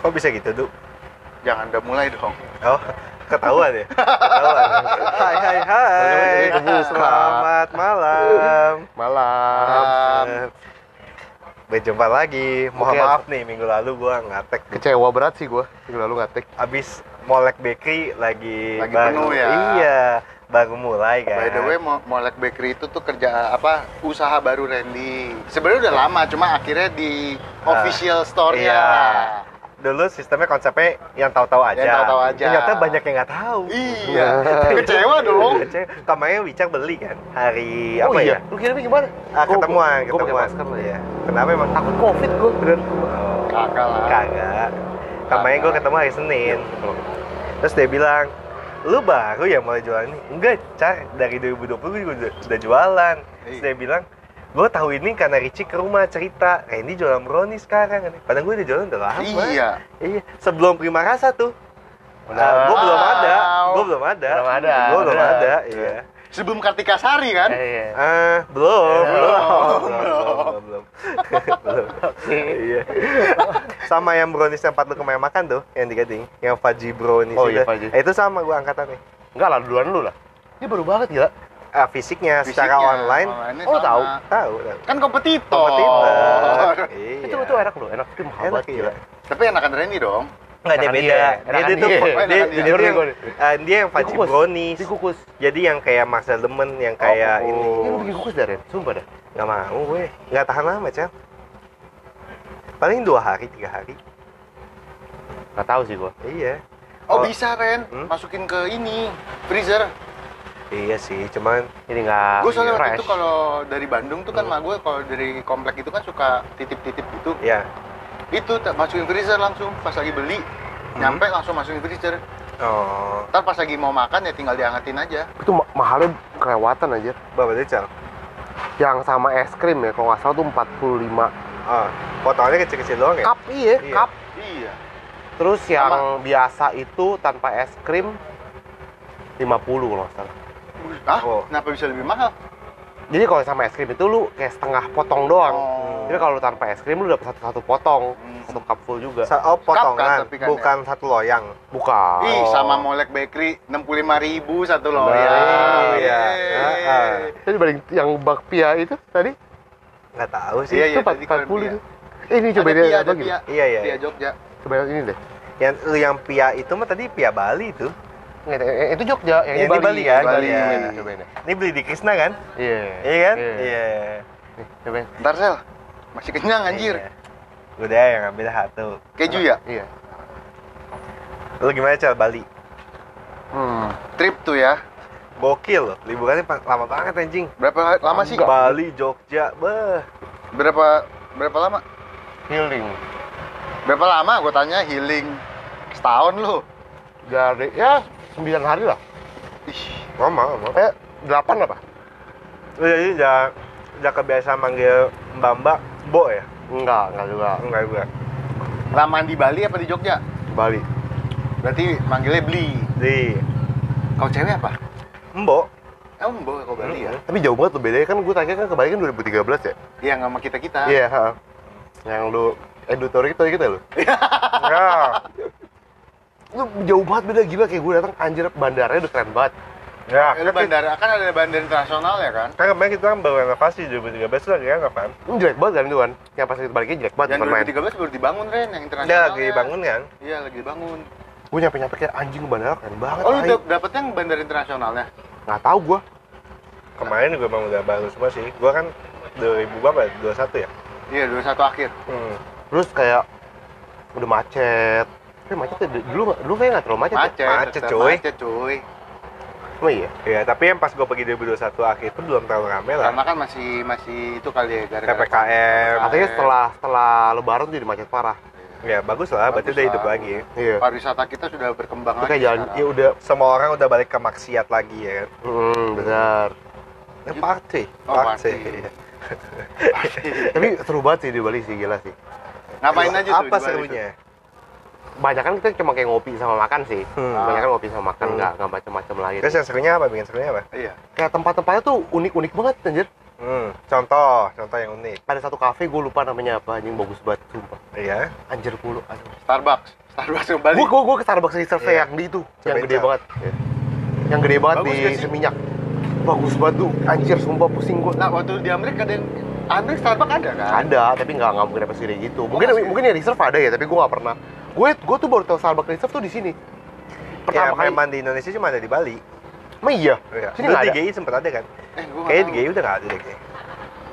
Kok bisa gitu, Du? Jangan udah mulai dong. Oh, ketahuan ya? Ketahuan. Hai hai hai. Baru kebuka. Selamat malam. Malam. Eh, Berjumpa lagi. Mohon Oke. maaf nih minggu lalu gua ngatek Kecewa berat sih gue. Lalu ngatek. abis Molek Bakery lagi Lagi baru, penuh ya. Iya, baru mulai kan. By the way, Mo- Molek Bakery itu tuh kerja apa? Usaha baru Randy. Sebenarnya udah lama, cuma akhirnya di Ah, official store-nya. iya. dulu sistemnya konsepnya yang tahu-tahu aja. Yang tahu-tahu aja. Ternyata banyak yang nggak tahu. Iya. Kecewa dong. Oh iya. Kece- Kemarin Wicak beli kan hari apa ya? Oh iya, Lu kira gimana? Ah, ketemuan, Gue pakai ketemuan. masker lah ya. Iya. Kenapa emang? Takut covid gue bener. Oh, Kakak lah. kagak. Kemarin gue ketemu hari Senin. Terus dia bilang, lu baru ya mulai jualan ini? Enggak, Car. Dari 2020 gue juga udah, udah jualan. Terus dia bilang, gue tahu ini karena Ricci ke rumah cerita, Randy jualan brownie sekarang. Padahal gue udah jualan udah lama. Iya. Iya, sebelum Prima Rasa tuh. Benar. Nah, gue belum ada, Wow. gue belum ada, Belum ada, gue belum benar. ada, iya. Sebelum Kartika Sari kan? Iya. Eh, belum, belum, Eh, belum, belum, belum, belum. Iya. Sama yang brownies yang empat lu kemarin makan tuh, yang di Gading, yang fudgy brownies Oh, itu. iya, fudgy. Eh, itu sama gue angkatan nih. Enggak lah duluan lu lah. Ini baru banget gila. Ah, fisiknya, secara Fisiknya, online, online-nya Oh, sama. tahu. tahu, tahu. Kan kompetitor. Kompetitor. Iya. Itu itu enak loh, enak itu mahal Enak, banget iya. gila. Tapi enakan Randy dong. Nggak ada Enakan beda. dia, Dia, enakan dia tuh, dia. dia, dia, Enakan dia. dia, Jujur nih yang, eh, dia yang fudgy Dikukus. brownies. Dikukus. Jadi yang kayak Marcel Demen, yang kayak ini. Ini lu bikin kukus dah, Ren. Sumpah dah. Gak mau gue, gak tahan lama Cel Paling dua hari, tiga hari Gak tau sih gue. Iya Oh, Oh. bisa Ren, Hmm? masukin ke ini freezer. Iya sih, cuman Ini nggak gue soalnya waktu Ah, iya, fresh. itu kalau dari Bandung tuh kan mak gue kalau dari komplek itu kan suka titip-titip gitu. ya Itu tak masukin freezer langsung pas lagi beli. Hmm. Nyampe langsung masukin freezer. Oh, Ntar pas lagi mau makan ya tinggal diangetin aja. Itu ma- mahalnya kelewatan aja. berapa tuh Cel? Yang sama es krim ya, kalau nggak salah tuh 45 Oh, potongannya kecil-kecil doang ya? cup iya, Iya. cup. Iya. Terus yang biasa itu tanpa es krim 50 kalau nggak salah. Hah? Oh. "Ah, Kenapa bisa lebih mahal? Jadi kalau sama es krim itu lu kayak setengah potong doang. Oh. Jadi kalau lu tanpa es krim lu dapat satu satu potong, Hmm. satu cup full juga. Sa- Oh, potongan, tapi kan ya. bukan satu loyang Bukan. Ih, Oh. sama Molek Bakery 65.000 ribu satu loh. Ya. Nah, iya. Ah, ah. Jadi dibanding yang bakpia itu tadi Nggak tahu sih Iya, itu iya, empat tadi empat keren puluh dia. itu. Eh, ini coba Ada dia Pia, apa ada gitu? Pia. Iya, iya, Pia iya. Jogja. Coba yang ini deh. Yang, lu yang pia itu mah tadi pia Bali tuh Nggak, eh, eh, itu Jogja, yang, Yang di Bali kan? Bali. Iya. Cobain deh. Ini beli di Krishna kan? Iya. Iya kan? Iya. Iya Nih, Cobain. Ntar sel, masih kenyang anjir. Iya. Udah yang ambil satu Keju ya, Iya. Lu gimana Cel, Bali? Hmm. trip tuh ya. Gokil loh, liburannya pa- lama banget anjing Berapa lama sih? Bali, Jogja, beh. Berapa berapa lama? Healing. Berapa lama gue tanya healing setahun lu? Jadi ya 9 hari lah. Ih, Lama, lama. Eh, 8 apa? Lu jadi udah, udah kebiasaan manggil Mbak Mbak Bo ya? Enggak, enggak juga. Enggak juga. lamaan di Bali apa di Jogja? Bali. Berarti manggilnya beli. Di Kau cewek apa? Mbo. Emang bawa kau Bali ya? Tapi jauh banget tuh bedanya kan gue tanya kan ke Bali kan 2013 ya. Iya nggak sama kita kita. Iya, heeh. Yang lu eh, editor kita kita lu. Ya. Lu jauh banget beda gila kayak gue datang anjir bandaranya udah keren banget. Ya. Ada bandara kan ada bandara internasional ya kan? Kan kemarin kita kan baru renovasi 2013 tuh lagi kan kapan? Ini jelek banget kan itu kan. Yang pas kita baliknya jelek banget Yang bukan main. 2013 baru dibangun Ren yang Udah internasional. lagi bangun kan? Iya lagi dibangun. Gue nyampe-nyampe kayak anjing bandara keren banget. Oh lu tai. dap- dapetnya yang bandara internasionalnya? Nggak tahu gue. Kemarin juga emang udah baru semua sih. Gua kan 2000 berapa? 21 ya? Iya 21 akhir. Hmm. Terus kayak udah macet. Tapi macetnya d- dulu nggak- dulu kayak nggak terlalu macet. ya? Macet, Macet, tetap cuy. Macet cuy. Oh iya. Ya, tapi yang pas gua pergi 2021 akhir itu belum terlalu rame lah. Karena kan masih masih itu kali ya gara-gara Nah, PPKM. iya. Katanya setelah setelah lebaran tuh jadi macet parah. Ya, bagus lah, berarti Bagus udah hidup lah. lagi. Iya. pariwisata kita sudah berkembang Itu kayak jalan, sekarang. iya udah. Semua orang udah balik ke maksiat lagi ya kan? Hmm, benar. Ya, party. Oh, party. Iya. Tapi seru banget sih di Bali sih, gila sih. Ngapain aja tuh? Apa di Bali tuh? serunya? Banyak kan kita cuma kayak ngopi sama makan sih. Hmm. Banyak kan ngopi sama makan, Hmm. nggak nggak macam-macam lagi. Terus yang serunya apa? Bikin serunya apa? Iya. kayak tempat-tempatnya tuh unik-unik banget, anjir. Hmm, contoh, contoh yang unik. Ada satu cafe gue lupa namanya apa anjing bagus banget sumpah. Iya. Anjir mulu. Aduh. Starbucks Starbucks kembali Gue gue gue ke Starbucks Reserve Iya. yang di itu, yang Sampai gede cap. banget. Yang gede banget Iya. Bagus di nggak sih? Seminyak. Bagus banget tuh. Anjir sumpah pusing gue. nah waktu di Amerika ada yang Amerika Starbucks ada kan Ada, tapi nggak nggak mungkin apa sih gitu. Mungkin nggak sih? mungkin ya Reserve ada ya, tapi gue nggak pernah. Gue gue tuh baru tahu Starbucks Reserve tuh di sini. Pertama Iya, Pertama kali. memang di Indonesia cuma ada di Bali. Emang iya. Iya. Sini Dulu nggak di ada. GI sempat ada kan? eh, gua nggak Kayaknya di tahu. GI udah nggak ada deh kayaknya.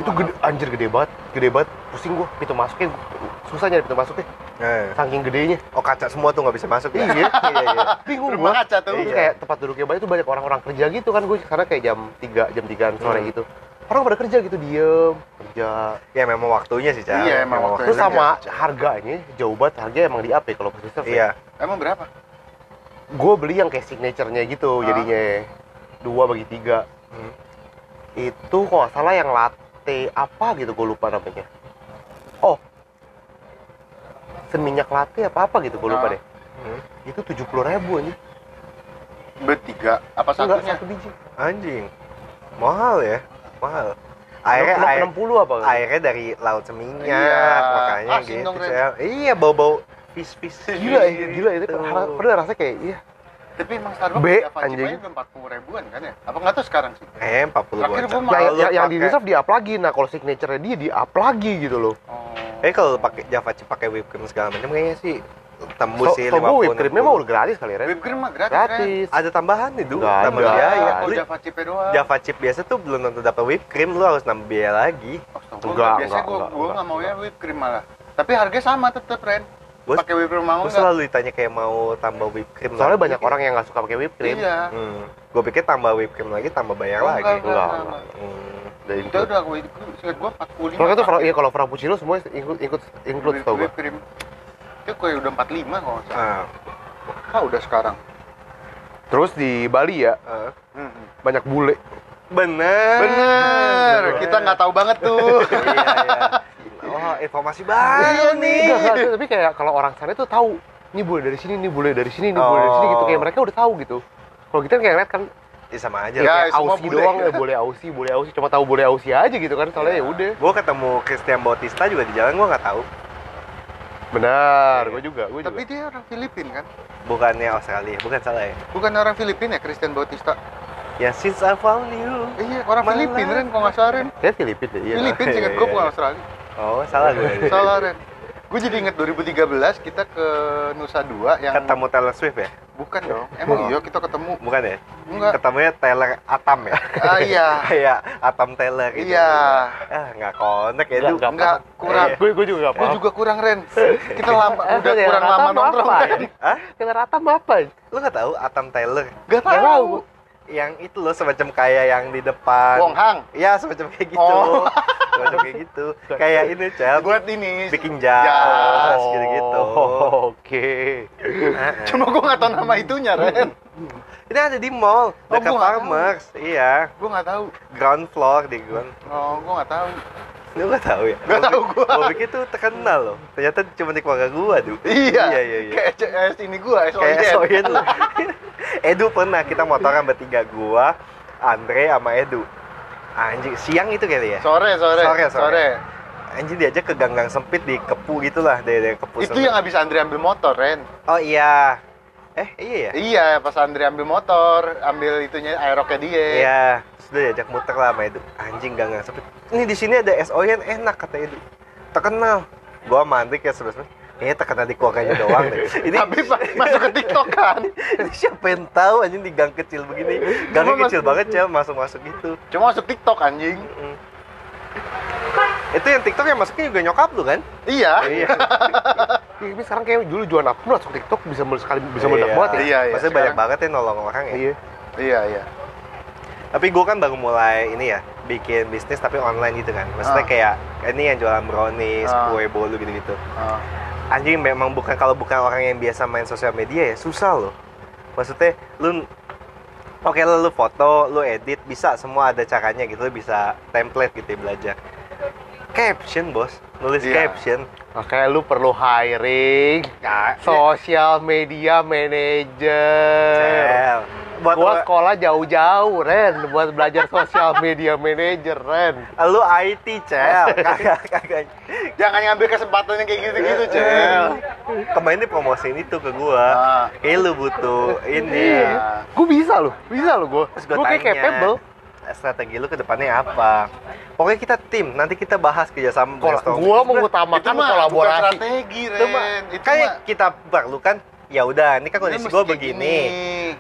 Itu gede, anjir gede banget, gede banget. Pusing gue pintu masuknya susah nyari pintu masuknya. Nah. Saking gedenya. Oh kaca semua tuh nggak bisa masuk ya? Iya. iya, iya. Bingung rumah gue. kaca tuh Terus Iya. kayak tempat duduknya banyak tuh banyak orang-orang kerja gitu kan gue karena kayak jam 3, jam 3-an sore Hmm. gitu. Orang pada kerja gitu diem, kerja. Ya memang waktunya sih, Cal. Iya, emang waktunya. Terus Kerja, sama kerja. harganya jauh banget, harganya emang di up ya kalau pas reserve. Iya. emang berapa Gue beli yang kayak signaturenya gitu Ah. jadinya. Dua bagi tiga. Hmm. Itu kok nggak salah yang latte apa gitu gue lupa namanya. Oh. Seminyak latte apa-apa gitu gue lupa Ah. deh. Hmm. Itu 70 ribu aja. bertiga apa Enggak, satunya satu biji. Anjing. Mahal ya? Mahal. Airnya, air, 60 apa? airnya dari laut seminyak, Iya. makanya Asin gitu, dong, Ren. Cel. Iya, bau-bau fish-fish. Ah, gila ya, gila itu Gitu. pernah rasanya kayak iya tapi emang Starbucks B, ya Fajib anjing. aja udah 40 ribuan kan ya apa nggak tahu sekarang sih Eh, 40 Terakhir gocap. gua makan. Kalau yang, lu yang, yang di pakai- reserve di up lagi nah kalau signature-nya dia di up lagi gitu loh oh. Eh, kalau lu pakai Java chip, pakai whipped cream segala macam kayaknya sih tembus so, sih so gue whipped creamnya mah 60. udah gratis kali Ren whipped cream mah gratis, kan? Ren. gratis Iya, Ada tambahan nih, Du. Nggak Tambah ada. biaya. Oh, Lu Java Cipe doang. Java chip biasa tuh belum tentu dapat whipped cream, lu harus nambah biaya lagi. Astaga, Enggak, biasanya enggak, gue enggak, gue enggak, nggak mau ya whipped cream malah. Tapi harganya sama tetep Ren. Gua- Pakai whipped cream mau Gue nggak? selalu ditanya kayak mau tambah whipped cream soalnya lagi, banyak kayak- orang yang nggak suka pakai whipped cream Iya. Hmm. Gue pikir tambah whipped cream lagi, tambah bayar Oh, lagi. enggak. Hmm. Udah Itu include. udah gue singkat gue 45. Soalnya tuh pakai fra- iya kalau frappuccino semua include include include whipped- tau gue whipped cream. Itu gue udah 45 kalau nggak salah. Ah, Ah, udah sekarang. terus di Bali ya ah. Hmm. banyak bule Bener. Bener, kita nggak tahu banget tuh. iya, iya. Oh, informasi baru nih. Enggak, enggak, tapi kayak kalau orang sana tuh tahu ini bule dari sini, ini bule dari sini, ini bule dari sini gitu kayak Oh. mereka udah tahu gitu. Kalau kita kayak lihat kan Ya, sama aja. Ya, lah. kayak semua Aussie bule. doang ya boleh Aussie, boleh Aussie cuma tahu boleh Aussie aja gitu kan soalnya ya udah. Gue ketemu Christian Bautista juga di jalan, gue nggak tahu. Benar, gue juga, gue Tapi dia orang Filipina kan? Bukannya Australia, bukan salah ya. Bukan orang Filipina ya, Christian Bautista. Ya, since I found you. Iya, orang Malah. Filipina Ren, kok nggak salah Ren? Kayak Filipin deh, iya. Filipina singkat gue bukan Australia. Oh, salah gue. Salah Ren. Gue jadi inget 2013 kita ke Nusa Dua yang Ketemu Taylor Swift ya? bukan dong. Emang Oh. iya kita ketemu. Bukan ya? Enggak. Ketemunya Taylor Atam ya? Ah iya. Kayak Atam Taylor gitu. Iya. Ah, nggak connect ya, Nggak, Du. nggak. Enggak kurang. Iya. Gue gue Iya. juga apa? Gue juga kurang Ren. Kita lama Eh, udah yang ya, kurang rata lama mau nongkrong. ya? apa? Ren. Hah? Yang rata mau apa? Lu nggak tahu Atam Taylor? Gak Nggak tahu. tahu. Yang itu loh, semacam kayak yang di depan. Wong Hang. Ya, semacam kayak gitu. Oh. semacam kayak gitu. Kayak ini, Cel. Buat ini. Bikin jas, Jas. gitu-gitu. Oh, Oke. Heeh. Cuma gue nggak tahu nama itunya Ren. Ah, Ini ada di mall, Oh, dekat gua nggak Farmers. Iya, Gue nggak tahu. ground floor di ground. Oh, gue nggak tahu. Lu gak tahu ya? Nggak tahu gua. Gua pikir tuh terkenal loh. Ternyata cuma di keluarga gua, Du. Iya. Iya, iya, iya. Kayak CS ini gue, Kayak SOJ. Soyen lu. Edu pernah kita motoran bertiga gua, Andre sama Edu. Anjing, siang itu kali ya? Sore, sore, Sore, sore, sore. sore. Anjing diajak ke gang-gang sempit di Kepu gitulah, dari, dari Kepu. Itu ya? sana. yang habis Andre ambil motor, Ren. Oh iya. Eh, iya ya? Iya, pas Andre ambil motor, ambil itunya aeroknya dia. Iya, sudah diajak muter lah sama Edu. Anjing gak nggak sempit. Ini di sini ada SOYN enak kata Edu. Terkenal. Gua mandek ya sebelas Kayaknya terkenal di keluarganya doang deh. Ini Tapi pas masuk ke TikTok kan. ini siapa yang tahu anjing di gang kecil begini. Gangnya Cuma kecil masuk- banget ya masuk-masuk gitu. Cuma masuk TikTok anjing. Mm. Itu yang TikTok yang masuknya juga nyokap lu kan? Iya. Iya. Ih, Tapi sekarang kayak dulu jualan aku langsung TikTok bisa mel- sekali bisa meledak banget ya. Iya, iya. Maksudnya banyak Sekarang- banget yang nolong orang ya. Iya. Iya, iya. Tapi gue kan baru mulai ini ya, bikin bisnis tapi online gitu kan. Maksudnya Ah. kayak ini yang jualan brownies, Ah. kue bolu gitu-gitu. Ah. anjing memang bukan kalau bukan orang yang biasa main sosial media ya susah loh maksudnya lu oke lah lu foto lu edit bisa semua ada caranya gitu lu bisa template gitu ya belajar caption bos nulis Iya. caption Nah, kayak lu perlu hiring Nah, social media manager. Cel. buat gua lo- sekolah jauh-jauh Ren buat belajar social media manager Ren lu IT cel kagak kagak Jangan ngambil kesempatan yang kayak gitu-gitu, Iya. Cel. kemarin dia promosiin itu ke gua Ah. kayak lu butuh ini Iya. gue bisa loh bisa loh gue terus gue gua kayak tanya capable strategi lu ke depannya apa pokoknya kita tim nanti kita bahas kerjasama Kol- brainstorming. gua Terus mengutamakan mah bukan kolaborasi strategi, itu mah Ren. Itu kayak mah kita perlukan ya udah ini kan ini kondisi mesti gue kayak begini gini.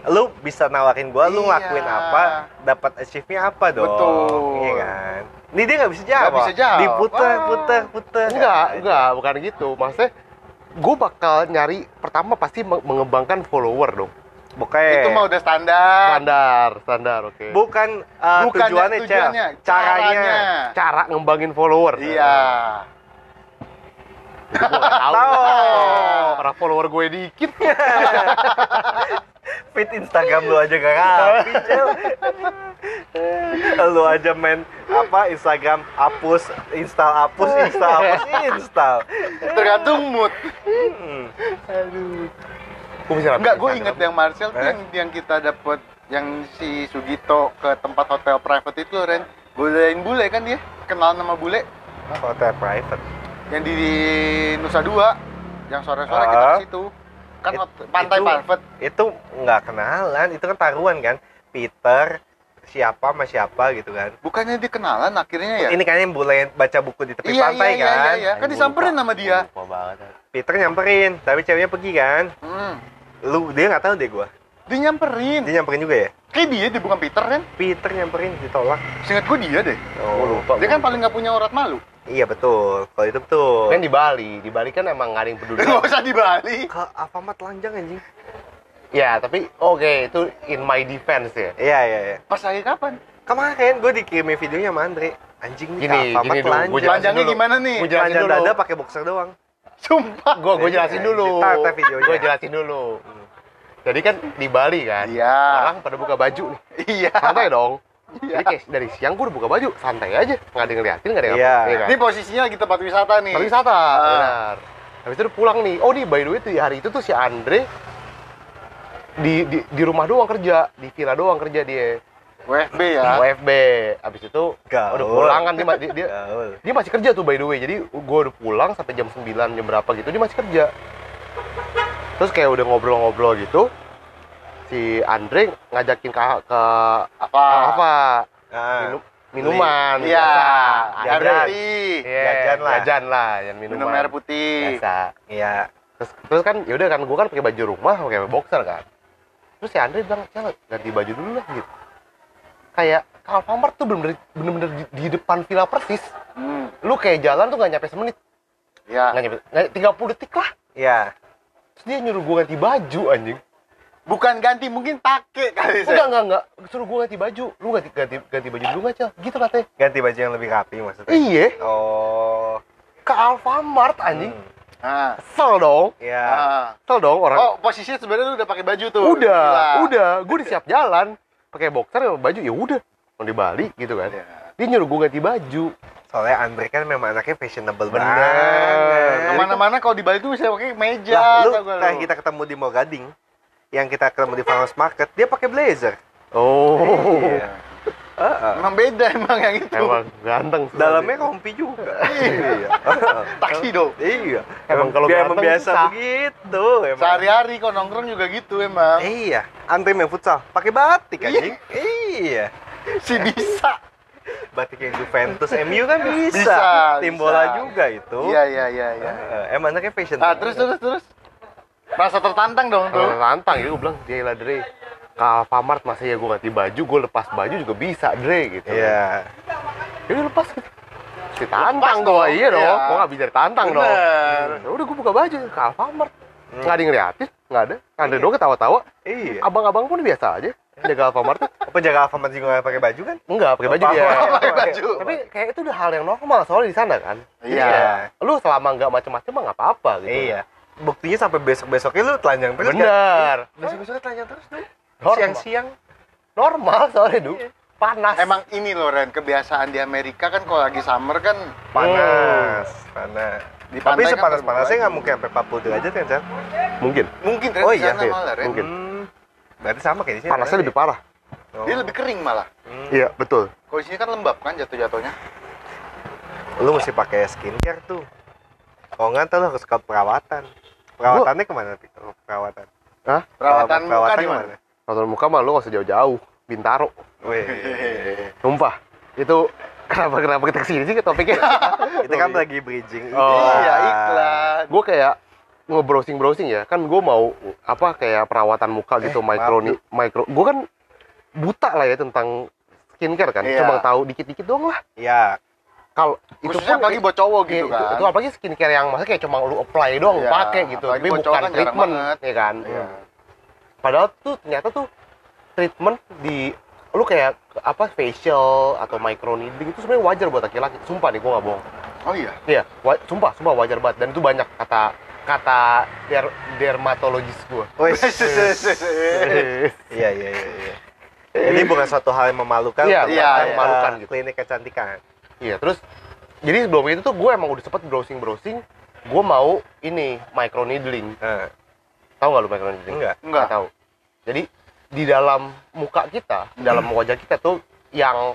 lu bisa nawarin gue lu Iya. ngelakuin apa dapat achieve-nya apa dong Betul. iya kan ini dia nggak bisa jawab Nggak bisa jawab. diputer Wah. puter puter enggak enggak bukan gitu maksudnya gue bakal nyari pertama pasti me- mengembangkan follower dong bukan Itu mah udah standar. standar standar oke bukan uh, Bukannya tujuannya, Cel. caranya, cara ngembangin follower Iya. gue tahu Tahu. orang follower gue dikit fit Instagram lu aja gak rapi Cel. lu aja main apa Instagram hapus install hapus install hapus install Tergantung mood. Hmm. gue bisa Enggak, gue Instagram. inget yang Marcel tuh Eh? yang, yang kita dapet yang si Sugito ke tempat hotel private itu Ren bolehin bule kan dia kenalan sama bule hotel private yang di, di Nusa Dua yang sore-sore kita Ah. ke situ kan It- hot- pantai itu- private itu nggak kenalan itu kan taruhan kan Peter siapa sama siapa gitu kan bukannya dia kenalan akhirnya ya ini kayaknya yang bule baca buku di tepi Iya, pantai iya, kan iya, iya, iya. Kan Gua disamperin lupa. sama dia. Gua lupa banget Peter nyamperin tapi ceweknya pergi kan hmm. lu dia nggak tahu deh gua dia nyamperin dia nyamperin juga ya kayak dia dia bukan Peter Ren Peter nyamperin ditolak seingat gue dia deh gue lupa dia gua kan paling nggak punya urat malu iya betul kalau itu betul kan di Bali di Bali kan emang nggak ada yang peduli nggak usah di Bali ke Alfamart telanjang anjing ya tapi oke itu in my defense ya iya iya iya pas lagi kapan kemarin gue dikirimin videonya sama Andre anjing nih Gini, ke Alfamart gini dulu, gua jelasin telanjang panjangnya dulu. gimana nih Gua jelasin telanjang dulu. dada pakai boxer doang sumpah gue gue jelasin dulu Tar, tar videonya. gue jelasin dulu jadi kan di Bali kan Iya. orang pada buka baju nih iya santai dong Iya. jadi kayak dari siang gue udah buka baju santai aja nggak ada yang ngeliatin nggak ada yang Iya. apa ini posisinya lagi tempat wisata nih Tapi wisata Ah. benar habis itu dia pulang nih oh nih by the way tuh hari itu tuh si Andre di, di, di rumah doang kerja di villa doang kerja dia WFB ya OFB habis itu Gaul. udah pulang kan dia, ma- dia, dia- Gaul. dia masih kerja tuh by the way jadi gue udah pulang sampai jam 9 jam berapa gitu dia masih kerja terus kayak udah ngobrol-ngobrol gitu si Andre ngajakin ke ke apa ke apa Ah. minum- minuman iya biasa. air Jajan. putih Iya, Jajan lah. jajan lah yang minuman minum air putih biasa Iya. terus, terus kan yaudah kan gue kan pakai baju rumah pakai boxer kan terus si Andre bilang cel ganti baju dulu lah gitu kayak ke Alfamart tuh bener-bener, bener-bener di, di depan villa persis hmm. lu kayak jalan tuh gak nyampe semenit ya nggak nyampe nggak- 30 detik lah Iya. terus dia nyuruh gue ganti baju anjing bukan ganti mungkin pakai kali enggak Iya, saya enggak enggak suruh gue ganti baju lu ganti ganti ganti baju dulu nggak cel gitu katanya Ganti baju yang lebih rapi maksudnya. iya Oh. ke Alfamart anjing Hmm. ah. kesel dong Iya. Ah. kesel dong orang oh posisinya sebenarnya lu udah pakai baju tuh udah Iya. Gila. udah gue disiap jalan pakai boxer sama baju ya udah mau di Bali gitu kan Iya. dia nyuruh gue ganti baju Soalnya Andre kan memang anaknya fashionable Bener. banget. kemana-mana kalau di Bali tuh bisa pakai meja Eh, Lah, lu tau gak kayak kita ketemu di Mall Gading, yang kita ketemu di Farmers Market, dia pakai blazer. oh Iya. Heeh. Ah. emang beda emang yang itu emang ganteng sih. Dalamnya rompi juga. iya. taksi dong Iya. Emang kalau dia emang ganteng biasa susah. begitu. Emang. sehari-hari kok nongkrong juga gitu emang Iya. Andre main futsal pakai batik Iya. anjing. iya. si bisa Batik yang Juventus, MU kan bisa. Bisa, Tim bisa. bola juga itu. iya iya iya iya Heeh, emang anaknya fashion. Iya. nah terus terus terus merasa tertantang dong Kalau tuh lantang gitu gue bilang dia lah Dre ke Alfamart masa ya gue ganti baju gue lepas baju juga bisa Dre gitu Iya. jadi lepas gitu ditantang gue dong, iya dong iya. gue gak bisa ditantang dong Bener. Ya udah gue buka baju ke Alfamart Hmm. nggak ada yang ngeliatin nggak ada Andre doang ketawa-tawa Iya. abang-abang pun biasa aja jaga Alfamart tuh Apa jaga Alfamart juga nggak pakai baju kan? enggak pakai baju dia pakai baju tapi kayak itu udah hal yang normal soalnya di sana kan iya lu selama nggak macam-macam mah nggak apa-apa gitu Iya. Buktinya sampai besok-besoknya lu telanjang terus kan? bener Besok-besoknya telanjang terus dong. Normal. Siang-siang. normal soalnya du panas Emang ini loh Ren, kebiasaan di Amerika kan kalau lagi summer kan Hmm. Panas. Panas. Di Tapi pantai kan sepanas-panasnya terbuka. nggak mungkin sampai 40 derajat kan, Chan? mungkin mungkin Ren Oh di iya, sana iya. malah Ren. Mungkin. Hmm. Berarti sama kayak di sini. panasnya lebih parah Dia lebih kering malah. Oh. iya betul Kalau di sini kan lembab kan jatuh-jatuhnya. Lu mesti pakai skincare tuh. Oh nggak ntar lu harus ke perawatan. Perawatannya kemana? Pi? Perawatan. Hah? Perawatan muka perawatan di mana? Nonton muka mah lu gak usah jauh-jauh Bintaro Wih, Sumpah Itu Kenapa kenapa kita kesini sih ke topiknya itu kan lagi bridging. Oh. Iya, iklan. Gue kayak Nge-browsing-browsing ya Kan gue mau Apa kayak perawatan muka gitu maaf, Micro ni- micro Gue kan Buta lah ya tentang Skincare kan Iya. Cuma tahu dikit-dikit doang lah Iya. Kalau itu Khususnya pun- apalagi buat cowok Iya, gitu itu, kan. itu apalagi skincare yang maksudnya kayak cuma lu apply Iya, doang, lu pakai gitu. apalagi Tapi buat cowok kan bukan jarang treatment, banget. ya kan? Iya. Padahal tuh ternyata tuh treatment di lu kayak ke- apa facial atau micro needling itu sebenarnya wajar buat laki-laki. Sumpah deh, gua nggak bohong. Oh iya. Iya, wa- sumpah, sumpah wajar banget. Dan itu banyak kata kata der- dermatologis gua. Wih. Iya iya iya. iya. Jadi bukan suatu hal yang memalukan, Iya, tapi iya, tentang, iya. memalukan uh, gitu. klinik kecantikan. Iya, terus jadi sebelum itu tuh gue emang udah sempet browsing browsing, gue mau ini micro needling. Nah, Tahu nggak lu micro needling? enggak. Enggak. nggak tahu jadi di dalam muka kita di dalam Hmm. wajah kita tuh yang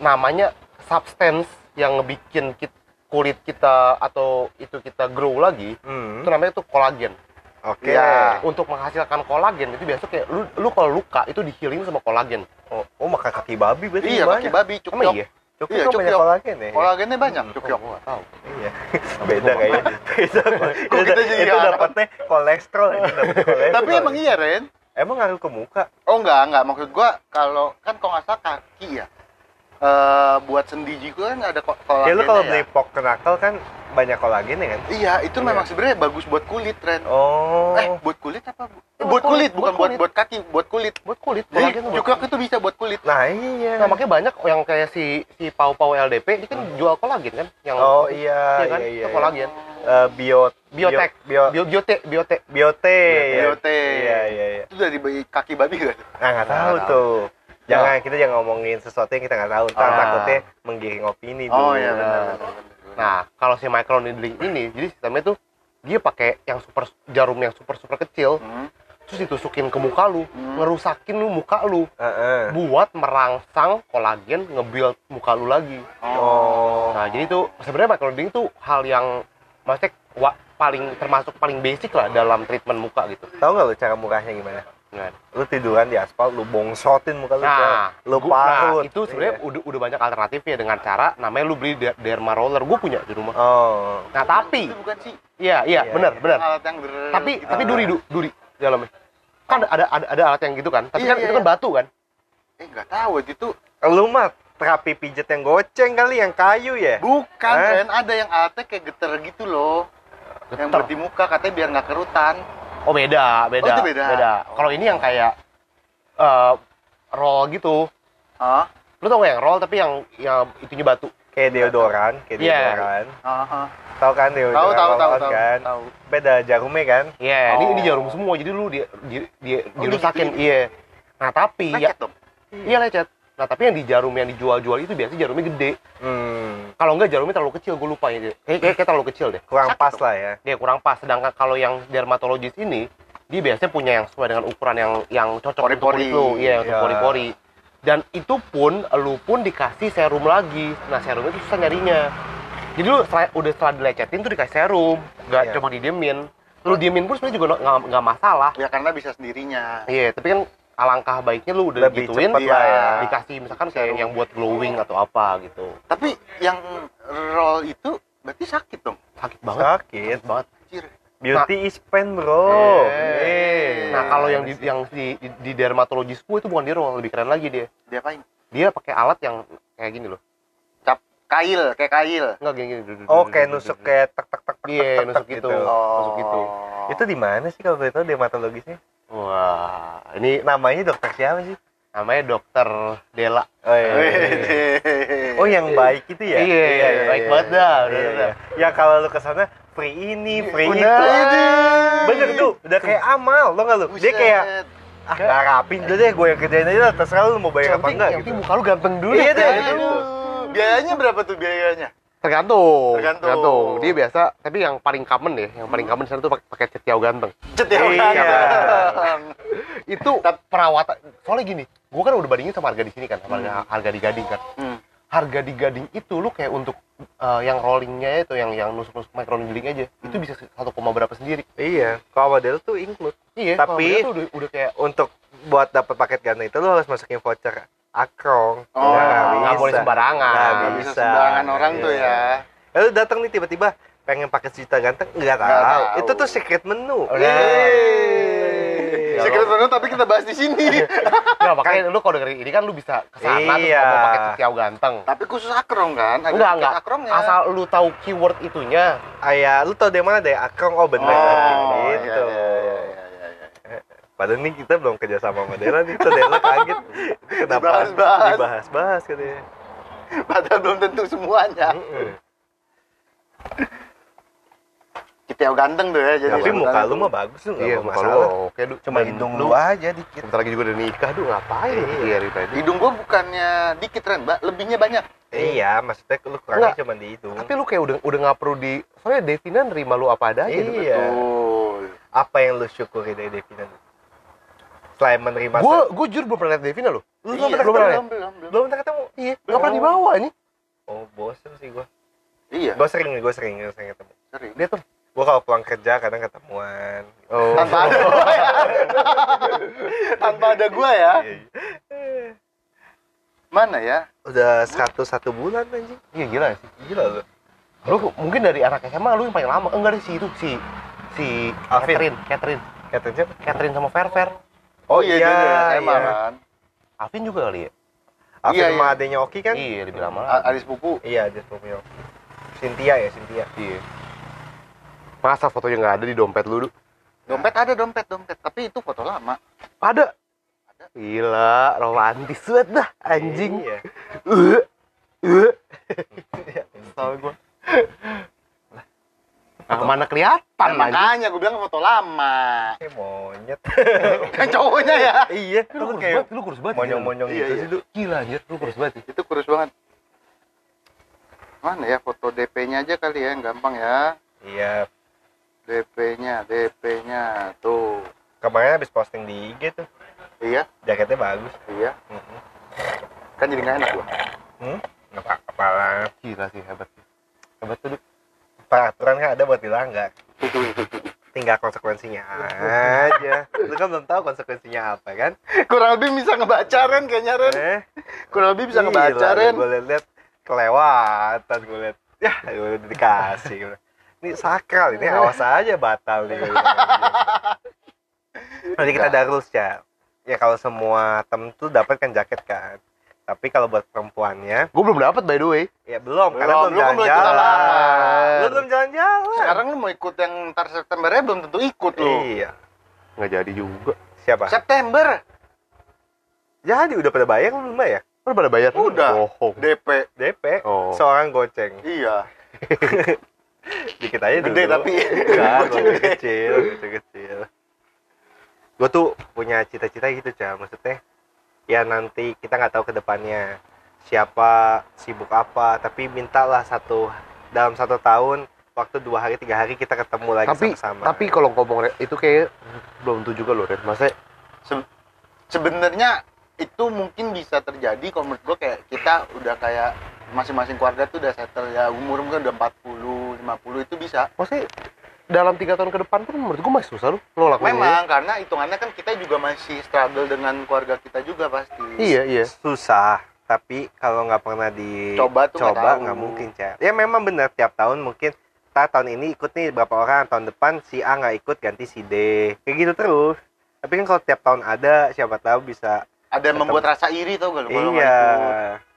namanya substance yang ngebikin kit- kulit kita atau itu kita grow lagi Hmm. itu namanya tuh kolagen Oke. Iya. untuk menghasilkan kolagen itu biasa kayak lu lu kalau luka itu di-healing sama kolagen Oh, oh, makan kaki babi berarti Iya, kaki banyak. babi, Emang cukyok. iya Cukup Iya, kok banyak cukyok. kolagen ya. Kolagennya banyak, cukyok. Oh, gua nggak tahu Iya. Beda kayaknya. Beda. Kok Itu- kita jadi itu ngarang? dapatnya kolesterol itu dapet kolesterol. Tapi emang iya, Ren. Emang ngaruh ke muka. Oh enggak, enggak. Maksud gua kalau kan kalau nggak salah kaki ya. Eh buat sendi juga kan ada ko- kolagennya. Ya lu kalau ya. beli pok kenakal kan banyak kolagennya kan? Iya, itu Iya. memang sebenarnya bagus buat kulit, Ren. Oh. Eh, buat kulit apa? Bu- Eh, buat kulit, bukan buat kulit. buat kaki, buat kulit. buat kulit Jadi kolagen tuh buat cukyok itu bisa buat kulit. Nah, iya. Nah, makanya banyak yang kayak si si Pau Pau LDP dia kan jual kolagen kan yang Hmm. Oh iya, iya kan iya, iya. itu kolagen Eh, bio, Biotek. bio, bio, Bio- biote biote biote, ya. Biote. Iya, iya, iya. Itu dari bayi- kaki babi kan? Nah, nggak Nggak tahu tahu. tuh. Jangan kita jangan ngomongin sesuatu yang kita nggak tahu. Ntar Ah. takutnya menggiring opini dulu. Oh iya benar. Nah. benar, benar. Nah, kalau si micro needling ini, jadi sistemnya tuh dia pakai yang super jarum yang super super kecil, Hmm. terus ditusukin ke muka lu, Hmm. ngerusakin lu muka lu, Heeh. buat merangsang kolagen nge-build muka lu lagi. Oh. Nah, jadi tuh sebenarnya micro needling tuh hal yang maksudnya wa- paling termasuk paling basic lah dalam treatment muka gitu. Tahu nggak lu cara murahnya gimana? Nah, Lu tiduran di aspal, lu bongsotin muka lu. coy. nah, lu gua- nah, parut. itu sebenarnya Iya. udah, udah banyak alternatifnya dengan cara namanya lu beli de- derma roller, gue punya di rumah. Oh. Nah, tapi itu bukan sih iya iya Iya, benar iya. benar. alat yang ber- tapi gitu. tapi duri du- duri di dalamnya kan ada ada ada alat yang gitu kan tapi Iya, kan iya, itu kan batu kan eh nggak tahu itu Lu mah terapi pijet yang goceng kali yang kayu ya? bukan Eh? Ren. ada yang alatnya kayak geter gitu loh yang Getar. buat di muka katanya biar nggak kerutan oh beda beda itu beda. Oh. kalau ini yang kayak eh, roll gitu ah lu tau gak yang roll tapi yang yang itunya batu Kayak deodoran, kayak Iya. deodoran. ah, ah. Tahu kan deodoran? tahu tahu tahu lawan tahu kan? tahu Beda jarumnya kan? iya ini, ini Oh. jarum semua jadi lu dia dia, dia Oh, dirusakin digituin. iya nah tapi ya Lecet dong iya lecet nah tapi yang di jarum yang dijual-jual itu biasanya jarumnya gede Hmm, kalau enggak jarumnya terlalu kecil gue lupa ya kayak, kayak, kayak terlalu kecil deh kurang Sakit pas dong. lah ya. dia kurang pas sedangkan kalau yang dermatologis ini dia biasanya punya yang sesuai dengan ukuran yang yang cocok untuk Pori-pori. kulit lu iya untuk Iya. pori-pori dan itu pun lu pun dikasih serum lagi nah serum itu susah nyarinya jadi lu setelah- udah setelah dilecetin tuh dikasih serum nggak Iya. cuma didiemin lu diemin pun sebenarnya juga nggak nggak masalah ya karena bisa sendirinya iya tapi kan alangkah baiknya lu udah Lebih gituin cepat iya. lah ya. dikasih misalkan kayak yang buat glowing atau apa gitu tapi yang roll itu berarti sakit dong sakit banget Sakit. sakit banget Anjir. Beauty is pain, bro. Eh. Eh. Nah kalau yang di, yang di, di, di dermatologis gue itu bukan di roll, lebih keren lagi dia. dia apain Dia pakai alat yang kayak gini loh. cap kail kayak kail Enggak gini gini. dududududududu. Oh, kayak nusuk kayak tek tek tek tek. Iya, tek, tek, nusuk gitu. gitu. oh Masuk gitu. Itu di mana sih kalau boleh tahu dermatologisnya? Wah, ini Namanya dokter siapa sih? namanya dokter Dela. Oh, iya. Oh, yang baik itu ya? Iya, baik banget dah, udah, Iya, udah. iya. Ya kalau lu kesana free ini, free Udah. itu. Ini. Bener tuh, udah kayak amal, lo nggak lu? Dia Buset. kayak ah nggak rapin udah deh, gue yang kerjain aja lah. Terserah lu mau bayar apa enggak Yang penting- yang gitu. penting muka lu ganteng dulu. Iya deh, Kayak gitu. gitu. Aduh. biayanya berapa tuh biayanya Tergantung. Tergantung. Dia biasa, tapi yang paling common deh, yang Hmm. paling common di sana tuh pak- pakai cetiau ganteng. Cetil Iya. kan. Itu perawatan. Soalnya gini, gua kan udah bandingin sama harga di sini kan, sama Hmm. harga, harga di Gading kan. Hmm. Harga di Gading itu lu kayak untuk eh, yang rollingnya itu, yang yang nusuk-nusuk microneedling aja, Hmm. itu bisa satu koma berapa sendiri. Iya, kalau model tuh include. Iya. Tapi- kalau dia tuh udah, udah kayak Untuk buat dapat paket ganda itu lo harus masukin voucher akrong. Nah, Oh, nggak boleh sembarangan. Nggak Nggak bisa. bisa sembarangan orang tuh Iya. ya. Eh, lu datang nih tiba-tiba pengen paket cerita ganteng nggak tahu. Nggak tahu. Itu tuh secret menu. Oke. Yeay. Iya. Ya, Secret lo- menu tapi kita bahas di sini. Nggak, makanya lu kalau dengerin ini kan lu bisa kesana sana terus Iya. ngomong pakai cetiau ganteng. tapi khusus akrong kan? Ada Enggak, tiket enggak. Iya. Akrongnya. Asal lu tahu keyword itunya, Ayah, lu tau dari mana dari akrong? Oh bener Oh, iya, gitu. iya, iya, iya, iya, iya. Padahal nih kita belum kerja sama modelan itu Dela kaget. Ini Kenapa Dibahas-bahas. dibahas-bahas katanya? Padahal belum tentu semuanya. Mm-mm. Kita ganteng tuh ya jadi. Tapi muka lu mah bagus tuh Iya, nggak muka lu masalah. oke, Du. Cuma Dan hidung lu aja dikit. Bentar lagi juga udah nikah, duh ngapain Iya. iya. hari tadi. Hidung gua bukannya dikit Ren, Mbak, lebihnya banyak. Iya, maksudnya lu kurangnya Nggak. cuma di itu. Tapi lu kayak udah udah nggak perlu di soalnya Devina nerima lu apa adanya. Du. Iya. Oh. Apa yang lu syukuri dari Devina? Selain menerima Gua gua jujur belum pernah liat Devina lu. Lu Iya, nggak pernah belum ketemu? belum, belum, belum. Belum pernah ketemu? Iya, nggak pernah dibawa ini. Oh, bosen sih gua. Iya, Gua sering nih, gua sering, gua sering ketemu. sering. Dia tuh. Gua kalau pulang kerja kadang ketemuan. Oh. Tanpa ada gua ya. Tanpa ada gua ya. Ah. Iya, Mana ya? Udah 101 bulan anjing. Iya gila ya sih. Gila lu. Lu mungkin dari anak SMA lu yang paling lama. Enggak deh si itu si si Alvin. Catherine, Catherine, Kata siapa? Catherine sama Fer Fer. Oh, iya, ya, dia dari SMA iya. kan. Alvin juga kali ya? Afif Iya, sama iya. adenya Oki kan? Iya, lebih lama A- lagi. Aris Pupu. Iya, dia Romeo. Cynthia ya, Cynthia. Iya. Masa fotonya nggak ada di dompet lu, Du? Dompet ada dompet, dompet, tapi itu foto lama. Ada. Gila, romantis banget dah, anjing. Iya. Uh, uh. Tahu gua. Nah, mana kelihatan Nah, anjing. makanya gua bilang foto lama. Kayak monyet. Kan cowoknya ya. iya, Lu lu kurus kayak banget, lu kurus banget. monyong-monyong Iya, gitu iya. sih, Du. Gila anjir, lu kurus banget. Itu kurus banget. Mana ya foto DP-nya aja kali ya, yang gampang ya. Iya. DP-nya, DP-nya tuh. Kemarin habis posting di IG tuh, Iya, jaketnya bagus. iya. Mm-mm. Kan jadi nggak enak gua. Hmm? Nggak apa-apa lah. Gila sih hebat. Hebat tuh. Peraturan kan ada buat dilanggar. Tinggal konsekuensinya aja. Lu kan belum tahu konsekuensinya apa kan? Kurang lebih bisa ngebaca Ren kayaknya Ren. Eh, Kurang lebih bisa ngebaca gila, Ren. Gue liat-liat kelewatan gue liat. Ya, gue udah dikasih. Gua bilang, Ini sakral, ini awas aja batal nih. gua bilang. Nanti kita ada rules ya. Ya kalau semua tem tuh dapat kan jaket kan. Tapi kalau buat perempuannya Gua belum dapat by the way. ya belum, karena Belum, belum lu kan belum jalan-jalan. jalan. Lu belum jalan-jalan. Sekarang lu mau ikut yang ntar Septembernya belum tentu ikut lu. Iya. Nggak jadi juga. Siapa? September Jadi udah pada bayar belum ya? bayar? Lu pada bayar? Udah. Bohong. DP. DP Oh. seorang goceng. Iya. dikit aja dulu Gede tapi. enggak Goceng goceng gede. Kan, kecil goceng kecil gue tuh punya cita-cita gitu cah maksudnya ya nanti kita nggak tahu kedepannya siapa sibuk apa tapi mintalah satu dalam satu tahun waktu dua hari tiga hari kita ketemu lagi Tapi sama-sama tapi kalau ngomong Ren, itu kayak belum tentu juga loh, Ren. Maksudnya Sebenarnya itu mungkin bisa terjadi kalau menurut gua kayak kita udah kayak masing-masing keluarga tuh udah settle ya umur mungkin udah 40, 50 itu bisa. maksudnya dalam tiga tahun ke depan pun menurut gua masih susah lu lo Iya. lakuin Memang karena hitungannya kan kita juga masih struggle dengan keluarga kita juga pasti. ini. Iya, Ya, iya. susah tapi kalau nggak pernah dicoba Coba tuh nggak tahu. nggak mungkin cah ya memang benar tiap tahun mungkin ta tahun ini ikut nih berapa orang tahun depan si A nggak ikut ganti si D kayak gitu terus tapi kan kalau tiap tahun ada siapa tahu bisa Ada yang membuat rasa iri tau gak lu kalau nggak iya ikut.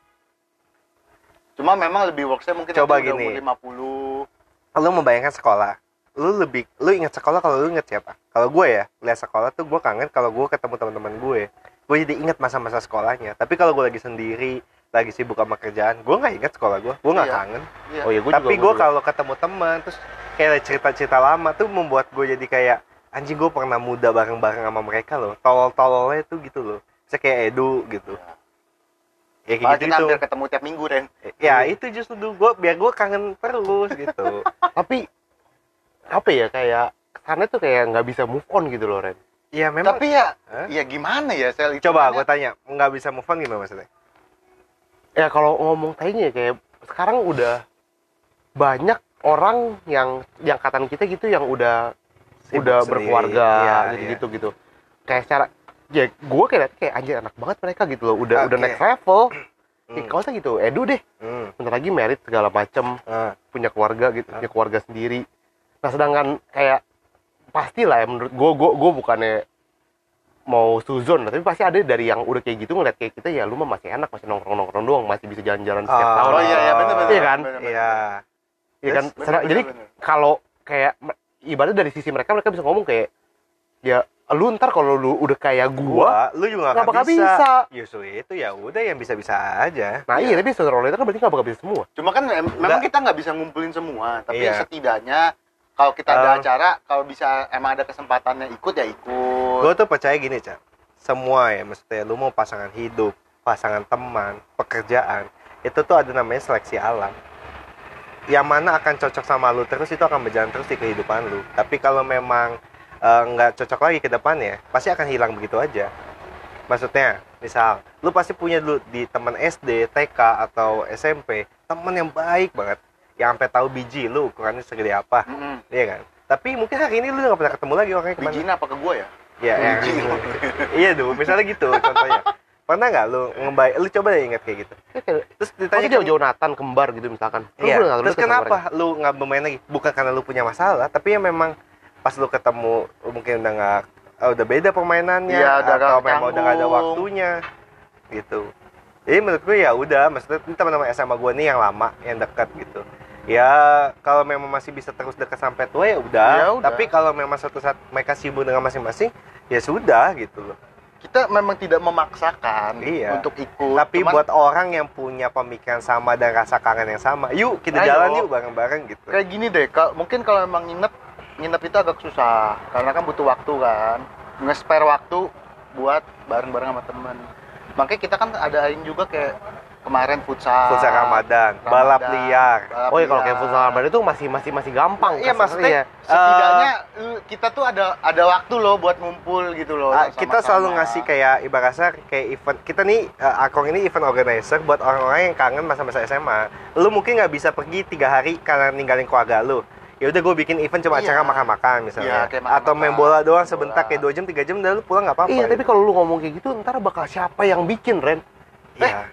Cuma memang lebih worksnya mungkin Coba nanti udah gini. umur lu membayangkan sekolah lu lebih lu ingat sekolah kalau lu ingat siapa kalau gue ya lihat sekolah tuh gue kangen kalau gue ketemu teman-teman gue gue jadi ingat masa-masa sekolahnya tapi kalau gue lagi sendiri lagi sibuk sama kerjaan gue nggak ingat sekolah gue gue nggak Iya. kangen 55. Iya. Oh iya, gua tapi juga. gue kalau ketemu teman terus kayak cerita-cerita lama tuh membuat gue jadi kayak anjing gue pernah muda bareng-bareng sama mereka loh tolol-tololnya tuh gitu loh saya kayak Edu gitu ya kayak Malah gitu kita itu hampir ketemu tiap minggu Ren ya itu justru gue biar gue kangen terus gitu tapi apa ya kayak sana tuh kayak nggak bisa move on gitu loh Ren ya memang tapi ya Hah? ya gimana ya sel itu coba kan gue tanya nggak bisa move on gimana maksudnya ya kalau ngomong tanya kayak sekarang udah banyak orang yang yang angkatan kita gitu yang udah Sibuk udah sendiri. berkeluarga Iya, gitu iya. gitu gitu kayak secara ya gue kayak liat kayak anjir enak banget mereka gitu loh udah udah Oke. next level Hmm, Kayak kalau saya gitu edu deh hmm, bentar lagi merit segala macem ah, punya keluarga gitu punya keluarga sendiri nah sedangkan kayak pastilah ya menurut gue gue gue bukannya mau suzon tapi pasti ada dari yang udah kayak gitu ngeliat kayak kita ya lu mah masih enak masih nongkrong nongkrong doang masih bisa jalan-jalan setiap Ah. tahun oh iya iya benar benar Iya kan? benar, benar. iya Iya kan Terus, bener, Sedang- bener, jadi bener. kalau kayak me- ibaratnya dari sisi mereka mereka bisa ngomong kayak ya lu ntar kalau lu udah kayak gua, gua lu juga nggak nggak bakal akan bisa. bisa. Justru itu ya udah yang bisa-bisa aja nah iya tapi secara lain kan berarti nggak bakal bisa semua cuma kan em- memang Nggak. kita nggak bisa ngumpulin semua tapi Iya. setidaknya kalau kita ada Eh. acara kalau bisa emang ada kesempatannya ikut ya ikut gue tuh percaya gini cak semua ya maksudnya lu mau pasangan hidup pasangan teman pekerjaan itu tuh ada namanya seleksi alam yang mana akan cocok sama lu terus itu akan berjalan terus di kehidupan lu tapi kalau memang eh, nggak cocok lagi ke depannya pasti akan hilang begitu aja maksudnya misal lu pasti punya dulu di teman SD TK atau SMP teman yang baik banget yang sampai tahu biji lu ukurannya segede apa Mm-mm. iya kan tapi mungkin hari ini lu nggak pernah ketemu lagi orangnya kemana Bijina apa ke gua ya ya, yang- iya tuh misalnya gitu contohnya pernah nggak lu ngebaik lu coba deh ingat kayak gitu ya, kayak, terus ditanya masa jauh-jauh Nathan kembar gitu misalkan Lu kan- Iya. udah nggak terus deket sama mereka. kenapa lu nggak bermain lagi bukan karena lu punya masalah tapi ya memang pas lu ketemu mungkin udah nggak eh, udah beda permainannya Iya, udah atau nggak memang udah nggak ada canggung. waktunya gitu jadi menurut gue ya udah maksudnya ini teman-teman SMA gue nih yang lama yang dekat gitu ya kalau memang masih bisa terus dekat sampai tua ya udah Ya udah. tapi kalau memang suatu saat mereka sibuk dengan masing-masing ya sudah gitu loh kita memang tidak memaksakan Iya. untuk ikut Tapi Cuman buat orang yang punya pemikiran sama dan rasa kangen yang sama, yuk kita Ayo. jalan yuk bareng-bareng gitu. kayak gini deh kalau mungkin kalau emang nginep nginep itu agak susah karena kan butuh waktu kan nge-spare waktu buat bareng-bareng sama temen makanya kita kan adain juga kayak kemarin futsal Futsal iya, Ramadan, Ramadan, balap liar. balap oh ya kalau kayak liar. futsal Ramadan itu masih masih masih gampang Iya, kasarnya maksudnya, ya. setidaknya eh, kita tuh ada ada waktu loh buat ngumpul gitu loh Ah, sama-sama. kita selalu ngasih kayak ibaratnya kayak event kita nih eh, Akong ini event organizer buat orang-orang yang kangen masa-masa SMA. Lu mungkin nggak bisa pergi tiga hari karena ninggalin keluarga lu. Ya udah gue bikin event cuma Iya. acara makan-makan misalnya Iya, kayak makan-makan. atau main bola doang Bola. sebentar kayak dua jam tiga jam dan lu pulang nggak apa-apa. iya tapi gitu. kalau lu ngomong kayak gitu ntar bakal siapa yang bikin Ren Iya.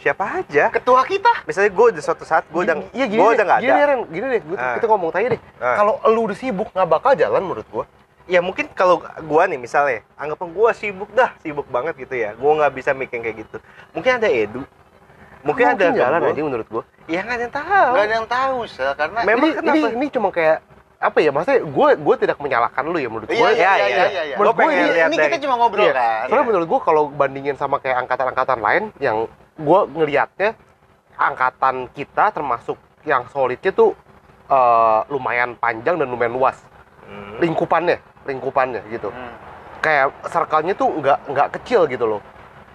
siapa aja. ketua kita Misalnya gue udah suatu saat gue udah Iya, gini gue deh, udah nggak gini ada. deh, Ren gini deh gua- Ah. kita ngomong tanya deh Ah. kalau lu udah sibuk nggak bakal jalan menurut gua ya mungkin kalau gua nih misalnya anggapan gua sibuk dah sibuk banget gitu ya gua nggak bisa mikir kayak gitu mungkin ada edu mungkin, ada jalan Gembul. aja menurut gua ya nggak ada yang tahu nggak ada yang tahu sel karena Mem- Memang ini, kenapa? ini ini cuma kayak apa ya maksudnya gue gue tidak menyalahkan lu ya menurut gue Iya, iya, ya, iya, iya, iya. Gua Menurut gua pengen ini, lihat ini dari kita cuma ngobrol Iya. kan soalnya menurut gue kalau bandingin sama kayak angkatan-angkatan lain yang gue ngelihatnya angkatan kita termasuk yang solidnya tuh eh, lumayan panjang dan lumayan luas Hmm. lingkupannya lingkupannya gitu Hmm. kayak circle-nya tuh nggak nggak kecil gitu loh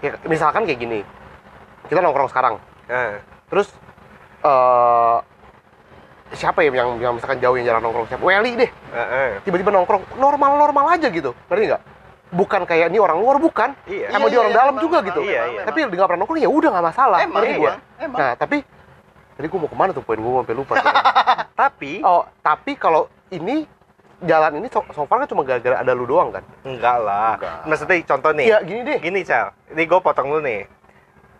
Ya, misalkan kayak gini kita nongkrong sekarang Eh, terus eh siapa ya yang yang misalkan jauh yang jarang nongkrong siapa Weli deh eh, eh. tiba-tiba nongkrong normal-normal aja gitu ngerti nggak bukan kayak ini orang luar bukan iya Emang dia orang dalam juga gitu? Iya, iya. tapi dia nggak pernah nongkrong ya udah nggak masalah emang, iya. ngerti gua? emang, emang. nah tapi tadi gue mau kemana tuh poin gue sampai lupa tuh. tapi oh tapi kalau ini jalan ini so, so far kan cuma gara-gara ada lu doang kan enggak lah Enggak. maksudnya contoh nih iya gini deh gini cal ini gue potong lu nih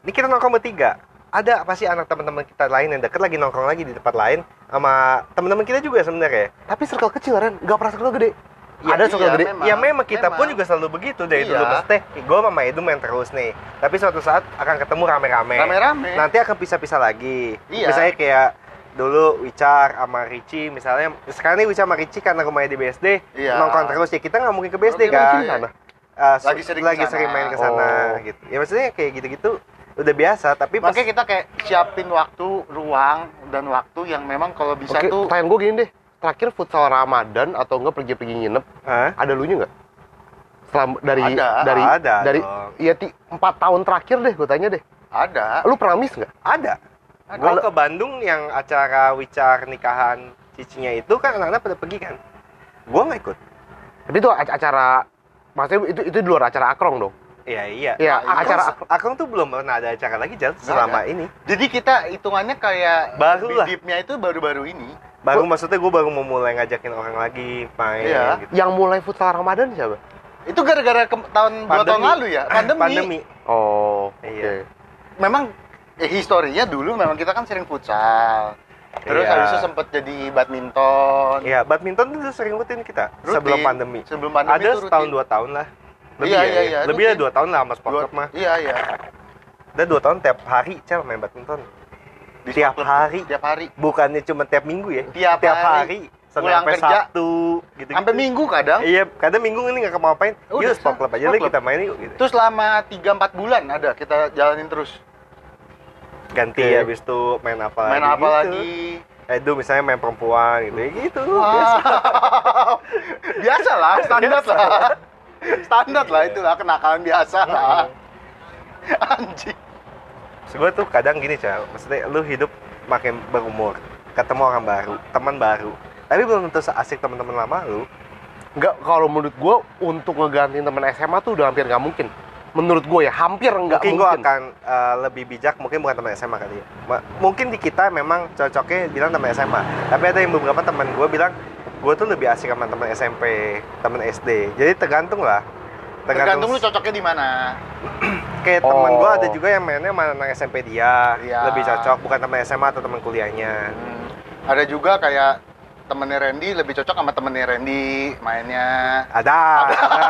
ini kita nongkrong bertiga ada pasti anak teman-teman kita lain yang deket lagi nongkrong lagi di tempat lain sama teman-teman kita juga sebenarnya tapi circle kecil Ren nggak pernah circle gede Ya, ada circle iya, gede memang. Ya memang kita pun Memang. juga selalu begitu dari Iya. dulu maksudnya gue sama Edu main terus nih tapi suatu saat akan ketemu rame-rame rame-rame nanti akan pisah-pisah lagi Iya. misalnya kayak dulu Wicar sama Ricci misalnya sekarang nih Wicar sama Ricci karena rumahnya di BSD Iya. nongkrong terus ya kita nggak mungkin ke BSD Mungkin kan Ricci di sana. Eh, Lagi su- sering lagi kesana. sering main ke sana Oh. gitu ya maksudnya kayak gitu-gitu udah biasa tapi pas makanya kita kayak siapin waktu ruang dan waktu yang memang kalau bisa Oke, tuh pertanyaan gue gini deh terakhir futsal Ramadan atau enggak pergi-pergi nginep Hah? ada lu nya nggak Selam- dari Ada, dari ada dari dong. iya ti- empat tahun terakhir deh gue tanya deh Ada. Lu pernah miss nggak? Ada. Ada. Gua Nah, ke Bandung yang acara wicar nikahan cicinya itu kan anak-anak pada pergi kan. Gua nggak ikut. Tapi itu ac- acara maksudnya itu itu di luar acara akrong dong. Iya iya. Iya, Akang- acara Akang tuh belum pernah ada acara lagi Jal selama ini. Jadi kita hitungannya kayak Baru lah. bibitnya itu baru-baru ini. Baru maksudnya gua baru mau mulai ngajakin orang lagi main Iya. gitu. yang mulai futsal Ramadan siapa? Itu gara-gara ke- tahun dua Pandemi. tahun lalu ya, pandemi. Pandemi. Oh, oke. Iya. Memang eh, historinya dulu memang kita kan sering futsal. Terus Iya. habis itu sempat jadi badminton. Iya, badminton itu sering rutin kita Rutin. sebelum pandemi. Sebelum pandemi ada itu rutin. setahun dua tahun lah. Lebih Iya, ya, iya, iya, lebih ya rutin. dua tahun lah sama sport Dua- club mah. Iya, iya. Udah dua tahun tiap hari cel main badminton. Di Tiap klub. hari. Tiap hari. Bukannya cuma tiap minggu ya. Tiap hari. hari. Senin Pulang sampai kerja. Sabtu gitu. Sampai minggu kadang. Iya, kadang minggu ini nggak kemau-main. Oh. Udah, Yuk sport club aja sport lah club. kita main yuk. Gitu. Itu selama 3-4 bulan ada kita jalanin terus. Ganti Oke. habis itu main apa Main lagi apa gitu. lagi? Eh, itu misalnya main perempuan gitu. Ya gitu. biasa. Wow. biasa lah, standar lah. Standar lah Iya. itulah kenakalan biasa lah. Anjing. Terus gue tuh kadang gini cel, maksudnya lu hidup makin berumur, ketemu orang baru, teman baru, tapi belum tentu asik teman-teman lama lu. Enggak, kalau menurut gua untuk ngegantiin teman SMA tuh udah hampir nggak mungkin. Menurut gua ya hampir nggak mungkin mungkin. gue akan uh, lebih bijak, mungkin bukan teman SMA kali ya. Ma- Mungkin di kita memang cocoknya bilang teman SMA, tapi ada yang beberapa teman gue bilang gue tuh lebih asik sama teman SMP, teman SD. Jadi tergantung lah. Tergantung lu cocoknya di mana. kayak teman Oh. gue ada juga yang mainnya sama anak SMP dia, Iya. lebih cocok bukan teman SMA atau teman kuliahnya. Ada juga kayak temennya Randy lebih cocok sama temennya Randy mainnya. Ada. ada.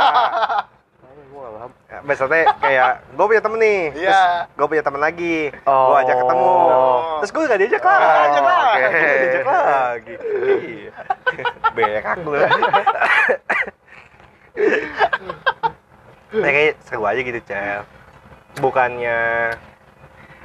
Gua nggak paham. Ya, maksudnya kayak gue punya temen nih Iya. terus gue punya temen lagi Oh. gue ajak ketemu Oh. terus gue gak diajak Oh, lagi ajak lagi. Oke. Gak diajak lagi Iya. berak lu Ya, kayak seru aja gitu cel bukannya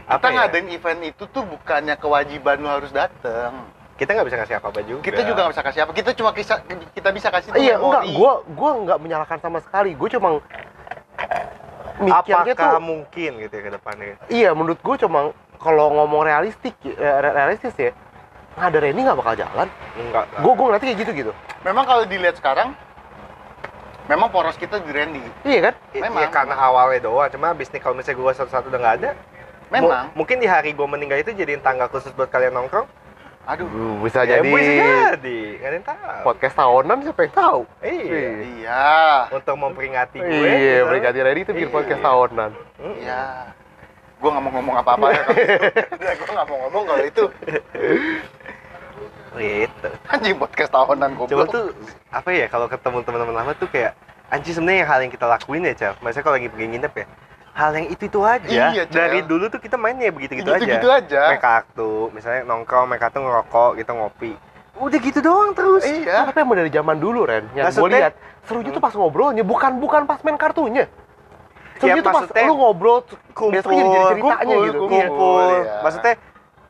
apa Kita ya? ngadain event itu tuh bukannya kewajiban lu harus datang. kita nggak bisa ngasih apa-apa juga Kita juga nggak bisa kasih apa. Kita cuma kisah, kita bisa kasih tuh Iya, memori. enggak, gua gua enggak menyalahkan sama sekali. Gua cuma mikirnya apakah tuh mungkin gitu ya ke depannya iya menurut gua cuma kalau ngomong realistik eh, re- realistis ya ada Reni nggak bakal jalan. enggak lah. Gua gua ngeliatnya kayak gitu gitu. Memang kalau dilihat sekarang, memang poros kita di Randy. Iya kan? Ya, memang. karena awalnya doang cuma abis nih kalau misalnya gue satu-satu udah nggak ada Memang. Mu- mungkin di hari gue meninggal itu jadiin tanggal khusus buat kalian nongkrong. Aduh. bisa Ya, jadi bisa jadi. Gak ada yang tahu. podcast tahunan siapa yang tahu? Iya. Iya. Untuk memperingati gue. Iya, misalnya. Brigadi Reni itu bikin Iya. podcast tahunan. Mm. Iya. Gue nggak mau ngomong apa-apa ya. kalau itu. Udah, Gue nggak mau ngomong kalau itu. Gitu. Anjing podcast tahunan Coba goblok. tuh apa ya kalau ketemu teman-teman lama tuh kayak anjir sebenarnya hal yang kita lakuin ya, Cel. Maksudnya kalau lagi pergi nginep ya. Hal yang itu-itu aja. Iya, Cel. Dari dulu tuh kita mainnya begitu-gitu gitu aja. Gitu-gitu aja. Main kartu, misalnya nongkrong, main kartu ngerokok, gitu ngopi. Udah gitu doang terus. Iya. Tapi emang dari zaman dulu, Ren. Yang gue Maksudnya? lihat serunya tuh pas ngobrolnya, bukan bukan pas main kartunya. Ya, Serunya tuh pas maksudnya lu ngobrol, tuh kumpul, biasanya jadi ceritanya kumpul, gitu. kumpul. Iya. kumpul. Iya. Maksudnya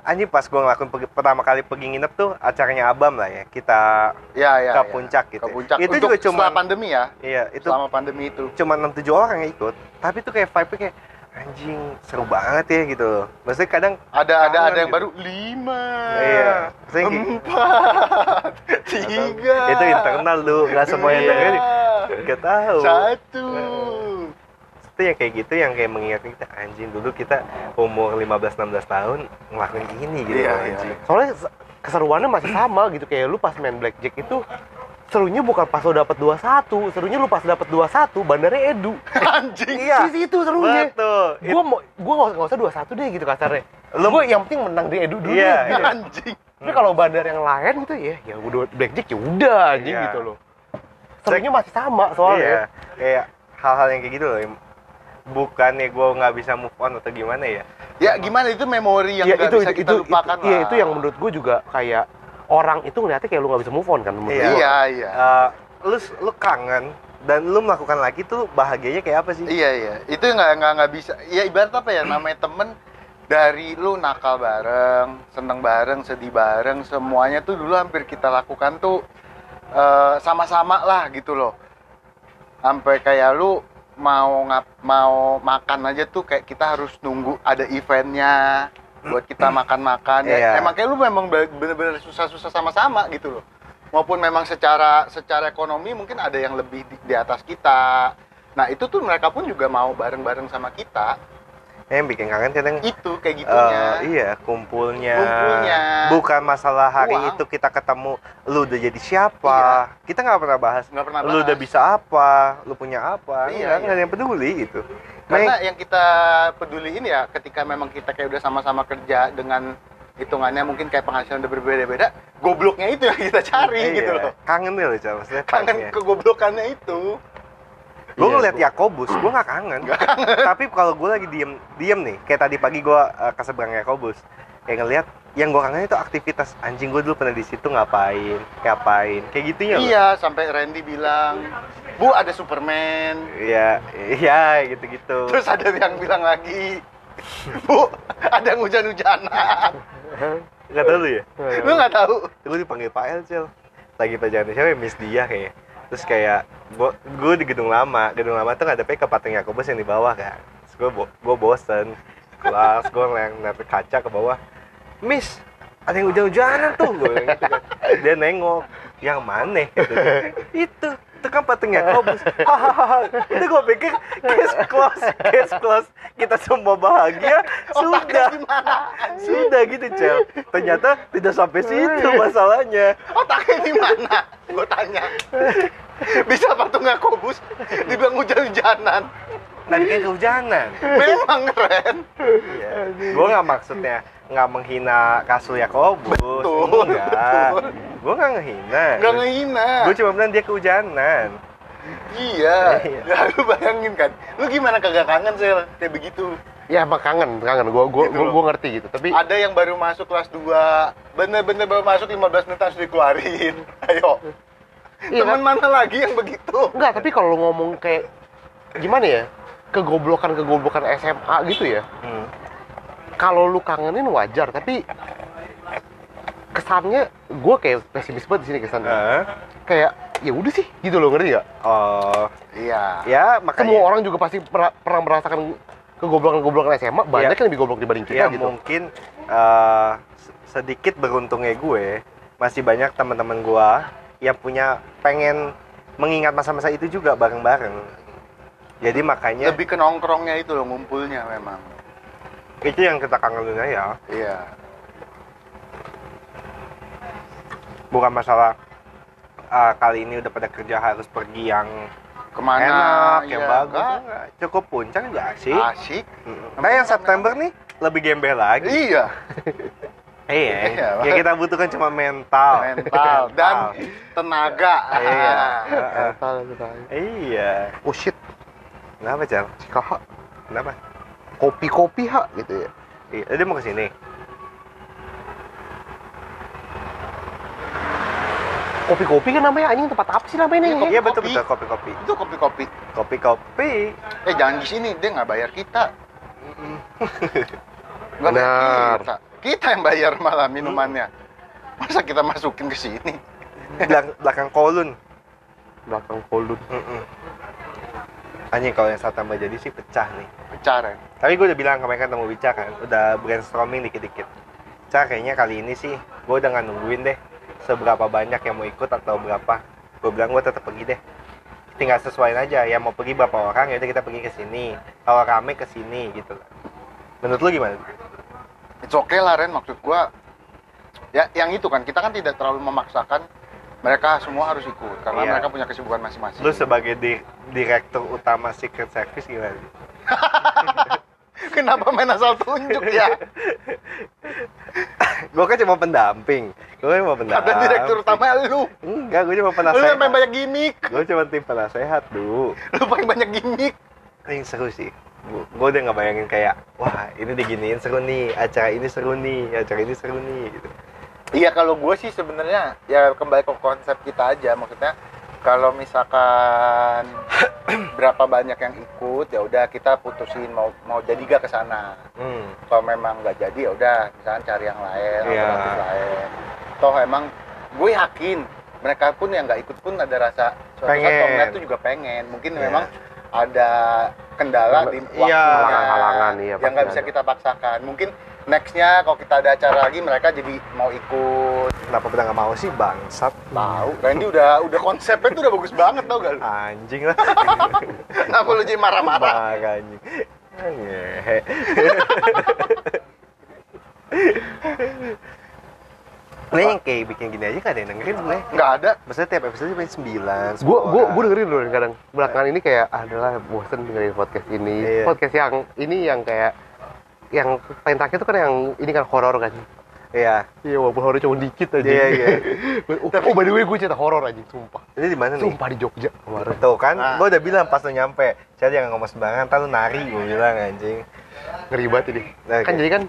anjing pas gue ngelakuin pergi- pertama kali pergi nginep tuh acaranya Abam lah ya. Kita Ya, ke ya, ya. puncak gitu Ke ya. puncak. Itu Untuk juga cuman- setelah pandemi ya. iya itu Selama pandemi itu. cuma 6 7 orang yang ikut. Tapi tuh kayak vibe-nya kayak anjing seru banget ya gitu. Maksudnya kadang Ada ada Kangen ada yang gitu. baru lima. iya, maksudnya kayak- Empat. Tiga. itu internal lu, nggak semuanya dua, dengerin. Gak tahu. Satu. Itu yang kayak gitu yang kayak mengingatkan kita anjing dulu kita umur 15 16 tahun ngelakuin ini gitu Iya, loh, iya. anjing. Soalnya se- keseruannya masih sama gitu kayak lu pas main blackjack itu serunya bukan pas lu dapat 21, serunya lu pas dapat 21 bandarnya Edu. Anjing. Iya. Di situ serunya. Betul. It- Gua mau gua nggak usah- nggak usah 21 deh gitu kasarnya. Lu gua yang penting menang di Edu dulu. Iya, gitu. Anjing. Tapi kalau bandar yang lain gitu ya, ya udah blackjack ya udah anjing Iya. gitu loh. Serunya masih sama soalnya. Iya, kayak hal-hal yang kayak gitu loh. yang- Bukannya gue nggak bisa move on atau gimana ya? Ya gimana itu memori yang Iya, nggak bisa kita lupakan itu, iya, lah. itu yang menurut gue juga kayak orang itu ngeliatnya kayak lu nggak bisa move on kan menurut Iya. gua. Iya iya. Eh, lu lu kangen dan lu melakukan lagi tuh bahagianya kayak apa sih? Iya iya. Itu nggak nggak nggak bisa. Ya ibarat apa ya namanya temen dari lu nakal bareng, seneng bareng, sedih bareng, semuanya tuh dulu hampir kita lakukan tuh eh, sama-sama lah gitu loh. Sampai kayak lu mau ngap mau makan aja tuh kayak kita harus nunggu ada eventnya buat kita makan-makan ya. Iya. Emang kayak lu memang be- bener-bener susah-susah sama-sama gitu loh. Maupun memang secara secara ekonomi mungkin ada yang lebih di, di atas kita. Nah itu tuh mereka pun juga mau bareng-bareng sama kita. yang bikin kangen kadang Itu kayak gitunya. eh, iya kumpulnya. Kumpulnya. bukan masalah hari Uang. Iya. itu kita ketemu lu udah jadi siapa kita nggak pernah bahas Nggak pernah lu udah bahas. bisa apa lu punya apa iya, Iya, iya. nggak ada yang peduli gitu Karena Main- yang kita peduliin ya ketika memang kita kayak udah sama-sama kerja dengan hitungannya mungkin kayak penghasilan udah berbeda-beda, gobloknya itu yang kita cari iya, gitu loh. kangen deh lo Cal, maksudnya Kangen kegoblokannya itu. gue Iya, ngeliat gua- Yakobus gue nggak kangen. tapi kalau gue lagi diem diem nih kayak tadi pagi gue eh, ke seberang Yakobus kayak ngeliat yang gue kangen itu aktivitas anjing gue dulu pernah di situ ngapain ngapain kayak gitunya loh. Iya, sampai Randy bilang, "Bu, ada Superman." iya iya gitu-gitu Terus ada yang bilang lagi, "Bu, ada yang hujan-hujanan." nggak tahu lu ya Lu nggak tahu. gue dipanggil Pak El Cel lagi pajangan siapa ya Miss Dia kayaknya terus kayak gue di gedung lama gedung lama tuh ngadepnya ke patung Yakobus yang di bawah kan terus gue bo gua bosen kelas gue ngeliat ke kaca ke bawah Miss ada yang hujan-hujanan tuh gue gitu kan. dia nengok yang mana gitu. itu itu kan patung Yakobus hahaha itu gue pikir case close case close kita semua bahagia Otaknya sudah gimana? sudah gitu cel ternyata tidak sampai situ masalahnya Otaknya gimana? Gue tanya. Bisa patung nggak kobus? Dibilang hujan-hujanan. tadi kan kehujanan Memang keren. Iya. gue nggak maksudnya nggak menghina kasul Yakobus Betul, enggak betul. gue nggak ngehina Nggak ngehina. gue cuma bilang dia kehujanan Iya. Iya. Ya, lu bayangin kan. Lu gimana kagak kangen sel kayak begitu? ya emang kangen kangen gue gue Gitu gue loh. ngerti gitu tapi Ada yang baru masuk kelas 2 Bener-bener baru masuk 15 menit harus dikeluarin Ayo Iya, Temen mana lagi yang begitu? enggak tapi kalau ngomong kayak gimana ya kegoblokan kegoblokan SMA gitu ya Hmm. kalau lu kangenin wajar tapi kesannya gue kayak pesimis banget di sini kesannya Iya. Eh, kayak ya udah sih gitu loh ngerti nggak oh Iya ya semua makanya orang juga pasti pernah, pernah merasakan kegoblokan kegoblokan SMA banyak yang lebih goblok dibanding ya kita gitu mungkin eh, se- sedikit beruntungnya gue masih banyak teman-teman gue yang punya pengen mengingat masa-masa itu juga bareng-bareng jadi makanya Lebih ke nongkrongnya itu loh ngumpulnya memang itu yang kita kangenin aja Iya bukan masalah ah, kali ini udah pada kerja harus pergi yang Kemana enak iya, yang bagus enggak. Ah. enggak. cukup puncak juga sih Asik Mm. nah yang September nih lebih gembel lagi Iya Iya, iya yang kita butuhkan cuma mental Mental Dan tenaga iya Heeh. Mental gitu. iya oh shit kenapa Cal? si kakak kenapa? kopi-kopi ha gitu ya iya dia mau kesini kopi-kopi kan namanya anjing tempat apa sih namanya Iya, nih iya betul kopi. betul kopi-kopi Itu kopi-kopi kopi-kopi Eh jangan di sini dia nggak bayar kita Nggak Benar. bayar kita Kita yang bayar malah minumannya Masa kita masukin ke sini? belakang, belakang kolun belakang koldun Mm-mm. anjing kalau yang September jadi sih pecah nih Bicara Tapi gue udah bilang kemarin kan temu Bica kan, udah brainstorming dikit-dikit. Ca, kayaknya kali ini sih gue udah nggak nungguin deh seberapa banyak yang mau ikut atau berapa. Gue bilang gue tetap pergi deh. Tinggal sesuaiin aja, yang mau pergi berapa orang ya udah kita pergi ke sini. Kalau rame ke sini gitu. lah. Menurut lu gimana? It's okay lah Ren, maksud gua ya yang itu kan kita kan tidak terlalu memaksakan mereka semua harus ikut karena Iya. mereka punya kesibukan masing-masing. Lu sebagai di- direktur utama Secret Service gimana? Kenapa main asal tunjuk ya? gue kan cuma pendamping. Gue cuma pendamping. Ada direktur utama lu. Enggak, gue cuma Lu yang paling penasehat. banyak gimmick. Gue cuma tim penasehat, dulu. Lu paling banyak gimmick. Ini seru sih. Gue udah nggak bayangin kayak, wah ini diginiin seru nih, acara ini seru nih, acara ini seru nih. Gitu. Iya kalau gue sih sebenarnya ya kembali ke konsep kita aja maksudnya kalau misalkan berapa banyak yang ikut ya udah kita putusin mau mau jadi gak ke sana. Hmm. kalau memang nggak jadi ya udah misalkan cari yang lain Iya. alternatif lain toh emang gue yakin mereka pun yang nggak ikut pun ada rasa suatu saat Pengen. kalau ngeliat tuh juga pengen mungkin Iya. memang ada kendala di Iya. waktunya Halangan-halangan, iya, yang nggak pasti bisa ada. kita paksakan mungkin nextnya kalau kita ada acara lagi mereka jadi mau ikut Kenapa kita nggak mau sih bangsat? tahu Randy udah udah konsepnya tuh udah bagus banget tau gak lu Anjing lah. kenapa lu jadi marah-marah Marah anjing. Ngehe. Nah yang kayak bikin gini aja gak ada yang dengerin gue nggak ada Maksudnya tiap episode cuma 9 Gue gue gue dengerin dulu kadang belakangan ini kayak adalah bosen dengerin podcast ini. Iya. Podcast yang ini yang kayak yang paling terakhir itu kan yang ini kan horor kan. Iya Iya walaupun horor cuma dikit aja. Iya, iya. oh, oh, by the way gue cerita horor aja sumpah. Ini di mana nih? Sumpah di Jogja kemarin. Tuh kan, Ah. gue udah bilang pas lu nyampe Cari jangan ngomong sembarangan, ntar lu nari gue bilang anjing Ngeri banget ini. Nah, Oke. Kan jadi kan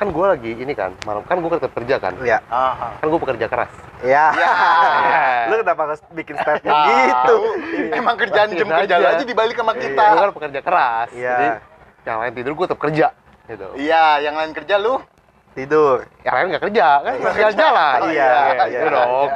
kan gue lagi ini kan malam kan gue tetap kerja kan. Iya ah Kan gue pekerja keras. Iya. Iya Ya. Ah, Lu kenapa harus bikin statement Tahu. gitu? emang kerjaan jam Pastiin kerja aja. lu aja dibalik sama kita Gue kan pekerja keras. Iya. Jadi yang lain tidur gue tetap kerja. Gitu. iya yang lain kerja lu Tidur Yang lain nggak kerja kan Iya. masih aja lah. Oh, iya, iya, gitu iya. dong.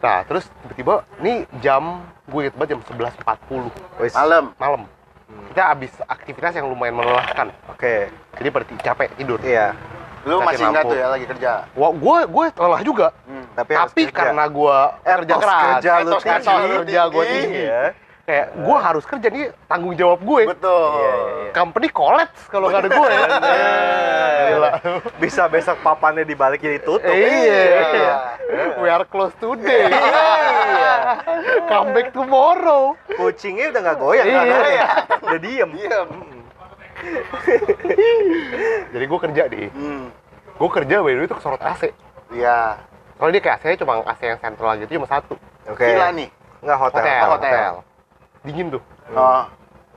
Nah terus tiba-tiba nih jam gue inget banget jam 11.40 Wis. malam malam. Hmm. Kita habis aktivitas yang lumayan melelahkan. Oke, Jadi berarti capek tidur. iya lu Mati masih ingat lampu. tuh ya lagi kerja Wah, gue gue lelah juga. Hmm. Tapi, harus Tapi kerja. karena gue kerja Etos keras, Eh, kerja lu etos kerja, tinggi. kerja gue Tinggi. tinggi. Iya Kayak gue harus kerja nih tanggung jawab gue. betul Iya, iya, iya. Company collapse kalau nggak ada ya. gue. Gila. Bisa besok papannya dibalik jadi tutup Iya. We are close today. Iya. Come back tomorrow. Kucingnya udah gak goyang Iya. kan? Udah diem Diem. Jadi gue kerja deh. Hmm. Gue kerja by the way itu kesorot AC. Iya. Soalnya dia kayak AC-nya cuma AC yang sentral gitu cuma satu. Oke Gila nih. Nggak hotel, Hotel, hotel. Dingin tuh. Oh.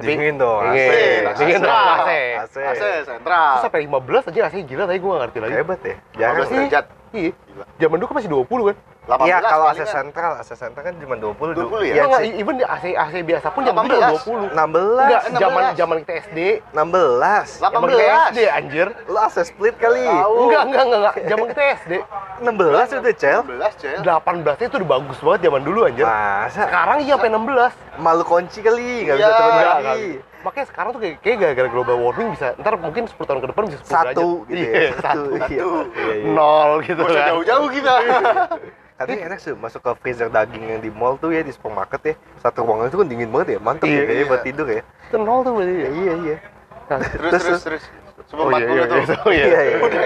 Dingin dong Dingin. AC. Nah, Dingin dong, AC. AC. AC Terus sentral. sampai 15 aja AC gila tapi gue gak ngerti lagi. Hebat Ah. ya Jangan 15 derajat. Iya. Gila. Zaman dulu kan masih 20 kan. 18 Iya kalau AC paling kan. sentral, AC sentral kan cuma 20 du- 20 ya? Iya, Iya, nggak, sih. even di AC AC biasa pun zaman dulu 20. 16 Enggak, 16 zaman 16. zaman kita SD. 16 Lap- Zaman kita 18. SD anjir. Lu AC split kali Tahu. Enggak, enggak, enggak, enggak. Zaman kita SD. 16 udah cel 16 cel. 18 itu udah bagus banget zaman dulu anjir. Ah. Masa? Sekarang iya sampai 16. Malu kunci kali, nggak bisa Iya. turun Enggak, lagi enggak. Makanya sekarang tuh kayak, kayak gara-gara global warming bisa ntar mungkin 10 tahun ke depan bisa 10 Satu derajat. gitu Iya, ya satu. Iya. Iya, iya. Nol gitu Gak usah kan. jauh-jauh kita. Katanya enak sih masuk ke freezer daging yang di mall tuh ya di supermarket ya. Satu ruangan itu kan dingin banget ya, mantep Iya, ya kayaknya iya. buat tidur ya. Itu nol tuh berarti. ya. Iya iya. Nah, terus Terus, terus terus. Sebelum 40 tuh. so, iya. Iya iya. Udah,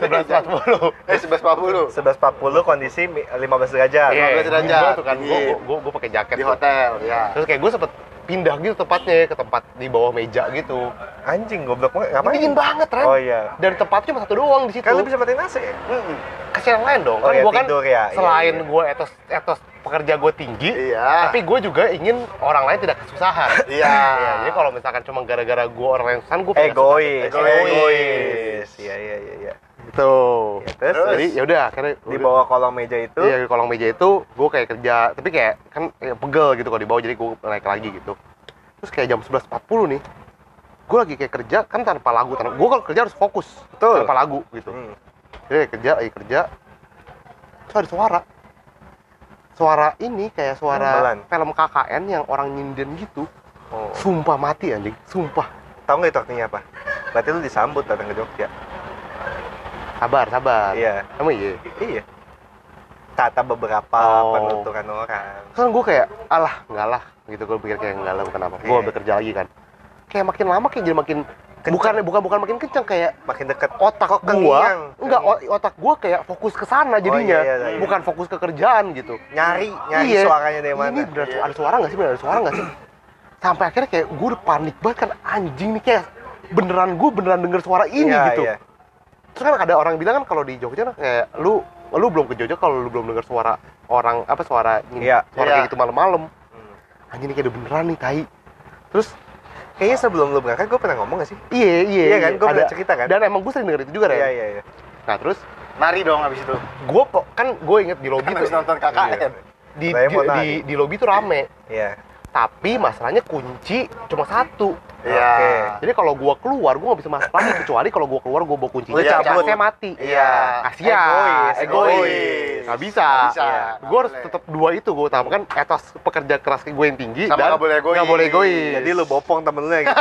Sebelas empat puluh. Eh 11.40. 11.40 kondisi mi- 15 derajat. Iya, 15 derajat. gua tuh kan gue Iya. gue gue pakai jaket Di tuh. hotel ya. Terus kayak gue sempet pindah gitu tempatnya ke tempat di bawah meja gitu. Anjing goblok banget. Ngapain? Dingin banget, Ren. Oh iya. Dan tempatnya cuma satu doang di situ. Kan lu bisa matiin AC. Mm-mm. kasihan lain dong. Oh kan iya, gue kan tidur ya. Iya, selain iya. gue etos etos pekerja gue tinggi, Iya. tapi gue juga ingin orang lain tidak kesusahan. Iya. Iya, jadi kalau misalkan cuma gara-gara gue orang yang ya, kesusahan, gue Eh, Egois. Egois. Egois. Iya iya iya iya. Gitu. Ya, terus? Jadi yaudah akhirnya Di bawah kolong meja itu Iya, di kolong meja itu gue kayak kerja, tapi kayak kan ya, pegel gitu kalau di bawah, jadi gue naik lagi gitu. Terus kayak jam 11.40 nih, gue lagi kayak kerja kan tanpa lagu, tanpa, gue kalau kerja harus fokus, Betul. tanpa lagu gitu. Hmm. Jadi lagi kerja, lagi kerja, terus ada suara, suara ini kayak suara Gamelan. film KKN yang orang nyinden gitu, Oh. sumpah mati anjing, sumpah. Tahu nggak itu artinya apa? Berarti lu disambut datang ke Jogja. Sabar, sabar. Iya. Emang iya. Iya. Kata beberapa Oh. penuturan orang. kan gue kayak alah nggak lah gitu gue pikir kayak nggak lah kenapa gue Iya. ambil kerja lagi kan kayak makin lama kayak jadi makin Kenceng. bukan bukan bukan makin kenceng kayak Makin dekat. otak Kok gua kengiang? enggak o- otak gua kayak fokus ke sana jadinya iya, iya, iya. bukan fokus ke kerjaan gitu Nyari, nyari Iya. suaranya dari mana. Iya, ini benar ada suara nggak sih benar ada suara nggak sih sampai akhirnya kayak gue udah panik banget kan anjing nih kayak beneran gue beneran denger suara ini Iya, gitu iya. terus kan ada orang bilang kan kalau di Jogja kayak lu lu belum ke Jogja kalau lu belum denger suara orang apa suara ini Iya. Hmm. suara Iya. kayak gitu malam-malam anjing ini kayak udah beneran nih tai terus Kayaknya sebelum lu berangkat gue pernah ngomong gak sih? iya iya Iya kan, gua ada- pernah cerita kan? dan emang gue sering denger itu juga kan Iya iya iya. nah terus Nari dong abis itu. gue kan gue inget di lobby Kan tuh habis nonton KKN. di Saya di, mau di, nari. di lobby tuh rame Iya. tapi masalahnya kunci cuma satu Iya. Oke. jadi kalau gua keluar gua nggak bisa masuk lagi kecuali kalau gua keluar gua bawa kunci Lu cabut. saya mati Iya. kasihan Egois, egois egois. nggak bisa, Nggak bisa, nggak gue harus boleh. tetap dua itu gue utamakan etos pekerja keras gue yang tinggi Sama dan nggak boleh egois. nggak boleh egois. Iya, Jadi lu bopong temen lu ya gitu.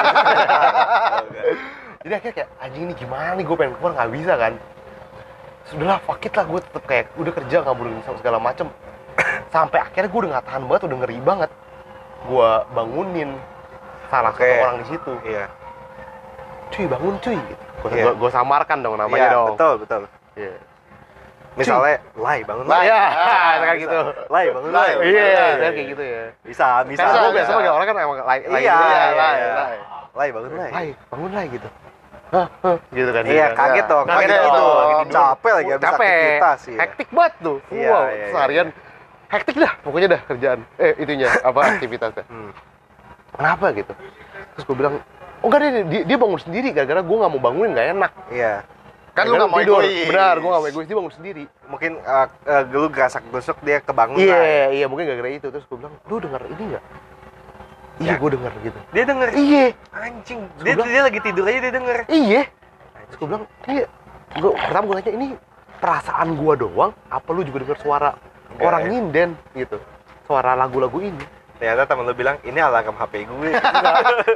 jadi akhirnya kayak anjing ini gimana nih gue pengen keluar nggak bisa kan sudahlah fuck it lah gue tetep kayak udah kerja nggak bolehin sama segala macem sampai akhirnya gue udah nggak tahan banget udah ngeri banget gue bangunin salah Oke. satu orang di situ Iya. cuy bangun cuy gitu. gue Iya. gue samarkan dong namanya Iya, dong betul, betul. Iya. Misalnya, lai bangun lai. Nah, ya, Ah, kayak gitu. Lai bangun Lai. lai. Iya, Iya. saya kayak gitu ya. Bisa, bisa. Karena gue bisa. biasa panggil orang kan emang lain Iya, Iya, iya, lah, iya. lah. Lai bangun lai. Lai, bangun lai gitu. Hah, hah, gitu kan. Iya, kan. kaget dong. Kaget Kaget dong. gitu. Kaget Capek lagi habis capek. aktivitas iya. Hektik banget tuh. Iya, wow, iya, iya, seharian hektik dah pokoknya dah kerjaan. Eh, itunya apa aktivitasnya. Hmm. Kenapa gitu? Terus gue bilang, "Oh enggak deh, dia, dia bangun sendiri gara-gara gue nggak mau bangunin nggak enak." Iya. Kan lu Gara-gara nggak mau tidur. egois. Benar, gue nggak mau egois, dia bangun sendiri. Mungkin eh, eh, lu gerasak gusuk dia kebangun Iya, lai. iya, mungkin gara-gara itu. Terus gue bilang, "Lu denger ini nggak? Ya. Iya, gue denger gitu. Dia denger Iya, anjing. Dia Sudah. dia lagi tidur aja dia denger. iya. Terus gue bilang, ini gua, pertama gue tanya ini perasaan gue doang, apa lu juga denger suara Enggak, orang ya. nyinden gitu, suara lagu-lagu ini. Ternyata temen lu bilang ini alarm HP gue.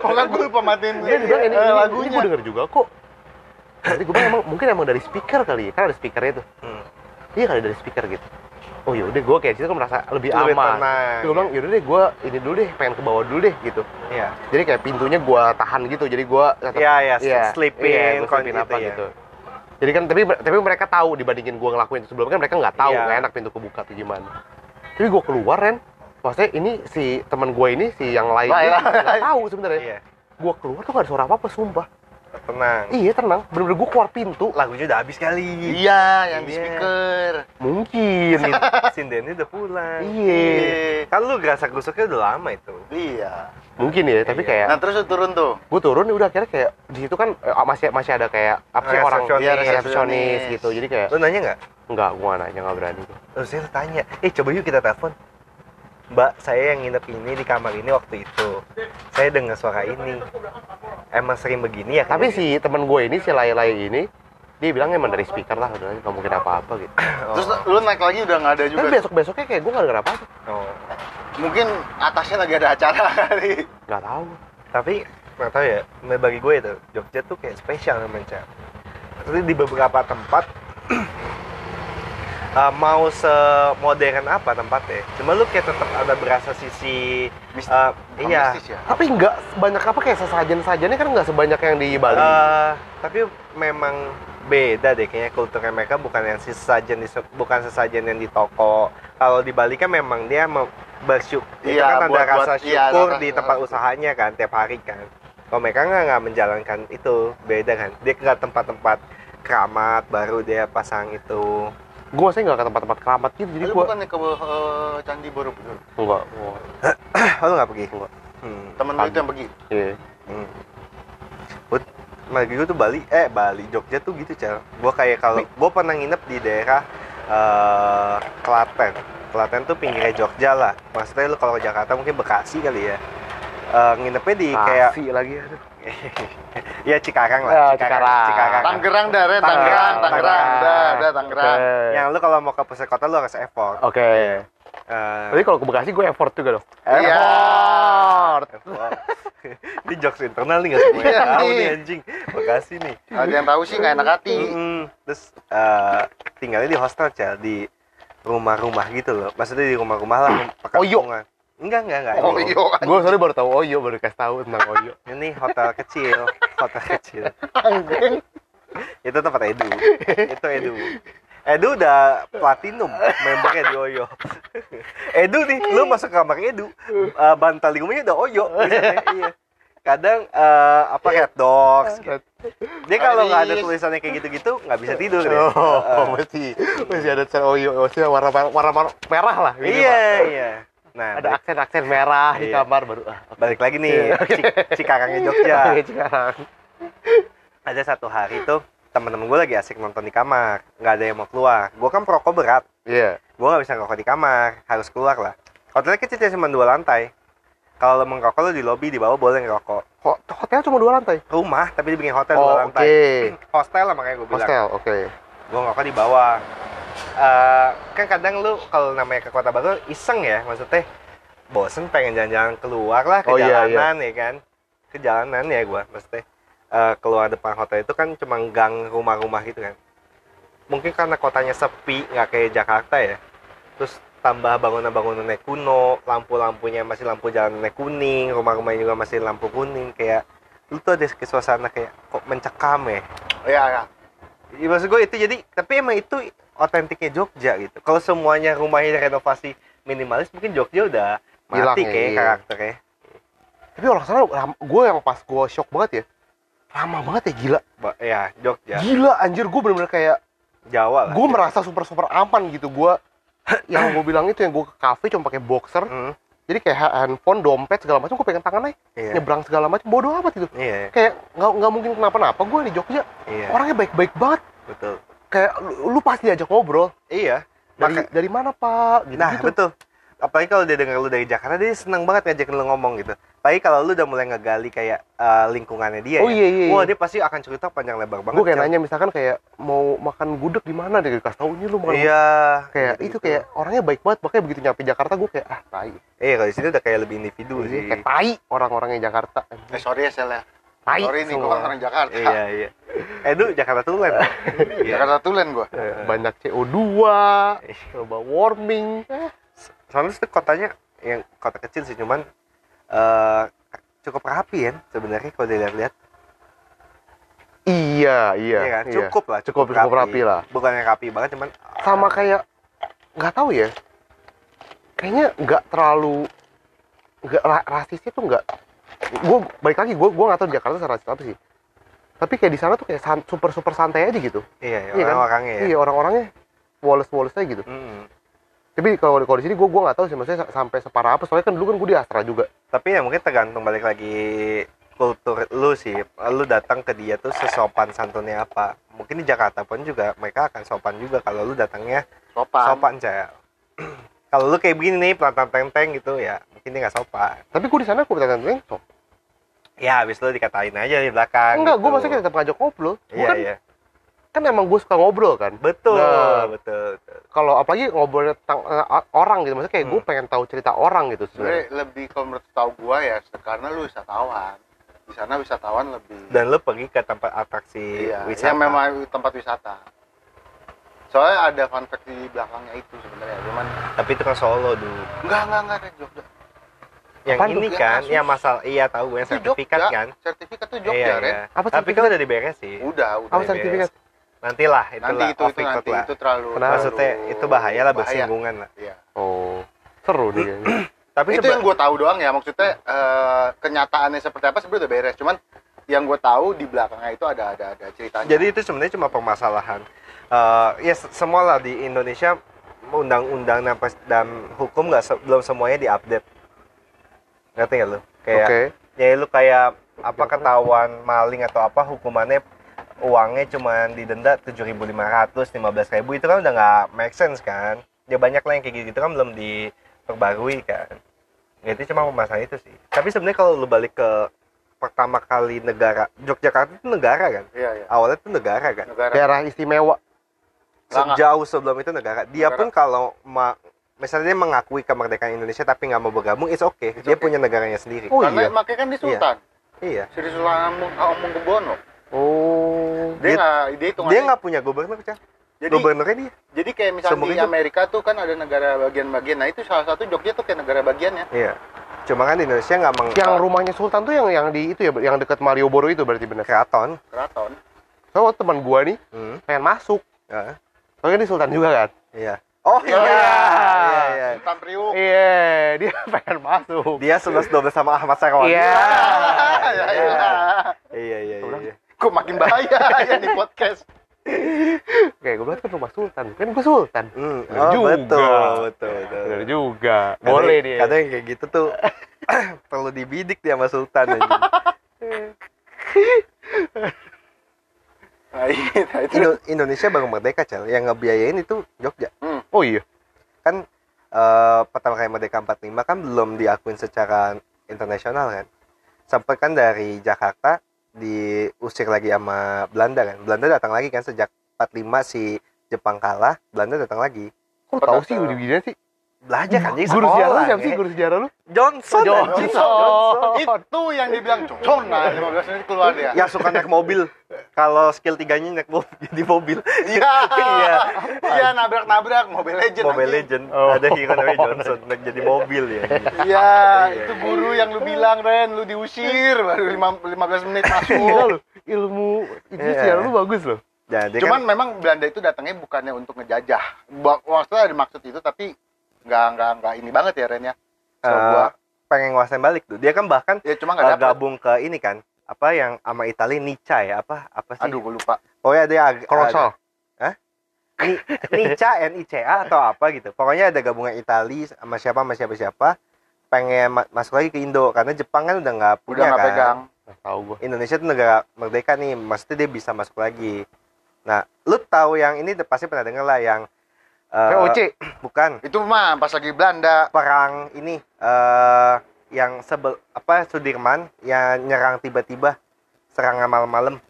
Kalau nggak gue lupa matiin Iya, Dia ini, bilang ini, eh, ini, ini lagunya. gue denger juga kok. Nanti gue bilang emang mungkin emang dari speaker kali ya, kan ada speakernya tuh. Hmm. Iya kali dari speaker gitu. Oh yaudah gue kayak situ kan merasa lebih Lebih aman. tenang. ya. Gue bilang yaudah deh gue ini dulu deh, pengen ke bawah dulu deh gitu. Iya. Jadi kayak pintunya gue tahan gitu, jadi gue tetap Iya, iya, Iya, iya, sleeping, ya. gua sleeping apa gitu. Jadi kan tapi tapi mereka tahu dibandingin gua ngelakuin sebelumnya kan mereka nggak tahu Iya. nggak enak pintu kebuka tuh gimana. Tapi gua keluar Ren, maksudnya ini si teman gua ini si yang lain Lah, ini lah, lah. nggak tahu sebenarnya. Iya, Gua keluar tuh nggak ada suara apa apa sumpah. tenang. Iya tenang, bener-bener gua keluar pintu lah Lagunya udah habis kali. Iya, yang di Iya. speaker. mungkin. Sindennya udah pulang. iya Kan lu gerasak gusuknya udah lama itu. Iya. mungkin ya tapi Iya. kayak Nah terus lu turun tuh. gua turun ya udah akhirnya kayak di situ kan eh, masih masih ada kayak apa sih orang Resepsionis. Iya, resepsionis gitu jadi kayak Lu nanya nggak? enggak gua nanya nggak berani Terus saya tanya, eh coba yuk kita telepon. Mbak, saya yang nginep ini di kamar ini waktu itu. Saya dengar suara ini. Emang sering begini ya? Tapi kejadian?" si temen gue ini, si Lai-Lai ini, dia bilang emang dari speaker lah, udah nggak mungkin apa-apa gitu. Oh, Terus lu naik lagi udah nggak ada Tapi juga. besok-besoknya kayak gue nggak denger apa-apa. oh. Mungkin atasnya lagi ada acara kali. Nggak tahu. Tapi nggak tahu ya. Bagi gue itu Jogja tuh kayak spesial namanya. Cak. Tapi di beberapa tempat eh, mau semodern apa tempatnya, cuma lu kayak tetap ada berasa sisi Mistis. eh, iya Mistis ya. Tapi nggak sebanyak apa kayak sesajen-sajennya kan nggak sebanyak yang di Bali. Eh, tapi memang beda deh kayaknya kulturnya mereka bukan yang si sesajen di bukan sesajen yang di toko. Kalau di Bali kan memang dia mau bersyukur itu Iya, kan ada buat- buat- rasa iya, syukur rasa- di tempat usahanya kan tiap hari kan. Kalau mereka nggak nggak menjalankan itu beda kan. Dia ke tempat-tempat keramat baru dia pasang itu. gue saya nggak ke tempat-tempat keramat gitu, jadi Lu gue bukannya ke eh, Candi Borobudur. nggak. oh, gua- Kalau Eh, nggak pergi. Nggak. Hmm. Temen lu itu yang pergi. Iya. Hmm. But, bagi gue tuh Bali, eh Bali, Jogja tuh gitu cel. Gue kayak kalau gue pernah nginep di daerah eh, Klaten. Klaten tuh pinggirnya Jogja lah. Maksudnya lu kalau ke Jakarta mungkin Bekasi kali ya. Eh, nginepnya di Ah. kayak Kasih lagi. aduh. ya Cikarang lah. Ya, Cikarang. Cikarang. Tangerang dah, Ren. Tangerang, Tangerang, Tangerang, dah, Tangerang. dah, Tangerang. gitu. Yang lu kalau mau ke pusat kota lu harus effort. Eh, Oke. Eh, Jadi kalau ke Bekasi gue effort juga dong. Iya. Effort. effort. ini jokes internal nih nggak semua yang Iya, tahu nih. nih anjing. Bekasi nih. Iya. Ada yang tahu sih nggak enak hati. Mm-mm. Terus eh, tinggalnya di hostel cel di rumah-rumah gitu loh. Maksudnya di rumah-rumah lah perkampungan. Enggak enggak enggak. Oh Ini- iya. Gue sorry baru tahu Oyo baru kasih tahu tentang Oyo. Ini hotel kecil, hotel kecil. Anjing. Itu tempat Edu. Itu Edu. Edu udah platinum membernya di Oyo. Edu nih, lu masuk kamar Edu, eh, bantal di rumahnya udah Oyo. Misalnya, iya. Kadang eh, apa Red Dogs. Gitu. Dia kalau nggak ada Aris. tulisannya kayak gitu-gitu nggak bisa tidur dia. Eh, Oh, masih masih ada cer Oyo, masih warna warna warna merah lah. minimal. Iya, iya. Nah, ada aksen-aksen merah di Iya. kamar baru ah balik lagi nih Cik- Cikarangnya Jogja Oke, Cikarang ada satu hari tuh teman-teman gue lagi asik nonton di kamar nggak ada yang mau keluar gue kan perokok berat iya gue nggak bisa ngerokok di kamar harus keluar lah hotelnya kecil cuma dua ya, lantai kalau lo mengkokok lo di lobby di bawah boleh ngerokok Ho- hotel cuma dua lantai rumah tapi dibikin hotel dua oh oke lantai hostel lah makanya gue bilang hostel oke gue ngerokok di bawah Eh, kan kadang lu kalau namanya ke kota baru iseng ya maksudnya bosen pengen jalan-jalan keluar lah ke Oh, iya, jalanan ya kan ke jalanan ya gue maksudnya eh, keluar depan hotel itu kan cuma gang rumah-rumah gitu kan mungkin karena kotanya sepi nggak kayak Jakarta ya terus tambah bangunan-bangunannya kuno lampu-lampunya masih lampu jalanannya kuning rumah-rumahnya juga masih lampu kuning kayak lu tuh ada suasana kayak kok mencekam ya Iya, iya. Ya, maksud gue itu jadi tapi emang itu otentiknya Jogja gitu. Kalau semuanya rumahnya renovasi minimalis mungkin Jogja udah Hilang mati ya, kayak iya. karakternya. tapi orang sana gue yang pas gue shock banget ya lama banget ya gila Ba- ya Jogja, gila anjir gue bener-bener kayak Jawa lah. gue merasa super super aman gitu gue yang gue bilang itu yang gue ke cafe cuma pakai boxer Hmm, jadi kayak handphone dompet segala macam gue pegang tangan aja iya. nyebrang segala macam bodoh amat gitu Iya, kayak nggak nggak mungkin kenapa-napa gue di Jogja iya, orangnya baik-baik banget betul. kayak lu, lu pasti diajak ngobrol Iya. dari Maka- dari mana pak gitu, nah, betul. Apalagi kalau dia denger lu dari Jakarta dia seneng banget ngajakin lu ngomong gitu. Apalagi kalau lu udah mulai ngegali kayak eh, lingkungannya dia oh ya. iya iya, Wah, dia pasti akan cerita panjang lebar banget. gue kayak Cel. nanya misalkan kayak mau makan gudeg di mana dia kasih tahu ini lu makan Iya. gudeg." kayak itu gitu-gitu. kayak orangnya baik banget makanya begitu nyampe Jakarta gue kayak ah tai Eh, kalau di sini udah kayak lebih individu sih. Iya, kayak tai orang-orangnya Jakarta Eh, sorry ya, Sel ya. tai Sorry nih, gue semua. kan orang Jakarta. iya, iya. Eh, lu Jakarta Tulen. kan? Iya. Jakarta Tulen gue. Heeh. banyak CO2 Iya. global warming eh, soalnya itu kotanya yang kota kecil sih cuman eh, cukup rapi ya sebenarnya kalau dilihat-lihat iya iya, Iya kan? iya. cukup lah cukup cukup rapi lah bukan yang rapi banget cuman eh, sama kayak nggak tahu ya kayaknya nggak terlalu nggak ra- rasisnya tuh nggak gue balik lagi gue gue nggak tahu di Jakarta rasis apa sih tapi kayak di sana tuh kayak san- super super santai aja gitu iya, Iya kan? orang-orangnya ya iya orang-orangnya wales wales aja gitu Mm-mm. tapi kalau kalau di sini gue gue nggak tahu sih maksudnya sa- sampai separah apa soalnya kan dulu kan gue di Astra juga tapi ya mungkin tergantung balik lagi kultur lu sih lu datang ke dia tuh sesopan santunnya apa mungkin di Jakarta pun juga mereka akan sopan juga kalau lu datangnya Sopan. sopan cah kalau lu kayak begini nih pelan tenteng gitu ya mungkin dia nggak sopan tapi gue di sana gue bertanya tanya so, ya habis lu dikatain aja di belakang enggak gue gitu. maksudnya tetap ngajak ngobrol Gua iya kan, iya kan emang gue suka ngobrol kan Betul, Nah. betul, betul. kalau apalagi ngobrol tentang eh, orang gitu maksudnya kayak gue pengen tahu cerita orang gitu sebenarnya Sebenarnya lebih kalau menurut tahu gue ya, karena lu wisatawan. Di sana wisatawan lebih. Dan lu pergi ke tempat atraksi iya, wisata. yang memang tempat wisata. Soalnya ada fun fact di belakangnya itu sebenarnya, cuman Tapi itu kan Solo dulu. enggak enggak enggak kayak Jogja. Yang Apaan ini tuh? kan, Yang kasus? yang masalah iya tahu gue yang Itu sertifikat Jogja. kan. Sertifikat tuh Jogja, iya, Ren. iya. apa Tapi cerita- kan udah diberes sih. Udah, udah. apa Udah sertifikat Nantilah itulah nanti itu off itu record nanti lah. itu terlalu Kenapa? Maksudnya terlalu itu bahaya lah bahaya. bersinggungan lah. Iya. Oh, seru nih kayaknya. Tapi itu yang gue tahu doang ya maksudnya eh, kenyataannya seperti apa sebenarnya udah beres cuman yang gue tahu di belakangnya itu ada ada ada ceritanya Jadi itu sebenarnya cuma permasalahan. Eh, ya se- semua lah di Indonesia undang-undang dan, pres- dan hukum nggak se- belum semuanya diupdate. Ngerti nggak lu? Kayak Oke. ya lu kayak apa ketahuan maling atau apa hukumannya uangnya cuma didenda 7.500 15.000 itu kan udah nggak make sense kan ya banyak lah yang kayak gitu kan belum diperbarui kan ya itu cuma permasalahan itu sih tapi sebenarnya kalau lu balik ke pertama kali negara Yogyakarta itu negara kan iya iya awalnya itu negara kan negara Daerah istimewa. Nggak, sejauh sebelum itu negara dia Negara. pun kalau ma- misalnya dia mengakui kemerdekaan Indonesia tapi nggak mau bergabung it's okay It's dia okay. punya negaranya sendiri Oh karena iya. makanya kan di Sultan iya Sri Sultan Hamung- Hamengkubuwono Oh. Dia- dia nggak dia itu dia nggak punya gubernur Cang. jadi gubernurnya dia jadi kayak misalnya Seumur di hidup. Amerika tuh kan ada negara bagian-bagian nah itu salah satu Jogja tuh kayak negara ya. bagiannya Iya. Cuma kan di Indonesia nggak meng Yang rumahnya Sultan tuh yang yang di itu ya, yang dekat Marioboro itu berarti bener. keraton. keraton Eh. Soalnya waktu teman gua nih Hmm. pengen masuk. Heeh. Soalnya kan di Sultan juga kan. Iya. Oh iya. Iya, iya. Sultan Priuk Iya, dia pengen masuk. Dia 11 12 sama Ahmad Syahwani. Iya. ya, Iya. ya. Iya iya iya. iya. kok makin bahaya ya di podcast Kayak gue bilang kan rumah Sultan, kan gue Sultan. Hmm. Bener Oh, juga. betul, betul, betul. Bener juga. Kadang- Boleh dia. Kadang yang kayak gitu tuh perlu dibidik dia sama Sultan anjing. nah, iya, nah, itu Indo- Indonesia baru merdeka, Cel. Yang ngebiayain itu Jogja. Oh iya. Kan eh pertama kali merdeka 45 kan belum diakuin secara internasional kan sampai kan dari Jakarta diusir lagi sama Belanda kan Belanda datang lagi kan sejak 45 si Jepang kalah Belanda datang lagi Kok lu tahu sih udah begini sih? belajar kan jadi Hmm. Guru sekolah, sejarah lu siapa ya. sih guru sejarah lu? Johnson anjing. itu yang dibilang cocon nah 15 menit keluar dia yang suka naik mobil kalau skill tiganya naik mobil jadi mobil iya Iya. iya nabrak-nabrak Mobile Legend Mobile anjing. Legend Oh. ada hero namanya Johnson naik jadi mobil ya anjing. iya itu guru yang lu bilang Ren lu diusir baru lima- 15 menit Gila masuk lu, ilmu ilmu Iya. sejarah lu bagus loh. jadi cuman kan memang Belanda itu datangnya bukannya untuk ngejajah Ba- maksudnya ada maksud itu tapi nggak nggak nggak ini banget ya Ren ya eh, So, gua- pengen nguasain balik tuh dia kan bahkan ya cuma eh, nggak dapet gabung ke ini kan apa yang sama Italia Nica ya apa apa sih aduh gue lupa pokoknya ada yang Kolosal. Ni- Nica NICA atau apa gitu. Pokoknya ada gabungan Itali sama siapa sama siapa siapa pengen ma- masuk lagi ke Indo karena Jepang kan udah nggak udah punya nggak kan. pegang Nggak tahu gua. Indonesia tuh negara merdeka nih, maksudnya dia bisa masuk lagi. Nah, lu tahu yang ini udah pasti pernah denger lah yang eh, VOC. bukan itu mah pas lagi Belanda perang ini eh yang sebel apa Sudirman yang nyerang tiba-tiba serangan malam-malam.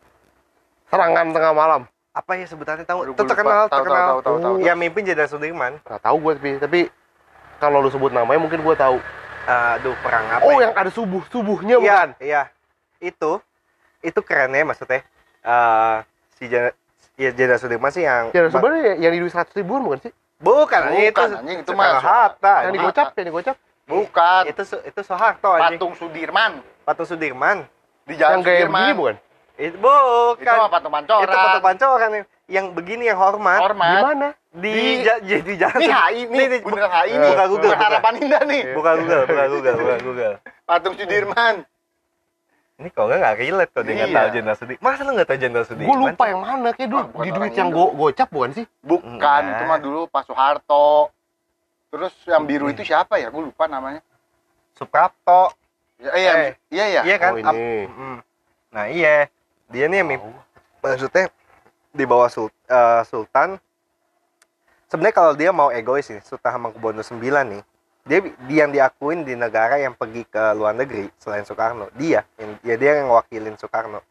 Serangan tengah malam. Apa ya sebutannya tahu? Aduh, Itu gua lupa. terkenal, Tahu, tahu, terkenal. tahu, tahu, tahu. Yang mimpin Jenderal Sudirman. Nggak tahu gua tapi tapi kalau lu sebut namanya mungkin gua tahu. Eh, aduh, perang apa? Oh, ya? yang ada subuh, subuhnya Iya, bukan? Iya. Itu itu keren ya maksudnya. Eh si Jana ya Jana Sudirman sih yang Ya sebenarnya yang di duit 100 ribuan bukan sih? bukan, anjing, itu Bukan, anjing, itu mah- Soekarno Hatta. Yang anjing. digocap, yang digocap. bukan Itu Su- itu Soeharto anjing. patung Sudirman Patung Sudirman. di Yang jalan gaya Sudirman begini bukan? Itu itu mah bukan. patung pancoran Itu patung pancoran yang, yang begini yang hormat Di hormat mana? di Di- ja- jadi jalan. ini HI ini Ini, ini, beneran HI ini bukan Google, Iya. Beneran bukan. harapan indah nih Bukan Google, bukan Google, bukan Google. patung Sudirman Ini kalau nggak nggak relate tuh dia nggak Iya. tahu Jenderal Sudirman. Masa lu nggak tahu Jenderal Sudirman? Gue lupa yang mana kayak dulu Ah, bukan di orang duit yang Indo. go gocap bukan sih? bukan Enggak. itu mah dulu Pak Soeharto terus yang biru itu siapa ya gue lupa namanya Suprapto. Ya, eh, yang- Eh. iya iya Iya kan? Oh, Ap- ini. Mm. Nah iya, dia nih yang mimpi. Tahu. maksudnya di bawah sul- eh, sultan sebenarnya kalau dia mau egois nih Sultan Hamengkubuwono 9 nih dia, dia yang diakuin di negara yang pergi ke luar negeri selain Soekarno dia yang, ya dia yang wakilin Soekarno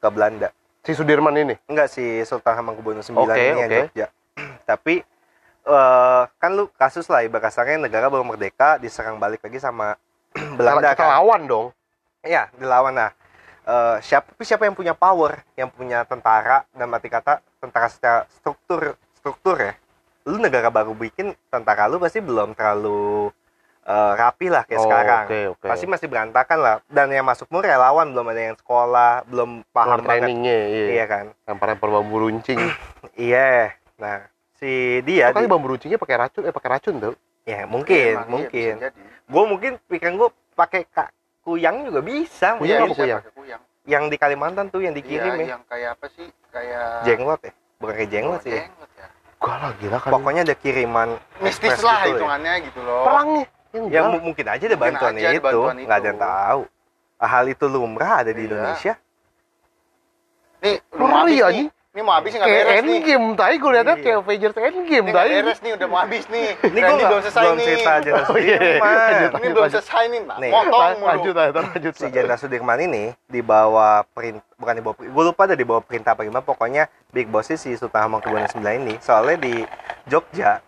ke Belanda Si Sudirman ini. enggak si Sultan Hamengkubuwono 9 Oke, ini yang oke. Jogja tapi eh, kan lu kasus lah ibarat kasarnya negara baru merdeka diserang balik lagi sama Belanda Belanda kan lawan dong. Iya, dilawan nah. Eh, siapa tapi siapa yang punya power, yang punya tentara dan mati kata tentara secara struktur struktur ya. Lu negara baru bikin tentara lu pasti belum terlalu eh, rapi lah kayak Oh, sekarang. Oke, oke. Pasti masih berantakan lah. Dan yang masuk pun relawan belum ada yang sekolah, belum paham Kurang banget. trainingnya, iya. Iya kan? Lempar-lempar bambu runcing. Iya. Nah, si dia Kali di- bambu runcingnya pakai racun, eh pakai racun tuh. ya Iya, mungkin, emang, iya, mungkin. bisa jadi. Gue mungkin pikiran gue pakai kak kuyang juga bisa. Kuyang Iya, mungkin. apa bisa kuyang? pakai kuyang Yang di Kalimantan tuh yang iya dikirim ya. yang kayak apa sih kayak jenglot ya bukan kayak Oh, jenglot sih ya. jenglot ya. Gua lah gila kan. pokoknya ada kiriman mistis Express lah gitu ya. hitungannya gitu loh perangnya yang ya galak. mu- mungkin aja ada Mungkin bantuan aja ada itu bantuan nggak ada itu. yang tahu Ah, hal itu lumrah ada di Iya. Indonesia nih lu ya, mau Lari habis nih anjing. ini mau habis nggak Kayak beres nih endgame tadi gue liatnya Iya. kayak Avengers endgame ini nggak tadi. beres nih udah mau habis nih ini gue Randy belum selesai belum nih cerita Jenderal Oh, iya. Sudirman ini Lanjut, belum lanjut. selesai nih nah, Nih. motong Lanjut, mulu lanjut aja, lanjut. si Jenderal Sudirman ini di bawah perintah bukan di bawah gue lupa ada di bawah perintah apa gimana pokoknya big bossnya si Sultan Hamengkubuwono 9 ini soalnya di Jogja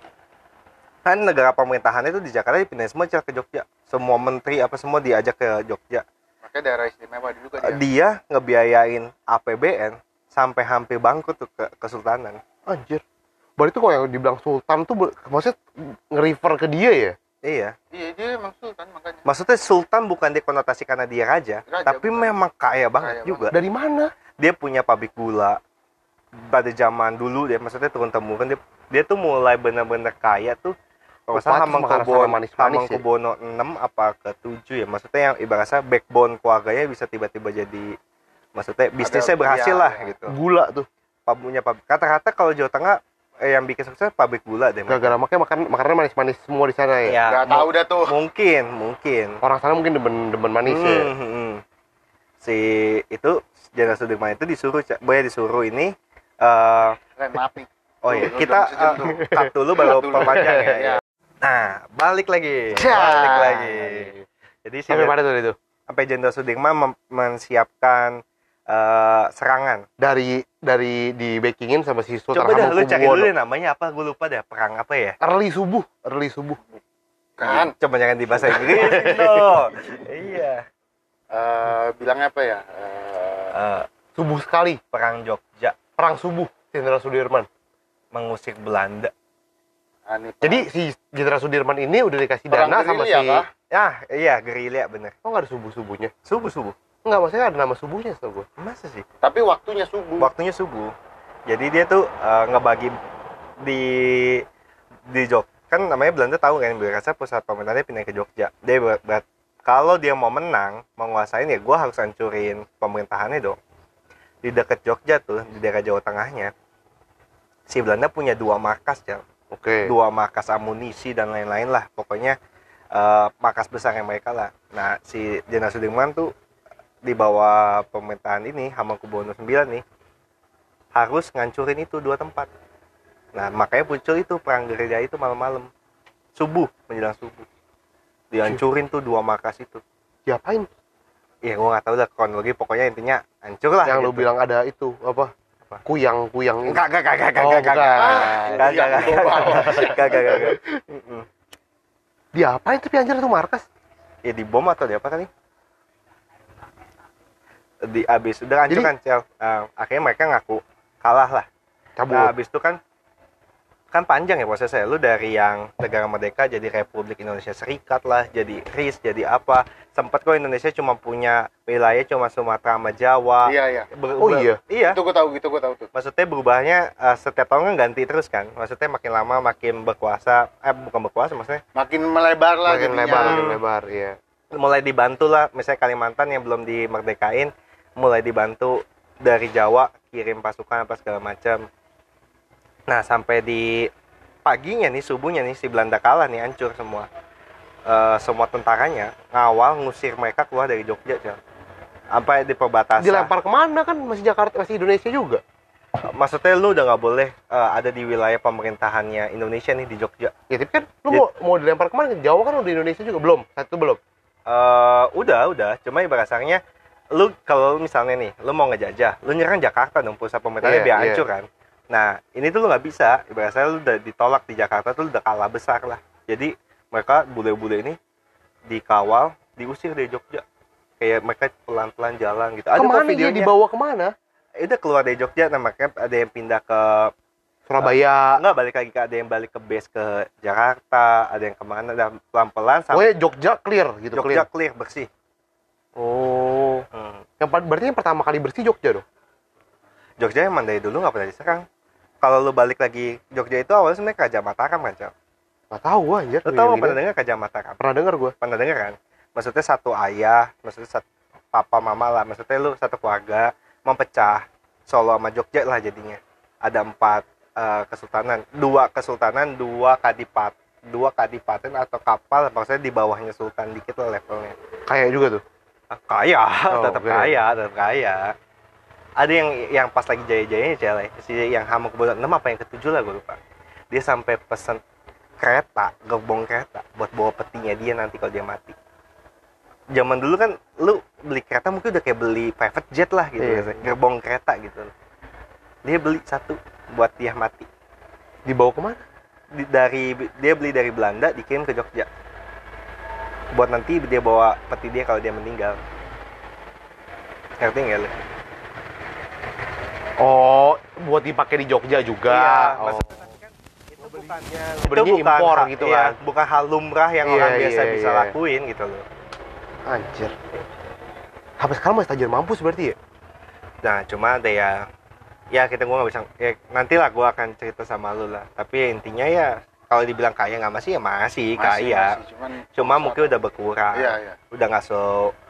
kan negara pemerintahannya itu di Jakarta dipindahin semua Cel, ke Jogja semua menteri apa semua diajak ke Jogja makanya daerah istimewa kan ya. juga dia dia ngebiayain APBN sampai hampir bangkrut tuh ke kesultanan. Anjir. Berarti kok yang dibilang Sultan tuh ber- maksudnya nge-refer ke dia ya? Iya, iya dia emang sultan makanya maksudnya sultan bukan dikonotasi karena dia raja, Raja, tapi bukan. memang kaya banget Kaya juga. Dari mana? Dia punya pabrik gula pada zaman dulu dia maksudnya turun temurun kan dia dia tuh mulai bener-bener kaya tuh kalau nggak salah Bupati Oh, sama Hamengkubuwono karena manis-manis ya. Hamengkubuwono 6 apa ke 7 ya maksudnya yang ibaratnya backbone keluarganya bisa tiba-tiba jadi maksudnya bisnisnya berhasil ya, iya, lah iya. gitu. Gula tuh. punya pabrik. Kata-kata kalau Jawa Tengah eh, yang bikin sukses pabrik gula deh. Mas. Gara-gara makanya makan makanannya manis-manis semua di sana ya. Ya, nggak tahu dah tuh mungkin, mungkin. Orang sana mungkin demen demen manis ya. Hmm, hmm, hmm. Si itu Jenderal Sudirman itu disuruh, Cak. Boy disuruh ini eh Ren, maaf nih oh Tuh, iya, lu kita udah sejam eh, tuh. cut dulu baru ya, Cut dulu. perpanjang ya. Iya. Nah, balik lagi. Ya. Balik lagi. Jadi si Sampai mana tuh itu? sampai Jenderal Sudirman mem- mensiapkan eh, serangan. Dari dari di bakingin sama si Sultan Coba dah lu cari dulu Hamengkubuwono. deh namanya apa? Gue lupa deh perang apa ya. Early subuh, early subuh. kan Coba jangan di bahasa Inggris dong. iya. eh, bilangnya apa ya Eh, Eh, Subuh sekali, perang Jogja perang subuh Jenderal Sudirman. mengusir Belanda. ani perang. Jadi si Jenderal Sudirman ini udah dikasih Perang dana sama si gerilya kah? Ah, iya gerilya bener. Kok nggak ada subuh-subuhnya? Subuh subuh. Enggak, maksudnya ada nama subuhnya setahu gue. Masa sih? tapi waktunya subuh Waktunya subuh. Jadi dia tuh eh, ngebagi di di Jog. Kan namanya Belanda tahu kan berasa pusat pemerintahnya pindah ke Jogja. Dia ber- ber- kalau dia mau menang, mau nguasain ya gua harus hancurin pemerintahannya dong. Di dekat Jogja tuh, di daerah Jawa Tengahnya. Si Belanda punya dua markas, ya. Oke. dua markas amunisi dan lain-lain lah pokoknya eh, markas besar yang mereka lah nah si Jenderal Sudirman tuh di bawah pemerintahan ini Hamengkubuwono 9 nih harus ngancurin itu dua tempat nah makanya muncul itu perang gerilya itu malam-malam subuh menjelang subuh dihancurin tuh dua markas itu Diapain? ya gua nggak tahu lah kronologi pokoknya intinya hancur lah yang lu gitu. bilang ada itu apa? Apa? Kuyang-kuyang itu. enggak enggak enggak enggak Oh, enggak enggak enggak bukan. enggak Iya, enggak enggak enggak enggak enggak Mm-mm. Diapain tapi anjir itu markas? ya di bom atau di apa kali di abis udah hancur Jadi- kan Cel. Nah, akhirnya mereka ngaku kalah lah Cabut. nah abis itu kan kan panjang ya prosesnya lu dari yang negara merdeka jadi Republik Indonesia Serikat lah jadi RIS jadi apa sempat kok Indonesia cuma punya wilayah cuma Sumatera sama Jawa iya iya Ber- Oh ber- iya. iya itu gue tahu gitu gue tahu tuh maksudnya berubahnya eh, setiap tahun kan ganti terus kan maksudnya makin lama makin berkuasa eh bukan berkuasa maksudnya makin melebar lah makin jadinya. lebar, makin Hmm. lebar, iya. mulai dibantu lah misalnya Kalimantan yang belum dimerdekain mulai dibantu dari Jawa kirim pasukan apa segala macam nah sampai di paginya nih subuhnya nih si Belanda kalah nih hancur semua Eh, semua tentaranya ngawal ngusir mereka keluar dari Jogja Cel. sampai di perbatasan Dilempar kemana kan? Masih Jakarta, masih Indonesia juga. maksudnya lu udah nggak boleh eh, ada di wilayah pemerintahannya Indonesia nih di Jogja Ya tapi kan lu mau, mau dilempar kemana? Jawa kan udah Indonesia juga belum. Satu belum. eh udah, udah. Cuma ibarat kasarnya, lu kalau misalnya nih, lu mau ngejajah, lu nyerang Jakarta dong, pusat pemerintahnya Iya, biar iya. hancur kan. Nah, ini tuh lu nggak bisa. Ibarat saya lu udah ditolak di Jakarta tuh lu udah kalah besar lah. Jadi mereka bule-bule ini dikawal, diusir dari Jogja. Kayak mereka pelan-pelan jalan gitu. Ada kok kemana dia videonya. Ya dibawa kemana? Udah keluar dari Jogja, nah makanya ada yang pindah ke Surabaya. nggak balik lagi ke ada yang balik ke base ke Jakarta, ada yang kemana, dan pelan-pelan sampai Pokoknya Jogja clear gitu, Jogja clear. clear bersih. Oh. Hmm. Yang pa- berarti yang pertama kali bersih Jogja dong. Jogja emang dari dulu nggak pernah diserang. Kalau lu balik lagi Jogja itu awalnya sebenarnya Kerajaan Mataram kan, Cel. Gak tahu gua anjir. Lu tau Gini-gini. pernah dengar Kerajaan Mataram? pernah denger gua. Pernah dengar kan? Maksudnya satu ayah, maksudnya satu papa mama lah, maksudnya lu satu keluarga mempecah Solo sama Jogja lah jadinya. Ada empat eh, kesultanan, dua kesultanan, dua kadipat, dua kadipaten atau kapal, maksudnya di bawahnya sultan dikit lah levelnya. Kayak juga tuh. Ah, Kaya, Oh, tetap oke. kaya, tetap kaya. Ada yang yang pas lagi jaya-jayanya cele, si yang hamuk kebetulan enam apa yang ketujuh lah gue lupa. Dia sampai pesen kereta, gerbong kereta buat bawa petinya dia nanti kalau dia mati. Zaman dulu kan lu beli kereta mungkin udah kayak beli private jet lah gitu, Iya. biasanya, gerbong kereta gitu. Dia beli satu buat dia mati. Dibawa kemana? Di- dari dia beli dari Belanda dikirim ke Jogja. Buat nanti dia bawa peti dia kalau dia meninggal. Ngerti nggak lu? Oh, buat dipakai di Jogja juga. Iya, Oh. maksudnya tapi kan itu bukannya itu belinya bukan impor hal- gitu iya, kan. bukan hal lumrah yang Iya, orang biasa iya, bisa iya. lakuin gitu loh. Anjir. Sampai sekarang masih tajir mampus berarti ya? Nah, cuma ada ya ya kita gua nggak bisa ya, nanti lah gua akan cerita sama lu lah. Tapi intinya ya kalau dibilang kaya nggak masih ya masih, kaya. masih, cuman Cuma mungkin udah berkurang. iya iya Udah nggak se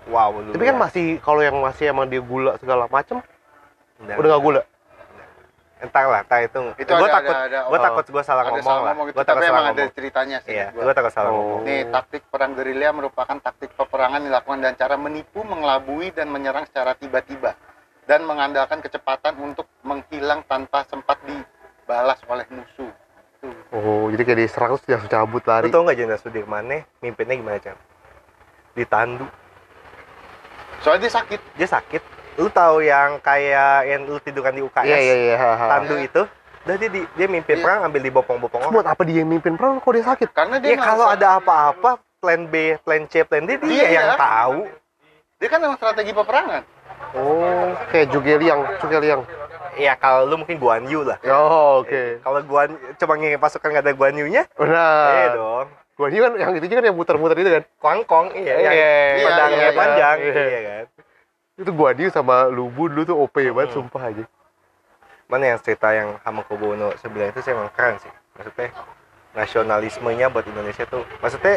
wow dulu. Tapi kan ya. masih kalau yang masih emang dia gula segala macem, Udah. udah gak gula. entar lah, entar itu. Itu gua ada- takut ada- ada- gua oh. takut gua salah ada ngomong salah lah. ngomong gitu Gua tapi takut salah emang ada ngomong. ceritanya sih Iya, gua. gua takut salah Oh. ngomong. Nih, taktik perang gerilya merupakan taktik peperangan dilakukan dengan cara menipu, mengelabui, dan menyerang secara tiba-tiba. Dan mengandalkan kecepatan untuk menghilang tanpa sempat dibalas oleh musuh. Tuh. Oh, jadi kayak diserang terus langsung cabut lari. Lu tau nggak Jenderal Sudirman nih mimpinnya gimana, Cam? ditandu soalnya dia sakit dia sakit lu tahu yang kayak yang lu tidurkan di UKS Iya iya iya. ha, ha. tandu itu udah dia di- dia mimpin Iya. perang ambil di bopong-bopong Terus orang buat apa dia yang mimpin perang kok dia sakit? karena ya dia nggak kalau usah- ada apa-apa plan B plan C plan D dia Iya, yang iya. tahu dia kan emang strategi peperangan Oh, kayak Jugeliang, Jugeliang. ya kalau lu mungkin Guan Yu lah Oh, oke. Ah. kalau Guan cuma ngirim pasukan nggak ada Guan Yu-nya eh Iya. Benar. dong Gua ini kan yang itu juga kan yang muter-muter itu kan. kongkong iya yang Iya, iya, pedangnya iya, iya. panjang Iya. iya kan Itu gua dia sama Lubu dulu tuh OP banget Hmm. sumpah aja. mana yang cerita yang Hamengkubuwono 9 itu saya emang keren sih maksudnya nasionalismenya buat Indonesia tuh maksudnya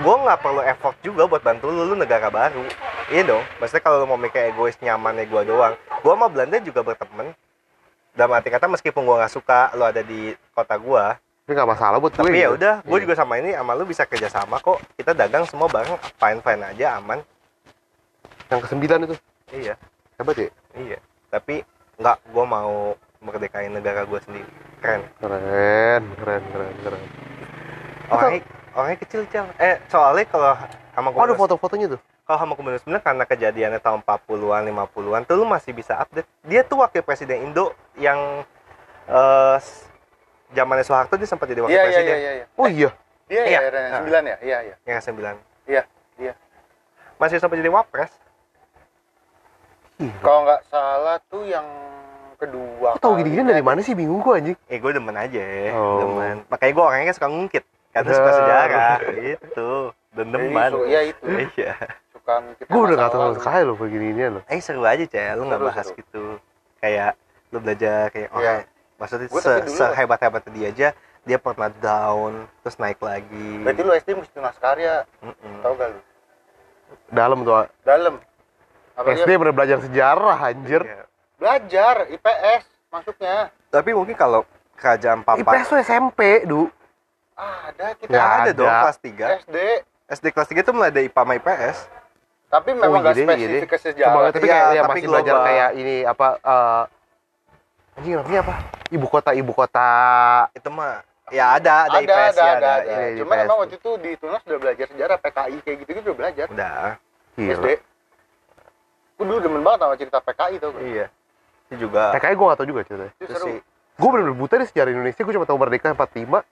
gue nggak perlu effort juga buat bantu lu lu negara baru iya dong maksudnya kalau lu mau mikir egois nyamannya gue doang gue sama Belanda juga berteman dalam arti kata meskipun gue nggak suka lu ada di kota gue Tapi nggak masalah buat gue. tapi ya udah gue Iya. juga sama ini sama lu bisa kerjasama kok kita dagang semua bareng fine fine aja aman Yang kesembilan itu iya hebat ya. iya tapi nggak gue mau merdekain negara gue sendiri keren Keren, keren, keren, keren. orangnya orangnya kecil cel eh soalnya kalau sama Oh, ada Komodo- foto-fotonya tuh. kalau sama Komodo 9 karena kejadiannya tahun 40-an 50-an tuh lu masih bisa update dia tuh wakil presiden Indo yang eh s- zamannya Soeharto dia sempat jadi wakil iya iya presiden iya iya iya Oh iya. Iya. iya iya era Ah. sembilan ya iya iya yang ke-9 Iya, iya. masih sempat jadi wapres kalau nggak salah tuh yang kedua Kok tahu kali. ya. gini-gini dari mana sih bingung gua anjing. eh gue demen aja Oh. demen makanya gue orangnya suka ngungkit karena Bener. suka sejarah itu dendeman Iya, iya itu iya suka ngikut Eh. Gua udah masa nggak tahu lalu. sekali loh begininya loh. eh seru aja cel lu nggak Seru, bahas seru. gitu kayak lu belajar kayak oh Iya. maksudnya Gua se tapi dulu- sehebat hebatnya dia aja dia pernah down terus naik lagi berarti lu SD mesti tunas karya Mm-mm. tau gak ya? lu Dalam tuh dalam apa SD dia bener belajar sejarah anjir. Iya. belajar IPS masuknya tapi mungkin kalau kerajaan IPS papa tuh SMP, Du. Ah, ada kita nggak Ya. ada dong ada. kelas SD 3 SD kelas 3 itu mulai ada IPA sama IPS tapi memang Oh, nggak iya deh, iya spesifik deh. ke Cuma sejarah tapi Iya, kayak ya tapi masih belajar global. kayak ini apa eh anjing namanya apa? Ibu kota ibu kota itu mah ya ada ada, ada ada IPS ada, ya ada, Iya, cuma IPS. emang waktu itu di Tunas udah belajar sejarah PKI kayak gitu gitu udah belajar udah Iya. SD aku dulu demen banget sama cerita PKI tuh iya itu juga TKI gue gak tau juga ceritanya itu itu seru sih Gue bener-bener buta di sejarah Indonesia Gue cuma tau merdeka 45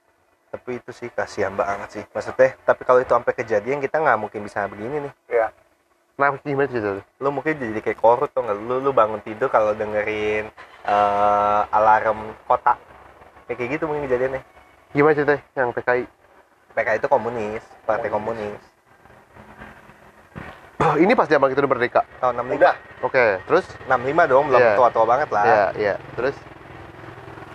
tapi itu sih kasihan banget sih maksudnya tapi kalau itu sampai kejadian kita nggak mungkin bisa begini nih Nah gimana ceritanya? lu mungkin jadi kayak korut tuh nggak lu lu bangun tidur kalau dengerin eh, alarm kota Ya, kayak gitu mungkin kejadiannya Gimana ceritanya yang TKI? PK itu komunis partai komunis Ini pas zaman kita udah merdeka tahun 65 udah Oke terus? 65 dong belum Iya. tua-tua banget lah Iya iya terus?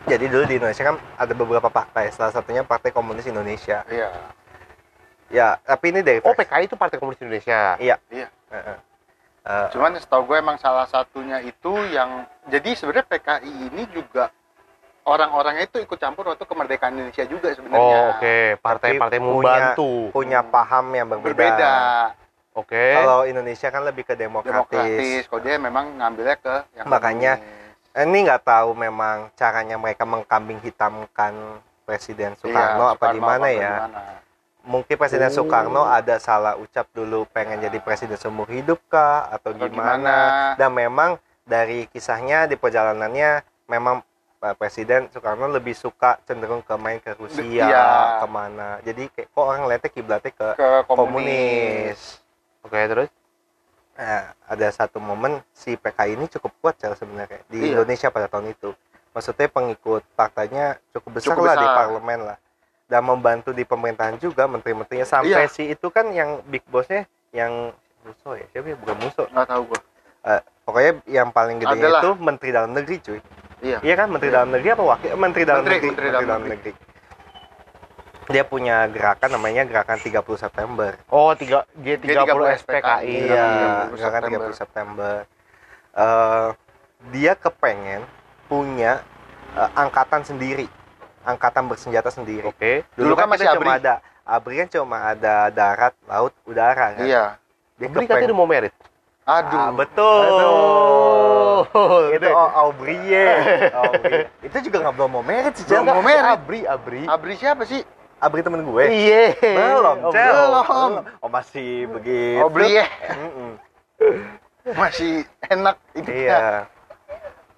jadi dulu di Indonesia kan ada beberapa partai salah satunya partai komunis Indonesia iya ya tapi ini dari Oh PKI itu Partai Komunis Indonesia Heeh. Eh, cuman setahu gue emang salah satunya itu yang jadi sebenarnya PKI ini juga orang-orangnya itu ikut campur waktu kemerdekaan Indonesia juga sebenarnya Oh oke Partai-partai Tapi punya- membantu punya paham yang berbeda, berbeda Oke kalau Indonesia kan lebih ke demokratis, demokratis kalau dia memang ngambilnya ke yang Makanya, komunis. Eh, ini nggak tahu memang caranya mereka mengkambing hitamkan Presiden Soekarno Iya, apa di mana apa ya gimana. mungkin Presiden Oh. Soekarno ada salah ucap dulu pengen jadi presiden seumur hidup kah atau Atau gimana. gimana. dan memang dari kisahnya di perjalanannya memang Pak Presiden Soekarno lebih suka cenderung ke main ke Rusia Iya. kemana jadi kayak kok orang lihatnya kiblatnya ke ke komunis. komunis Oke terus? Nah, ada satu momen si PK ini cukup kuat cara sebenarnya di Iya. Indonesia pada tahun itu. Maksudnya pengikut partainya cukup besar Cukup lah di besar. parlemen lah. Dan membantu di pemerintahan juga menteri-menterinya sampai Iya. si itu kan yang big bossnya yang Muso ya siapa ya bukan Muso Nggak tahu gua. pokoknya yang paling gede Adalah. itu menteri dalam negeri cuy Iya. iya kan menteri Iya. dalam negeri apa wakil eh, menteri dalam Menteri, negeri menteri dalam negeri dia punya gerakan namanya gerakan 30 September Oh tiga, G30, G30 SPKI Iya, gerakan 30 September. 30 September. Eh, dia kepengen punya eh, angkatan sendiri, angkatan bersenjata sendiri. Oke Dulu, Dulu kan kan kita masih cuma ABRI. ada ABRI kan cuma ada darat, laut, udara kan. Iya. Dia Beri katanya kepengen- udah mau merit Aduh. Ah, betul. Itu Itu oh, Aubry ye. Aubry. Itu juga nggak belum mau merit sih, Belum Jal. mau merit. Abri, Abri Abri siapa sih? abri temen gue Iya. belum Oh, cel Belum. oh masih begitu Oh beli ya, Mm-mm. masih enak itu ya. iya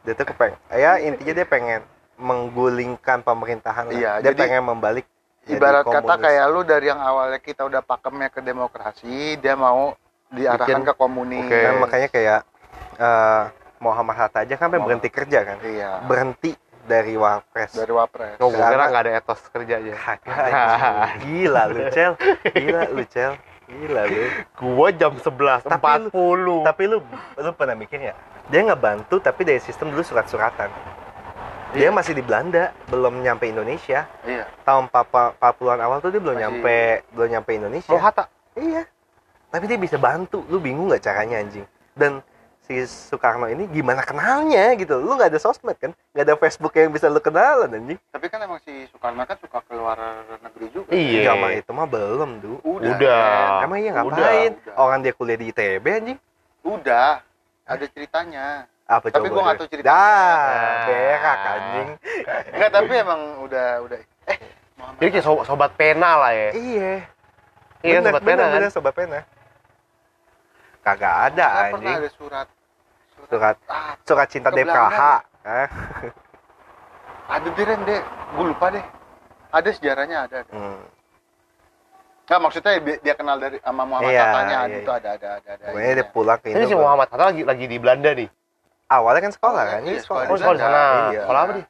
dia tuh kepeng ya intinya dia pengen menggulingkan pemerintahan lah. Iya, dia jadi- pengen membalik jadi Ibarat kata komunis. kayak lu dari yang awalnya kita udah pakemnya ke demokrasi, dia mau diarahkan Bikin- ke komunis. Oke. Nah, makanya kayak eh, Muhammad Hatta aja kan sampai Muhammad. berhenti kerja kan Iya. berhenti dari wapres Dari wapres. Oh, gua kira Karena- nggak ada etos kerjanya. Kagak, anjing. gila lu cel gila lu cel gila lu Gua jam 11, Tapi 40. tapi lu lu pernah mikir ya dia ngebantu tapi dari sistem dulu surat-suratan dia Iya. masih di Belanda belum nyampe Indonesia Iya. tahun papa 40-an awal tuh dia belum Masih- nyampe belum nyampe Indonesia Lu Hatta. Iya. Tapi dia bisa bantu. Lu bingung nggak caranya anjing? Dan si Soekarno ini gimana kenalnya gitu? Lu nggak ada sosmed kan? Nggak ada Facebook yang bisa lu kenalan anjing? Tapi kan emang si Soekarno kan suka keluar negeri juga. Iya. Iya. mah itu mah belum, Du. Udah. Udah. kan? Emang iya udah, ngapain? udah. Orang dia kuliah di ITB anjing. Udah. Ada ceritanya. Apa Tapi coba? gua nggak dia? tahu ceritanya. Dah, Nah. berak anjing. Enggak, tapi emang udah udah. Eh, Jadi kayak so- sobat pena lah ya. Iya. Iya, Bener, sobat bener, pena kan. bener, sobat pena. Kagak ada Saya pernah anjing. ada surat Surat ah, surat cinta Ah, Ke DPKH. Hah? ada di rem deh gue lupa deh ada sejarahnya ada, ada. Hmm. Nah, maksudnya bi- dia kenal dari sama Muhammad Iya, Tatanya iya, itu ada ada ada Iya. ada Pokoknya dia ininya. pulang ke Ini si Indo. Muhammad Hatta lagi lagi di Belanda nih. Awalnya kan sekolah kan? Iya, Ini sekolah. sekolah Oh, sekolah di sana. Iya. Sekolah apa nih?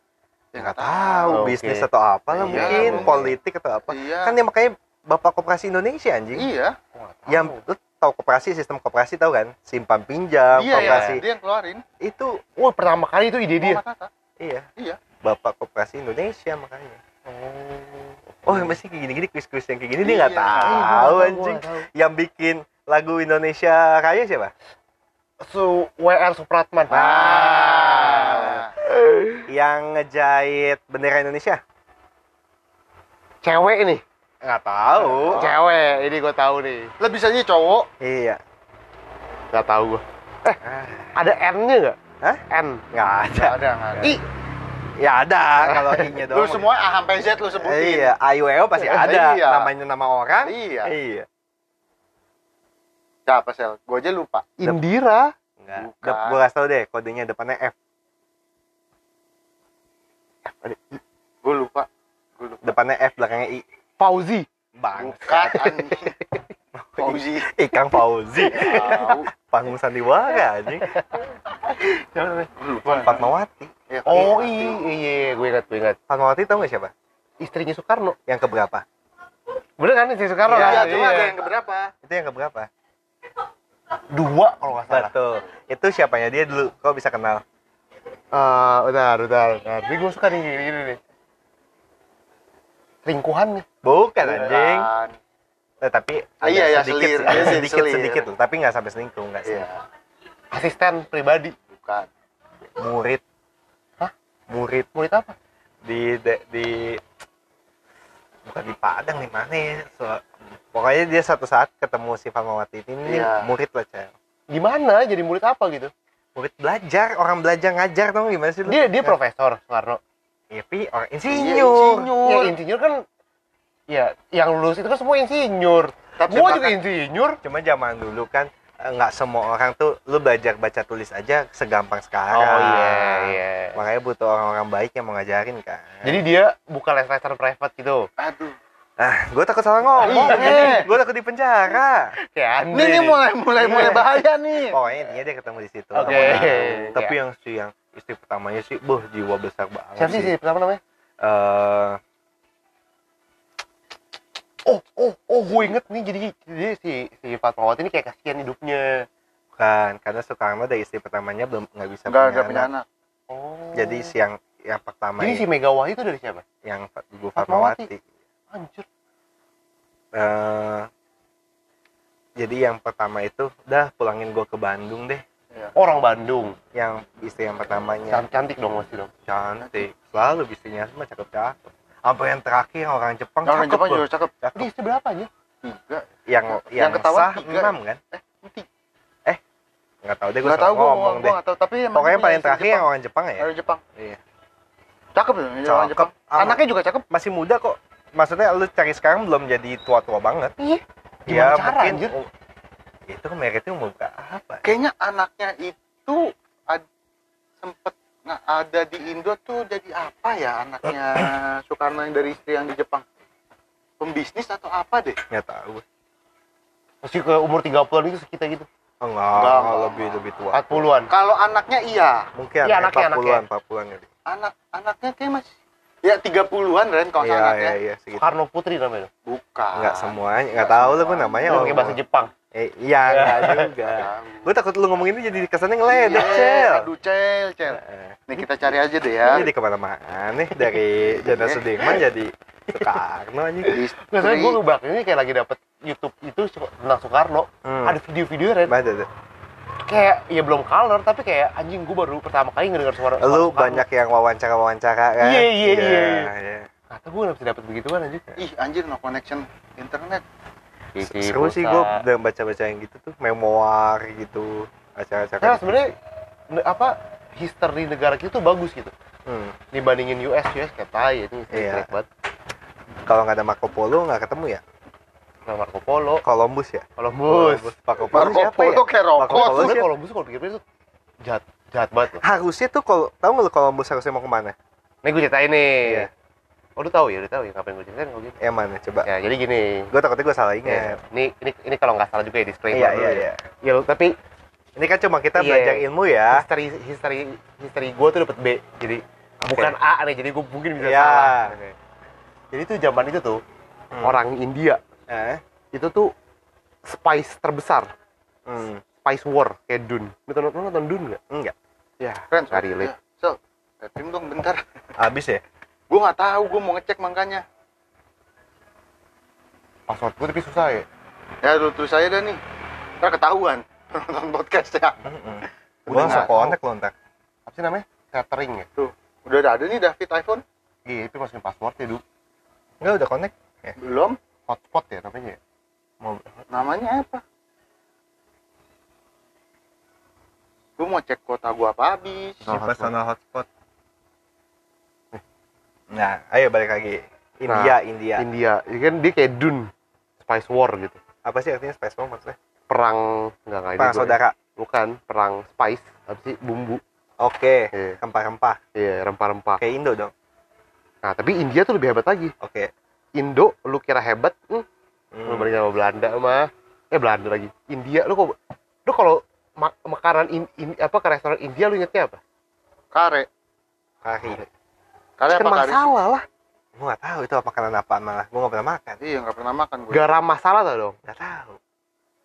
ya nggak nggak tahu Oke. bisnis atau apa lah Iya, mungkin mungkin. politik atau apa iya kan dia makanya bapak koperasi Indonesia anjing iya yang lu tahu koperasi sistem koperasi tahu kan simpan pinjam dia yang koperasi Iya, dia yang keluarin itu Wah, Oh, pertama kali itu ide dia. Muhammad Tata iya Iya. bapak koperasi Indonesia makanya oh masih kayak gini-gini kuis-kuis yang kayak gini dia Iya. nggak tahu anjing yang bikin lagu Indonesia Raya siapa Su WR Supratman. Ah. yang ngejahit bendera Indonesia Cewek ini. nggak tahu Cewek, ini gue tahu nih. lah bisanya cowok iya Gak tahu gue. Eh, ada N-nya nggak? Ah. Hah? N. nggak ada nggak ada nggak ada I. ya ada kalau inya lu Iya. doang semua A sampai Z lu sebutin Iya, AIWO pasti ada Iya. namanya nama orang. iya Iya. siapa sel gue aja lupa Indira. Enggak. Bukan. Dep, gua kasih tau deh kodenya depannya F. gue lupa gue lupa Depannya F belakangnya I. Fauzi. Bang. bukan anjing Fauzi Ikang Fauzi. tahu Panggung Sandiwara anjing. Gua lupa Fatmawati. Ya, Oh iya. iya, iya, gue ingat, gue ingat. Fatmawati tau gak siapa? Istrinya Soekarno. Yang keberapa? Bener kan istri Soekarno Iya, Iya, kan? cuma ada yang keberapa? Itu yang keberapa? Dua kalau nggak salah. Betul. Itu siapanya dia dulu. Kau bisa kenal. Eh, bentar, bentar, bentar. Ini gue suka nih gini-gini nih. Selingkuhan nih. Bukan anjing. Beneran. Eh, tapi ada Iya, iya, sedikit, selir. ada Iya, sedikit, selir. sedikit loh. Tapi nggak sampai selingkuh, nggak sih? Iya, Asisten pribadi. bukan. Murid. Hah? Murid Murid apa? di de- di bukan di Padang di mana ya so, pokoknya dia satu saat ketemu si Fatmawati ini Iya. murid lah cel Di mana? Jadi murid apa gitu? murid belajar orang belajar ngajar dong gimana sih lu Dia dia profesor Soekarno. iya pi orang Iya, insinyur Ya insinyur. insinyur kan ya yang lulus itu kan semua insinyur. Tapi Gua bahkan- juga insinyur. cuma zaman dulu kan eh, nggak semua orang tuh lu belajar baca tulis aja segampang sekarang Oh iya, iya. makanya butuh orang-orang baik yang mau ngajarin kan Jadi dia bukan les-lesan private gitu. Aduh. ah gue takut salah ngomong Iya. gue takut di penjara Ini, Kayak Andre. ini nih. Iya. Oh, mulai mulai mulai bahaya nih. pokoknya intinya dia ketemu di situ Oke. sama orang. tapi Iya. yang si yang istri pertamanya sih boh jiwa besar banget Siapa sih sih. sih pertama namanya? Eh, Oh, oh, oh, gue inget nih jadi jadi si si Fatmawati ini kayak kasihan hidupnya. bukan kan, karena Soekarno dari istri pertamanya belum nggak bisa Enggak enggak punya anak. Oh. jadi si yang yang pertama Jadi si Megawati itu dari siapa? yang Fa- ibu Fatmawati. Fatmawati Anjir. Eh, jadi yang pertama itu udah pulangin gue ke Bandung deh Orang Bandung. yang istri yang pertamanya Can- Cantik dong pasti dong. cantik selalu istrinya semua cakep cakep apa yang terakhir orang Jepang Orang cakep Jepang loh. juga cakep. Dia istri berapa aja? Tiga. yang yang, Yang ketahuan sah tiga. enam kan Tiga. eh nggak tahu deh gue Enggak tahu Ya, gua ngomong gua deh nggak tahu tapi emang pokoknya dia paling punya terakhir istri yang orang Jepang ya Jepang. Orang Jepang. Iya. Cakep loh, ini orang Cakep. Jepang. Aman. Anaknya juga cakep. masih muda kok maksudnya lu cari sekarang belum jadi tua-tua banget. Iya. Ya Gimana cara, mungkin anjir? u- itu meritnya umur berapa? kayaknya anaknya itu ad, sempet nggak ada di Indo tuh jadi apa ya anaknya Soekarno yang dari istri yang di Jepang pembisnis atau apa deh Nggak tahu. Mesti ke umur 30-an gitu sekitar gitu. Oh, enggak, Enggak, enggak, enggak. lebih lebih tua. 40-an. Gitu. kalau anaknya iya Mungkin Iya, anak anaknya, 40-an, 40-an kali. anak anaknya kayak masih ya 30-an Ren kalau Iya, salah iya, anaknya iya, segitu. Karno Putri namanya. bukan Enggak semuanya, enggak Nggak tahu lu gue semua. namanya. Itu pakai orang- bahasa Jepang. Eh, iya, enggak juga. Jauh. Gue takut lu ngomong ini jadi kesannya Iya, ngeledek, Cel. aduh cel cel Eh, nih kita cari aja deh ya Ini di kemana-mana nih dari Jana Sudirman jadi Soekarno anjing. Istri- Biasanya gue ngebak ini kayak lagi dapet YouTube itu su- tentang Soekarno. Hmm. Ada video-video Ren. Ada tuh. Kayak ya belum color tapi kayak anjing gue baru pertama kali ngedenger suara. suara Lu Soekarno. banyak yang wawancara-wawancara kan? Iya, iya, iya, iya. Kata gue nggak bisa dapet begituan anjing. ih anjir no connection internet iya, Seru sih gue udah baca-baca yang gitu tuh, memoir gitu, Karena acara-acara. gitu. Nah, sebenarnya ne- apa history negara kita tuh bagus gitu. Hmm. Dibandingin US, US kayak tai itu Iya. jelek banget. Kalau nggak ada Marco Polo nggak ketemu ya? Nah, Marco Polo, Columbus ya? Columbus. Marco Polo Marco siapa ya? Polo kayak Marco Polo rokok Columbus Tapi ya? Columbus kalau pikir-pikir tuh jahat, jahat banget loh. Harusnya tuh kalau tahu nggak lu Columbus harusnya mau kemana? Nih gue ceritain Iya. nih. Oh, udah tahu ya, udah tahu ya ngapain gue ceritain kalau gitu. Yang mana? Coba. Ya, jadi gini. Gue takutnya gue salah Ya, ingat. ini ini ini kalau nggak salah juga ya disclaimer Iya, dulu iya, ya. iya. Ya, lu- tapi Ini kan cuma kita Iya. belajar ilmu ya. history history history gue tuh dapet B. Jadi Oke. bukan A nih, jadi gue mungkin bisa Iya. salah. Jadi tuh zaman itu tuh Hmm. orang India Eh? itu tuh spice terbesar Hmm. Spice War kayak Dun. Lu nonton, lu nonton Dun nggak? Enggak. Ya. Ren, Iya, Nggak relate. so tim dong bentar Abis ya? gue nggak tahu gue mau ngecek makanya Password gue tapi susah ya. ya lu terus saya dah nih ntar ketahuan nonton podcast ya Gue Udah langsung nggak connect loh ntar. Apa sih namanya? Tethering ya. udah ada- ada nih David iPhone Iya, itu masukin password ya, Du. Enggak udah connect? belum Hotspot ya namanya. ya? Mau namanya apa gue mau cek kuota gue apa habis di personal hotspot. Nah, ayo balik lagi. India, India. India. Ya kan dia kayak Dun. Spice War gitu. Apa sih artinya Spice Mom maksudnya? Perang enggak enggak Perang saudara. Bukan perang spice, apa sih bumbu. Oke. Iya, Rempah-rempah. iya, rempah-rempah. Kayak Indo dong. Nah, tapi India tuh lebih hebat lagi. Oke. Indo lu kira hebat, hmm, lu Hmm. bandingin sama Belanda mah. Eh Belanda lagi. India lu kok lu kalau mak- makanan in- in- apa ke restoran India lu ingetnya apa? kare Kari. kare Chicken apa kare sih? masala lah. Gue nggak tahu itu apa makanan apaan malah. Gue nggak pernah makan. iya nggak pernah makan gue Garam masala tau dong. Nggak tahu.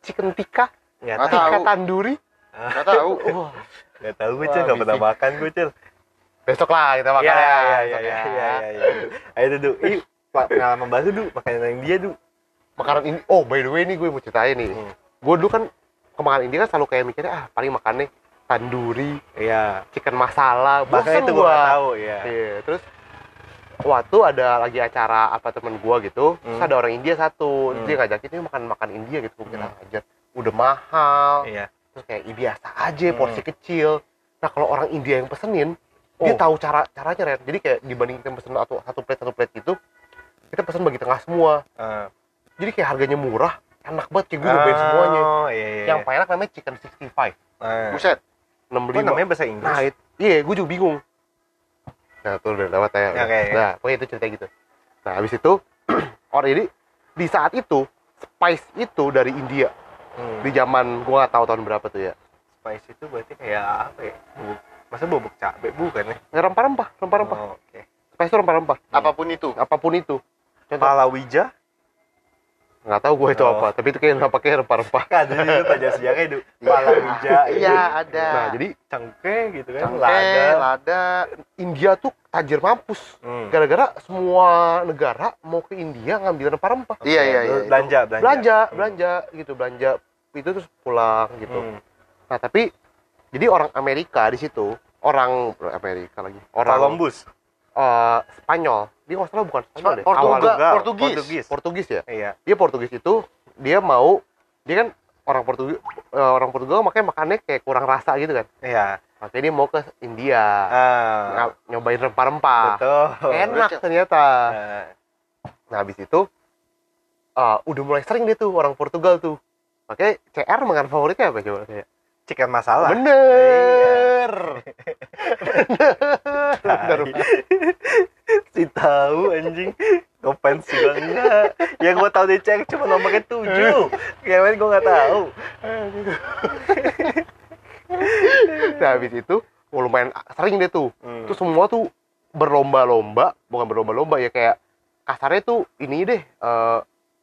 Chicken tikka, Nggak Nggak tahu. tikka Tahu. tanduri. nggak tahu Wah, Nggak tahu gue Wah, cil. Nggak pernah bisik. makan gue cil. besok lah kita makan. Iya, ya, iya, iya, besok iya, ya. iya, iya. Ayo Dudu. Ih, pengalaman baru Du. Makanan yang dia Du. Makanan ini, oh by the way nih gue mau ceritain nih. Hmm. Gue dulu kan ke makanan India kan selalu kayak mikirnya ah paling makannya tanduri, Iya. chicken masala, Makanya bosen itu gue gua. nggak tahu ya. Iya, terus waktu ada lagi acara apa temen gua gitu, terus Hmm. ada orang India satu, Hmm. terus dia ngajakin ini makan makan India gitu, mungkin Hmm. aja udah mahal, Iya. terus kayak "Ih, biasa aja Hmm. porsi kecil. Nah kalau orang India yang pesenin, dia Oh. tahu cara caranya Ren. Jadi kayak dibanding kita pesen satu satu plate satu plate gitu, kita pesen bagi tengah semua. Eh, Jadi kayak harganya murah, enak banget kayak gue nyobain semuanya. Oh, iya, iya. Yang paling enak namanya chicken 65, Eh. buset 65. Itu namanya bahasa Inggris. Nah, it- iya, gue juga bingung. Nah, tuh udah lewat ya. Ya, oke, oke. Nah, pokoknya itu cerita gitu. Nah, habis itu, orang ini, di saat itu, spice itu dari India. Hmm. Di zaman, gua nggak tahu tahun berapa tuh ya. Spice itu berarti kayak apa ya? Bubuk. Masa bubuk cabe bukan ya? Ya, Rempah-rempah, rempah-rempah. Oh, Oke. Spice itu rempah-rempah. apapun itu Apapun itu. Contoh, Palawija? nggak tahu gue itu Oh. apa, tapi itu kayak nggak pakai rempah-rempah. Kan ada itu pelajaran sejarah itu. Palawija. iya ada Nah, jadi Cengke gitu kan. Cengkeh, Lada. lada India tuh tajir mampus. Hmm. Gara-gara semua negara mau ke India ngambil rempah-rempah. Iya, iya, iya. Belanja, belanja. Belanja, Hmm. belanja, gitu, belanja. Itu terus pulang gitu. Hmm. Nah, tapi jadi orang Amerika di situ, orang Amerika lagi, orang Columbus. eh, Spanyol. Dia nggak salah bukan Spanyol deh. Portugal awalnya. Portugis. Portugis ya. Iya. Dia Portugis itu dia mau dia kan orang Portugis eh, orang Portugal makanya makannya kayak kurang rasa gitu kan. Iya. Makanya dia mau ke India Ah, nga- nyobain rempah-rempah. betul. Enak ternyata. Ah, Nah, habis itu eh, udah mulai sering dia tuh orang Portugal tuh. Pakai CR makan favoritnya apa coba kayak? Chicken masalah. Bener. Iya. Bener. Tai. si tahu anjing ngefans juga enggak Iya. yang gue tahu dia cek cuma nomornya tujuh yang lain gue nggak tahu Nah, habis itu oh, lumayan sering dia tuh. Hmm. Terus semua tuh berlomba-lomba, bukan berlomba-lomba ya kayak kasarnya tuh ini deh eh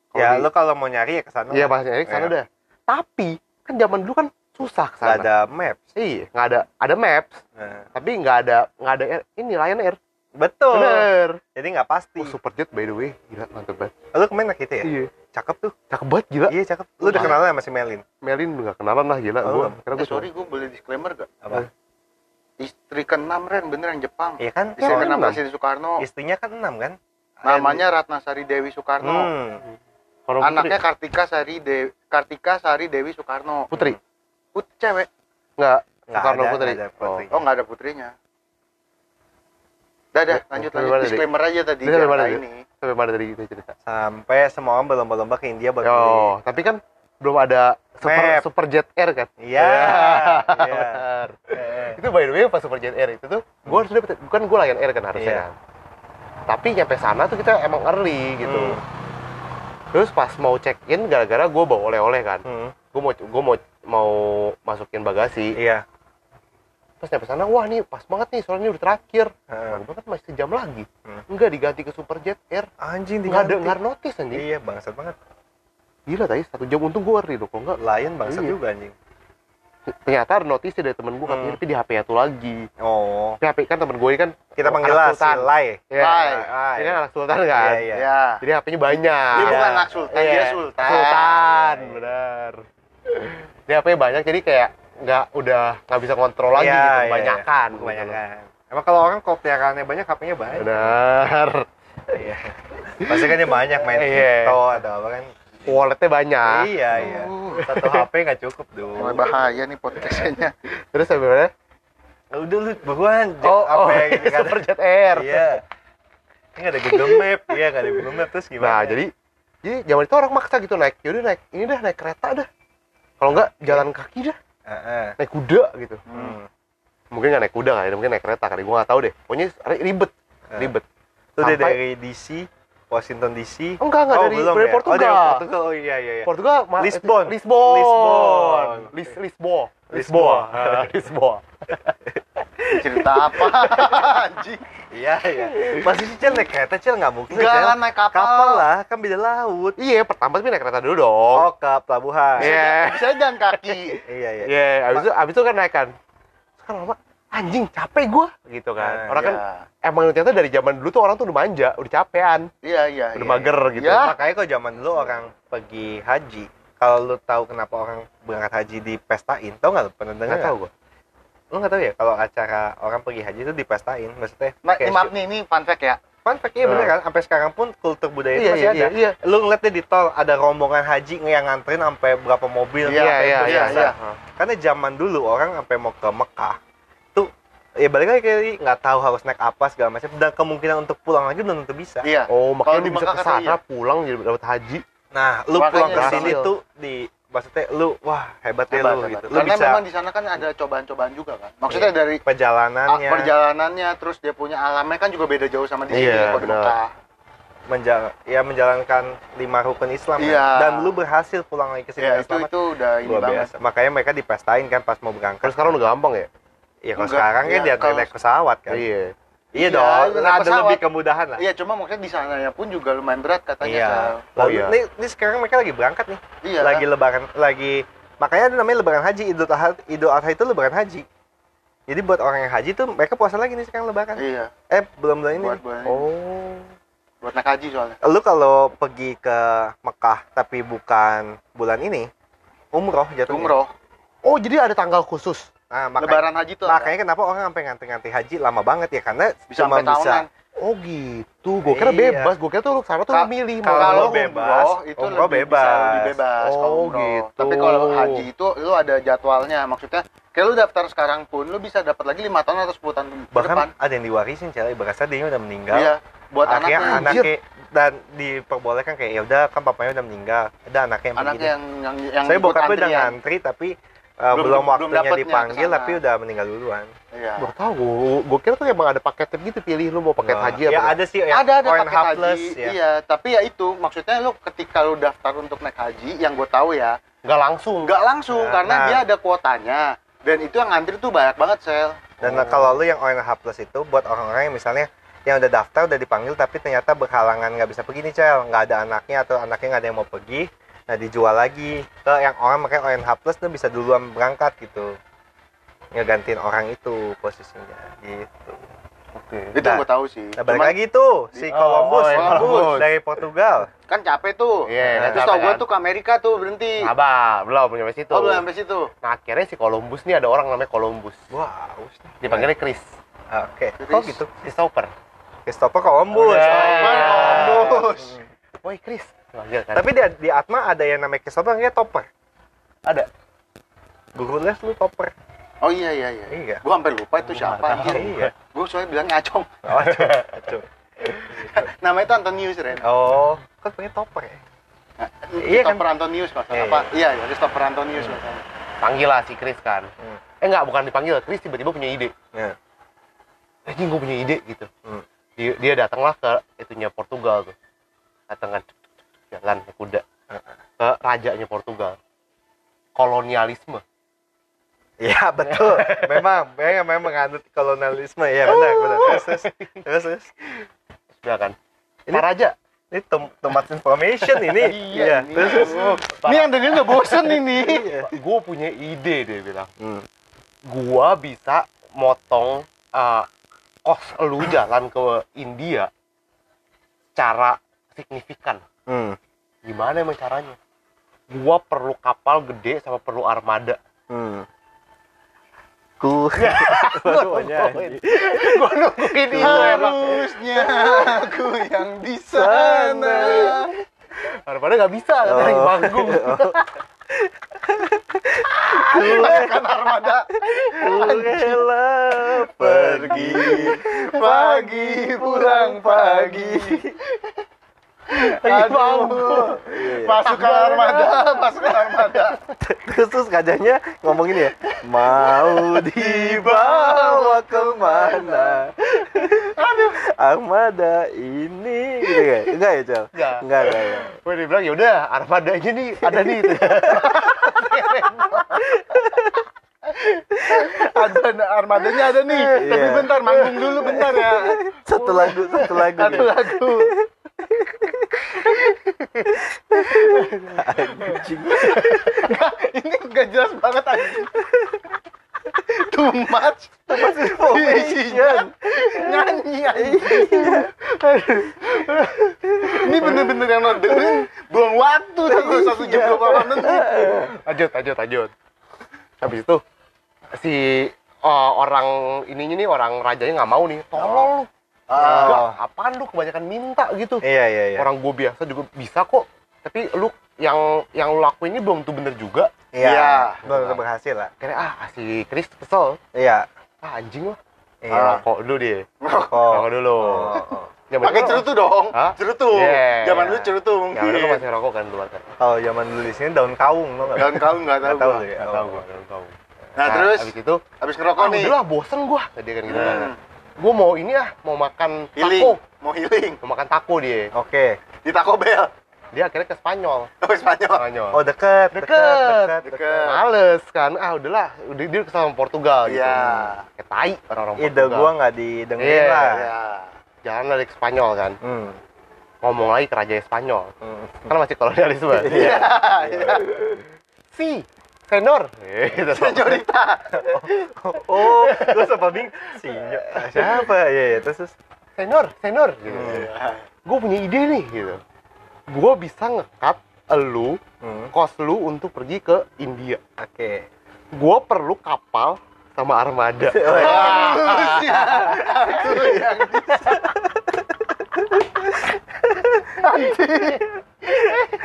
kalau ya di- lo kalau mau nyari ya kesana Iya Mas Erik sana Iya. dah. Tapi kan zaman dulu kan susah ke nggak sana. ada maps Iya, nggak ada ada maps, Nah, tapi nggak ada nggak ada air- ini Lion Air. betul Bener. jadi nggak pasti Oh, Superjet by the way, gila mantep banget. lo kemarin anak itu ya Iya. cakep tuh Cakep banget gila. iya cakep lo udah Lumayan. kenal sama si Melin Melin nggak kenalan lah gila Oh, gua. belum. Karena Eh, gua sorry, gue boleh disclaimer gak? Iya. apa Istri keenam Ren, bener yang Jepang. iya kan Istri Yang keenam enam. Presiden Soekarno. istrinya kan enam kan Namanya Ratnasari Dewi Iya. Soekarno. Hmm. cuma- Kalau putri- Anaknya Kartika Sari Dewi Kartika Sari Dewi Soekarno. Putri Put cewek. nggak Nggak Soekarno ada, Putri. nggak ada Putri. Oh, nggak ada putrinya. Dadah, lanjut Ya, sampai lanjut mana tadi? disclaimer aja tadi. Ini sampai jangan mana tadi? ini. Oh, sampai pada tadi kita cerita. sampai semua orang berlomba-lomba ke India buat Oh, tapi kan belum ada super Map. Superjet Air kan? beli. iya iya Bener. Eh, itu by the way pas Superjet Air itu tuh gue harus dapet bukan gue Lion Air kan harusnya Iya. kan tapi nyampe sana tuh kita emang early gitu Hmm. terus pas mau check in gara-gara gue bawa oleh-oleh kan hmm. gue mau gue mau mau masukin bagasi iya pas nyampe sana wah nih pas banget nih soalnya ini udah terakhir Heeh. gue kan masih sejam lagi Hmm. enggak diganti ke Superjet Air anjing nggak ada diganti. nggak ada notice anjing Iya bangsat banget. gila tadi satu jam untung gue early loh kok enggak Lion bangsat Iya. juga anjing. ternyata ada notice dari temen gue katanya Hmm. tapi di HP nya tuh lagi Oh, Tapi HP kan temen gue ini kan kita anak panggil lah si sultan. Lai. Iya. Lai. Lai. Ini kan anak sultan kan Iya, iya. Ya. jadi HP-nya banyak Dia Iya. bukan anak sultan, dia Ah, Iya, sultan. Sultan, Iya. benar. Dia HP banyak jadi kayak nggak udah nggak bisa kontrol lagi Iya, gitu, iya, kebanyakan. gitu. Kebanyakan. Emang kalau orang kalau peliharaannya banyak HP-nya banyak. Benar. Iya. Pasti kan dia banyak main Iya. Ah. kripto atau apa kan. Walletnya banyak. Iya, iya. Uh, Satu HP nggak cukup dong. Oh, mulai bahaya nih podcastnya. Terus sebenarnya Ya Udah lu buruan Jack, oh, oh, apa yang gitu kan. Super Jet Air. Iya. Kan nggak ada Google Map, iya nggak ada Google Map terus gimana? Nah, jadi jadi zaman itu orang maksa gitu naik. Yaudah naik ini dah naik kereta dah. Kalau nggak jalan kaki dah, Heeh. naik kuda gitu. Hmm. Mungkin nggak naik kuda kali, mungkin naik kereta kali. Gua nggak tahu deh. Pokoknya ribet, Eh. ribet. Itu dia Sampai- dari DC, Washington DC. Enggak enggak Oh, dari, belum dari ya? Oh, Portugal. dari Portugal. Oh iya iya iya. Portugal ma- Lisbon. Lisbon Lisbon. Lis Lisboa Lisboa. Eh. Lisboa Lisboa Cerita apa? Anjing. Iya iya. Masih sih Cel naik kereta Cel nggak mungkin. Enggak Cel. lah naik kapal. Kapal lah, kan beda laut. iya pertama tapi naik kereta dulu dong Oh, ke pelabuhan. Iya. Bisa jalan kaki. Iya iya. iya abis itu abis itu kan naik kan Terus kan lama anjing capek gua gitu Ah, kan orang kan Iya. emang ternyata dari zaman dulu tuh orang tuh udah manja udah capean Iya, iya. udah iya. mager gitu Iya. Makanya kok zaman dulu orang pergi haji, kalau lu tahu kenapa orang berangkat haji dipestain, tau nggak lu pernah dengar? nggak tahu gua nggak? Lu nggak tahu ya kalau acara orang pergi haji itu dipestain, maksudnya? Nah, kayak ini maaf nih, ini fun fact ya. Fun fact, iya bener Hmm. kan? Sampai sekarang pun kultur budaya itu iya masih iya ada. iya iya Lu ngeliatnya di tol ada rombongan haji yang nganterin sampai berapa mobil. Iya, sampai iya iya berjasa. iya karena zaman dulu orang sampai mau ke Mekah tuh ya balik lagi kali nggak tahu harus naik apa segala macam dan kemungkinan untuk pulang lagi belum tentu bisa Iya. oh Kalau di makanya dia bisa Mekah iya. ke kata sana pulang jadi dapat haji nah lu Makanya pulang ke berhasil. sini tuh di maksudnya lu wah hebat, ya Hebat, lu hebat. gitu lu Karena bisa memang di sana kan ada cobaan-cobaan juga kan. Maksudnya Iya. dari ah, perjalanannya perjalanannya, terus dia punya alamnya kan juga beda jauh sama di sini. Iya, kalau di benar. Mekah. menja- ya menjalankan lima rukun Islam kan. Iya. dan lu berhasil pulang lagi ke sini Ya, dengan itu, selamat itu udah ini luar banget. biasa makanya mereka dipestain kan pas mau kalau berangkat sekarang udah gampang ya ya kalau Enggak. sekarang kan Iya, dia kalau- naik pesawat kan iya, iya Iya, dong naik ada pesawat. lebih kemudahan lah Iya, cuma maksudnya di sananya pun juga lumayan berat katanya. Iya. Sal. Oh, Lalu- iya. ini- ini sekarang mereka lagi berangkat nih Iya. lagi lebaran lagi makanya ada namanya lebaran haji idul adha idul adha itu lebaran haji jadi buat orang yang haji tuh mereka puasa lagi nih sekarang lebaran Iya. eh belum belum ini Buat buat, oh buat naik haji soalnya. lu kalau pergi ke Mekah tapi bukan bulan ini umroh jatuhnya Umroh. oh jadi ada tanggal khusus nah, makanya, Lebaran haji tuh. ada. makanya kenapa orang sampai nganti-nganti haji lama banget ya karena bisa cuma sampai bisa tahunan. Oh gitu, gue kira Iya. bebas, gue kira tuh lu kesana tuh Ka- lu milih mau kalau Kalau bebas, umroh itu umroh lebih bebas. bisa lebih bebas kalau Oh, umroh. gitu. Tapi kalau haji itu lu ada jadwalnya, maksudnya kayak lu daftar sekarang pun lu bisa dapat lagi lima tahun atau 10 tahun ke depan. bahkan ada yang diwarisin cewek berasa dia udah meninggal Iya, buat akhirnya anaknya. anaknya dan diperbolehkan kayak ya udah kan papanya udah meninggal ada anaknya yang anak begini yang yang yang saya ikut bokapnya udah antrian. ngantri tapi uh, Belum- belum, belum waktunya dapetnya dipanggil kesana. tapi udah meninggal duluan Iya. Gak tau, gue, gue kira tuh emang ada paketnya gitu pilih lu mau paket Nah, haji ya apa ada sih yang iya, ada ada ONH paket haji plus ya iya tapi ya itu maksudnya lu ketika lu daftar untuk naik haji yang gue tahu ya nggak langsung nggak langsung Ya, karena nah. dia ada kuotanya dan itu yang ngantri tuh banyak banget sel dan Oh. kalau lu yang ONH plus itu buat orang-orang yang misalnya yang udah daftar udah dipanggil tapi ternyata berhalangan nggak bisa pergi nih cel nggak ada anaknya atau anaknya nggak ada yang mau pergi nah dijual lagi ke yang orang pakai ONH plus tuh bisa duluan berangkat gitu ngegantiin orang itu posisinya gitu Oke. itu Nah. yang gue tahu sih nah balik Cuman lagi tuh si Oh, Columbus, oh, yang Columbus. dari Portugal kan capek tuh Nah, terus Iya, capek tau gue kan. tuh ke Amerika tuh berhenti Sabar, belum belum nyampe situ. oh belum sampai situ Nah akhirnya si Columbus nih ada orang namanya Columbus. wow us- Dipanggilnya Chris. oke Chris. kok gitu Christopher. Christopher Columbus Christopher Columbus. Woi Chris. Wajar kan? tapi di, di Atma ada yang namanya Christopher nggak Topper ada. guru les lu Topper oh iya iya iya Iya. gue sampai lupa itu siapa anjir iya gue soalnya bilang acong oh, acuh, acuh. namanya itu Antonius Ren Oh, kan punya topper ya? Nah, Iya kan? Christopher Antonius mas Iya, apa iya iya Christopher Antonius masalah. Panggil lah si Chris kan. Hmm. Eh nggak, bukan dipanggil. Chris tiba-tiba punya ide. Iya. Anjing gue punya ide gitu. Hmm. Dia, dia datanglah ke itunya Portugal tuh. Datang kan jalan naik kuda Hmm. ke rajanya Portugal. Kolonialisme. Iya betul, memang, memang, memang menganut kolonialisme ya benar, benar. Terus, terus, terus, terus. Sudah kan? Ini- Ini raja. Ini tum tempat information ini. Iya, ini. terus, Iya. terus. ini Antonius udah bosen ini Gue punya ide dia bilang. Hmm. gua bisa motong eh, kos lu jalan ke India cara signifikan Hmm. gimana emang caranya gua perlu kapal gede sama perlu armada Hmm. Ku. gua nungguin itu emang Harusnya aku yang di sana. armada nggak bisa katanya lagi Oh. manggung Kan armada Ku rela pergi. pergi pagi pulang pagi. Lagi Aduh, manggung. Masuk ke armada, masuk ke armada. Terus, terus kadangnya ngomong ini ya. Mau dibawa kemana? Armada ini gitu kayak. Enggak ya, Cel? Enggak. Enggak, enggak. enggak. Gue dibilang yaudah armada aja nih ada nih Ada armadanya ada nih, tapi Iya. bentar manggung dulu bentar ya. Satu lagu, satu lagu. Satu gitu. lagu. Anjing. Ini gak jelas banget anjing. Too much. Oh, Information. nyanyi anjing. ini bener-bener yang nontonin buang waktu tuh satu jam dua puluh menit lanjut lanjut lanjut habis itu si eh, orang ininya nih orang rajanya nggak mau nih tolol lu Ah. Enggak, Oh. apaan lu kebanyakan minta gitu Iya, iya, iya. orang gue biasa juga bisa kok tapi lu yang yang lu lakuin ini belum tuh bener juga Iya. Iya. Belum tentu berhasil lah. akhirnya ah si Chris kesel Iya. ah anjing lah Iya. rokok dulu deh Ah. Rokok. rokok dulu Oh, oh. Zaman pakai dulu- cerutu dong Hah? cerutu Iya. zaman dulu cerutu Zaman dulu mungkin masih rokok kan luar kan Kalau zaman dulu di sini daun kaung lo dan kau nggak tahu, Nggak tahu gua. sih. nggak tahu gue nggak tahu nah terus habis itu habis ah ngerokok nih udah lah bosen gue tadi kan gitu Hmm. gue mau ini ah mau makan healing taco mau healing mau makan taco dia Oke. di Taco Bell dia akhirnya ke Spanyol ke Spanyol Spanyol Oh, iya. deket, deket, Deket. deket, Deket. deket. males kan ah udahlah udah dia kesel sama Portugal gitu Iya. kayak tai orang-orang Ide gua nggak didengerin Iya, lah. ya jalan dari ke Spanyol kan Hmm. ngomong lagi ke raja Spanyol Hmm. kan masih kolonialisme Iya. si senor gitu senyorita Oh, gua sempat bingung. Sinyo. Siapa? Iya, iya. Terus, terus. senor senor gitu. Hmm. Iya. gue punya ide nih gitu gue bisa ngekat elu Hmm. kos lu untuk pergi ke India Oke. gue perlu kapal sama armada Lulusnya aku yang di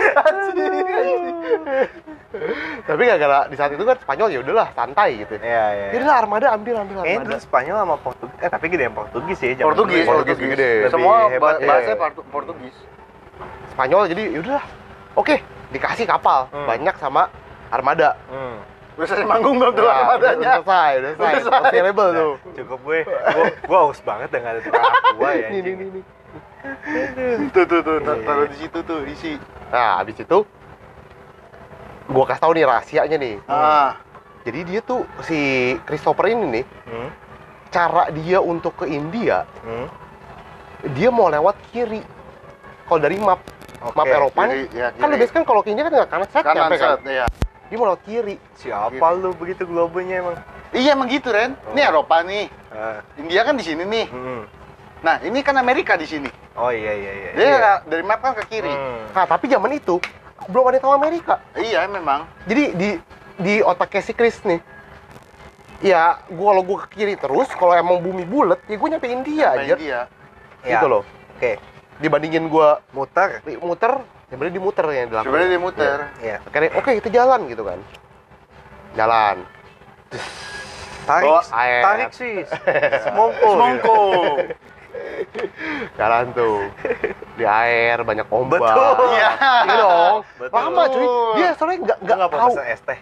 tapi gak gara di saat itu kan Spanyol ya udahlah santai gitu Iya, Eh, iya. Jadi lah armada ambil ambil Kayaknya armada. dulu Spanyol sama Portugis. Eh, tapi gede yang Portugis sih. zaman Portugis dulu ya. Portugis gede. semua Lebih hebat ba- ya. bahasa Portugis Spanyol jadi yaudah oke dikasih kapal Hmm. banyak sama armada Hmm. Udah selesai manggung belum tuh Nah, udah, udah armadanya? selesai udah Udah selesai selesai. available tuh Cukup gue. Gue, gue haus banget dengan ada tukang aqua ya. Nih, nih, anjing. nih, nih. Tuh tuh tuh, Iya, iya. taruh di situ tuh isi. nah habis itu gua kasih tahu nih rahasianya nih Ah, jadi dia tuh si Christopher ini nih Hmm. cara dia untuk ke India Hmm. dia mau lewat kiri kalau dari map Oke. map Eropa kiri, nih ya, kan lu biasanya kan kalau ke India kan nggak kanan set kanan nyampe kan set, iya. dia mau lewat kiri Siapa lu begitu globenya emang? Iya emang gitu Ren. Ini Oh. Eropa nih. Ah, India kan di sini nih. hmm. Nah ini kan Amerika di sini. Oh iya iya iya. Dia dari map kan ke kiri. Hmm. nah tapi zaman itu belum ada yang tahu Amerika Iya memang. jadi di di otaknya si Chris nih ya gua kalau gua ke kiri terus kalau emang bumi bulat ya gua nyampe India Sama aja India. Ya, gitu loh Oke. dibandingin gua Muter. li- muter ya bener dimuter yang dilakukan Sebenarnya dia muter. Iya. akhirnya oke kita jalan gitu kan jalan Tarik. Bawa air. tarik sih. Oh, iya. Semongko. Semongko. jalan tuh di air banyak ombak Betul. Iya. Iya dong Betul. lama cuy dia soalnya nggak nggak Enggak tahu apa-apa es teh.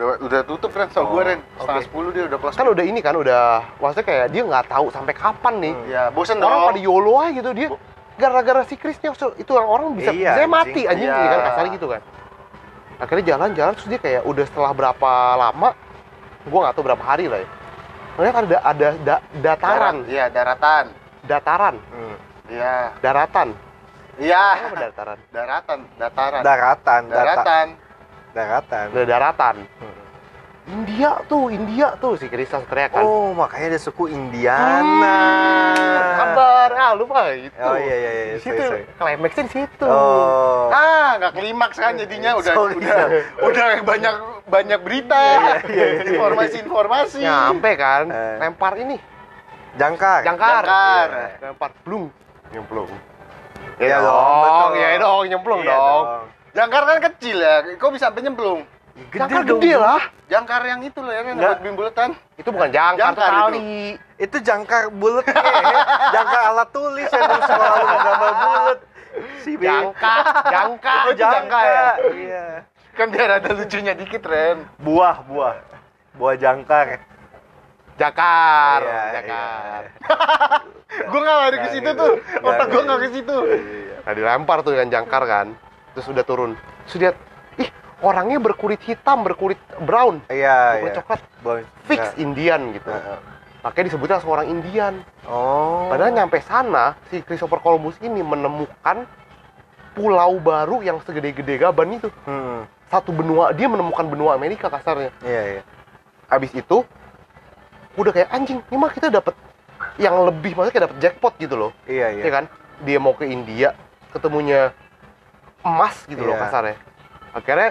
Udah, udah tutup Ren, so Oh, gue Ren. Setengah oke. sepuluh dia udah kelas. kan udah ini kan udah maksudnya kayak dia nggak tahu sampai kapan nih Hmm. Ya bosen dong. orang pada yolo aja gitu dia gara-gara si Krisnya so- itu orang orang bisa Iya, saya anjing. mati anjing Iya. gitu kan kasar gitu kan akhirnya jalan-jalan terus dia kayak udah setelah berapa lama gua nggak tahu berapa hari lah ya ngeliat ada ada da- dataran Darat- Iya daratan. dataran Hmm. Iya. daratan Iya. apa dataran Daratan. Daratan, Dataran. daratan, Daratan. daratan. Ada daratan Hmm. India tuh India tuh si Krista teriak kan Oh, makanya ada suku Indiana. kabar ah lupa itu Oh iya iya iya. sorry, di situ sorry. klimaksnya di situ Oh. Ah, nggak klimaks kan jadinya udah Sorry. udah udah banyak banyak berita, informasi-informasi. nyampe kan Eh. lempar ini Jangkar. jangkar Eh, Jangkar. lempar blung nyemplung Iya ya dong, dong betul. ya dong nyemplung Iya dong Jangkar kan kecil ya, kok bisa sampai nyemplung? jangkar gede lah Jangkar yang itu loh ya, yang Nggak. buat bimbuletan. itu bukan jangkar, Jangkar tuh itu. tali Itu jangkar bulat jangkar alat tulis yang dulu sekolah lu menggambar bulat. Si Bing. jangkar jangkar Oh, itu jangkar ya Iya. Kan biar ada lucunya dikit, Ren. Buah, buah. Buah jangkar. jangkar Iya, jangkar Gua nggak lari ke Nah, situ gitu. tuh, Nah, otak gua gitu. nggak ke situ. nah dilempar tuh kan jangkar kan terus udah turun terus lihat ih orangnya berkulit hitam berkulit brown Iya, berkulit iya. coklat Boy. fix Nah. Indian gitu makanya disebutnya seorang Indian Oh. Padahal nyampe sana, si Christopher Columbus ini menemukan pulau baru yang segede-gede gaban itu. Hmm. Satu benua, dia menemukan benua Amerika kasarnya. Iya, iya. Habis itu, udah kayak anjing, ini mah kita dapet yang lebih, maksudnya kayak dapet jackpot gitu loh. Iya, iya. Iya kan? Dia mau ke India, ketemunya emas gitu loh Iya. kasarnya. Akhirnya,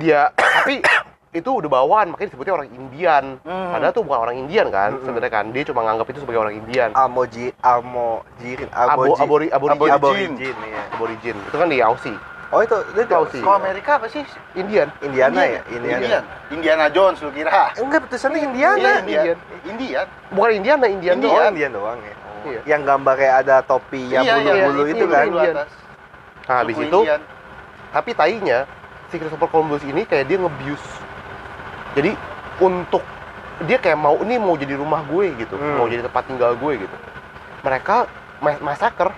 dia, tapi itu udah bawaan, makanya disebutnya orang Indian. Hmm. Padahal tuh bukan orang Indian kan, Mm-mm. sebenarnya kan. Dia cuma nganggap itu sebagai orang Indian. Amoji, Amo, Jirin, Abo, Aboji, abori, aborigin. Aborigin. Aborigin. iya. aborigin itu kan di Aussie Oh itu itu Tahu sih. Kalau Amerika apa sih? Indian Indiana ya, Indiana. Indian. Indian. Indiana Jones lu kira. Eh, Enggak tulisannya Indiana. Iya, Indian. Indian. bukan Indiana Indian Indian. Oh doang Indian doang ya. Oh. Iya. Yang gambar kayak ada topi yang Iya, iya, bulu-bulu iya, itu iya, kan. iya. Bulu atas. nah habis Suku itu Indian. tapi tainya si Christopher Columbus ini kayak dia ngebius jadi untuk dia kayak mau ini mau jadi rumah gue gitu Hmm. mau jadi tempat tinggal gue gitu mereka ma- massacre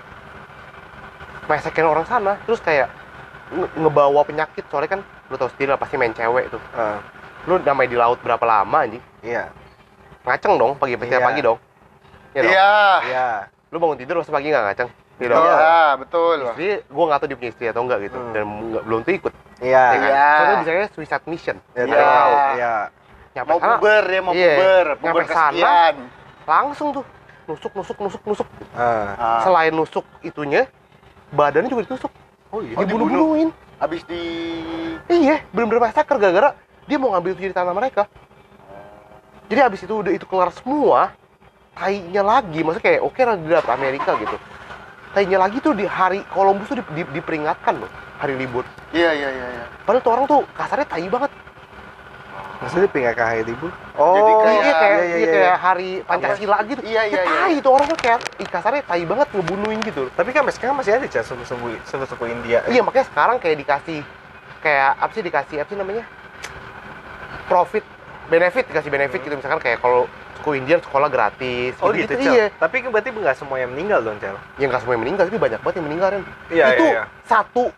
massacre orang sana terus kayak nge- ngebawa penyakit soalnya kan lu tau sendiri lah pasti main cewek tuh Ah, lu namanya di laut berapa lama anjing Iya. ngaceng dong pagi pagi Iya. pagi dong Iya dong? Iya. Iya. lu bangun tidur masa pagi nggak ngaceng Iya dong? Iya, betul. istri gue nggak tahu dia punya istri atau enggak gitu Hmm. dan nggak belum tuh ikut Iya. ya kan Iya. soalnya bisa kayak suicide mission Iya. Ada yang tahu. Iya. nyampe Mau sana, puber ya, mau Iya. puber, puber Nyampe sana. kesekian. langsung tuh nusuk nusuk nusuk nusuk Ah. Ah. selain nusuk itunya badannya juga ditusuk Oh iya. Oh, dibunuh dibunuh. bunuhin Habis di iya bener-bener massacre gara-gara dia mau ngambil itu jadi tanah mereka jadi abis itu udah itu kelar semua tainya lagi maksudnya kayak oke lah dia dapet Amerika gitu tainya lagi tuh di hari Columbus tuh di- di- diperingatkan loh hari libur Iya, iya, iya, iya. Padahal tuh orang tuh kasarnya tai banget. maksudnya pinggah ke hari libur Jadi Oh, kayak- iya iya, iya, kayak, iya, iya. kayak hari Pancasila gitu. Iya, iya, Ya, iya. tai, itu orangnya kayak ih, kasarnya tai banget ngebunuhin gitu. tapi kan sampai sekarang masih ada cah suku-suku suku-suku India Iya, makanya sekarang kayak dikasih kayak apa sih dikasih apa sih namanya? Profit benefit dikasih benefit gitu misalkan kayak kalau suku Indian sekolah gratis oh gitu, Cel? iya tapi kan berarti nggak semua yang meninggal dong cel yang Ya, nggak semua yang meninggal tapi banyak banget yang meninggal kan Iya, itu iya, iya. satu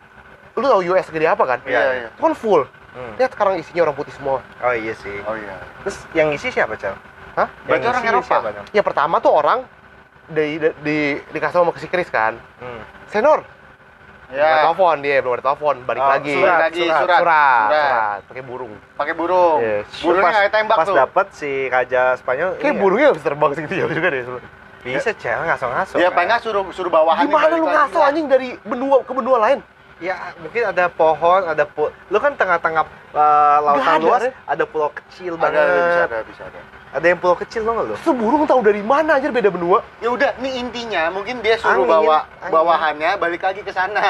lu tau US gede apa kan Iya, iya. itu kan full Hmm. lihat sekarang isinya orang putih semua oh iya sih Oh iya. terus yang isi siapa cel Hah? Berarti orang Eropa. dong? ya pertama tuh orang di, di, di dikasih sama ke si Chris kan Hmm. senor Ya. Nggak telepon dia belum ada telepon balik Oh, lagi Surat, lagi Surat, surat. surat surat, Surat. Iya. pakai burung Pakai burung. Yes. Burungnya Pas- nggak tembak pas tuh. dapat si raja Spanyol kayak ini ya? burungnya bisa terbang segitu jauh juga deh bisa cel ngaso-ngaso Dia kan? pengen suruh suruh bawahan gimana lu ngaso anjing dari benua ke benua lain Ya, mungkin ada pohon, ada pu Lu kan tengah-tengah uh, Nggak lautan ada, luas, Re. ada pulau kecil Ada, banget. ada, bisa Ada, ada, bisa ada. yang pulau kecil lo nggak lu? seburung tahu dari mana aja beda benua Ya udah, ini intinya mungkin dia suruh Angin, bawa angin. bawahannya balik lagi ke sana.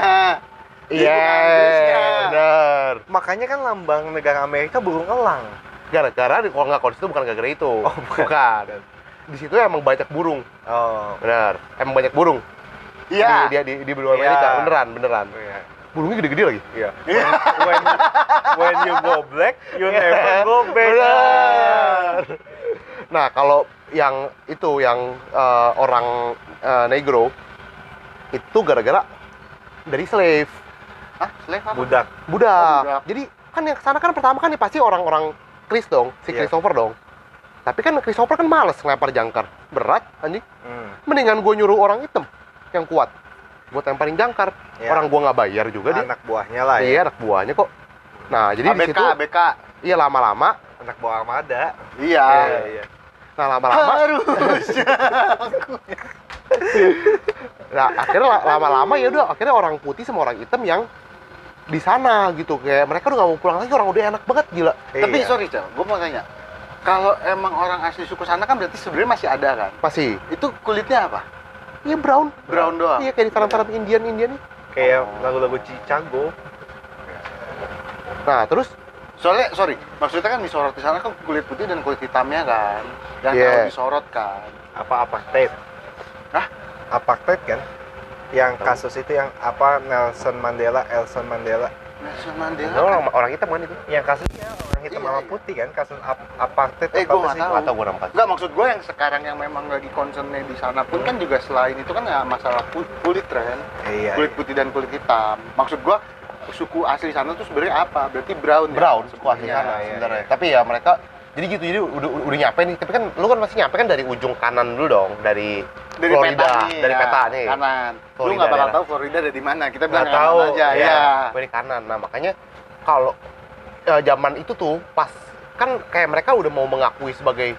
Dia iya bukan Inggrisnya. benar Makanya kan lambang negara Amerika burung elang. gara-gara di- kalau nggak kalau di situ bukan gara-gara itu Oh, bukan. di situ emang banyak burung Oh. benar emang banyak burung Iya. di, di, di, di benua Iya. Amerika beneran beneran Iya. burungnya gede-gede lagi Iya. When, when, when you go black, you never go back. Benar. Nah, kalau yang itu yang eh, orang eh, negro itu gara-gara dari slave, Hah, slave apa? Budak. Oh, budak. budak. Jadi kan yang kesana kan pertama kan pasti orang-orang Chris dong, si Iya. Christopher dong. Tapi kan Christopher kan males ngelempar jangkar. Berat anjing. Hmm. Mendingan gue nyuruh orang hitam yang kuat. Gue temparin jangkar. Iya. Orang gue nggak bayar juga dia. Anak buahnya lah ya. Iya, anak buahnya kok. Nah, jadi di ABK, situ ABK. iya lama-lama, Anak buah armada. Iya. Iya, iya. nah Ah. lama-lama Iya. Harusnya. Nah, akhirnya la- lama-lama ya udah akhirnya orang putih sama orang hitam yang di sana gitu kayak mereka udah nggak mau pulang lagi orang udah enak banget gila Tapi Iya. sorry, Cel, gue mau tanya. Kalau emang orang asli suku sana kan berarti sebenarnya masih ada kan? pasti Itu kulitnya apa? iya brown Brown doang. iya kayak di film-film Indian Indian nih kayak lagu-lagu Chicago. nah terus Soalnya, sorry, maksudnya kan disorot di sana kan kulit putih dan kulit hitamnya kan, yang Iya. terlalu disorot kan. apa apartheid Hah? apartheid kan yang Tahu. kasus itu yang apa Nelson Mandela Elson Mandela Nelson Mandela. Nah, orang orang hitam kan itu yang kasusnya orang hitam Iya, sama iya. putih kan kasus ap- apartheid apa apa Eh, gua nggak sih? Iya, tahu. nggak tahu gue nama Enggak maksud gue yang sekarang yang memang lagi concernnya di sana pun kan juga selain itu kan ya masalah ku- kulit kan, iya Ya. kulit putih dan kulit hitam. Maksud gue suku asli sana tuh sebenarnya apa? Berarti brown. ya? brown suku asli Iya, sana iya, sebenarnya iya. tapi ya mereka jadi gitu jadi udah udah nyampe nih tapi kan lu kan masih nyampe kan dari ujung kanan dulu dong dari Dari Florida, peta nih, dari peta nih. Kanan. Lu Florida nggak bakal daerah. tahu Florida ada di mana. Kita bilang nggak kanan tahu iya. aja ya. iya. Gue di kanan nah makanya kalau eh, zaman itu tuh pas kan kayak mereka udah mau mengakui sebagai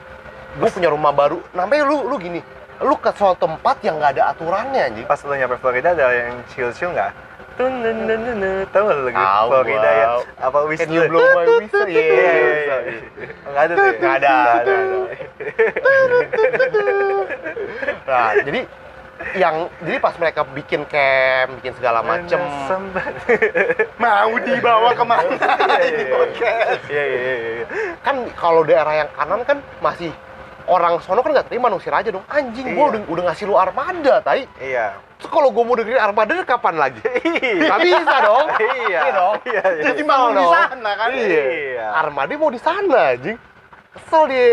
gue punya rumah baru namanya lu lu gini lu ke suatu tempat yang nggak ada aturannya anjing pas lu nyampe Florida ada yang chill chill nggak tuh nun nun nun nun. tahu lu lagi Tahu, Florida ya wow. apa wis Can you blow my iya whistle? Yeah, iya yeah, iya. yeah. nggak ada tuh ya? Iya. Nggak ada, nggak ada, nggak ada. Nah, jadi yang jadi pas mereka bikin camp, bikin segala macem, Iya. Sambat. Mau dibawa kemana ini iya. podcast? iya iya iya iya. kan kalau daerah yang kanan kan masih orang sono kan nggak terima nusir aja dong anjing Iya. gua udah, udah ngasih lu armada tai iya Terus kalau gue mau dengerin Armada kapan lagi? Gak bisa dong. Iya. Iya dong. Iya, iya. Jadi Mau mau di dong. sana kan? Iya. Armada mau di sana, anjing. Kesel dia.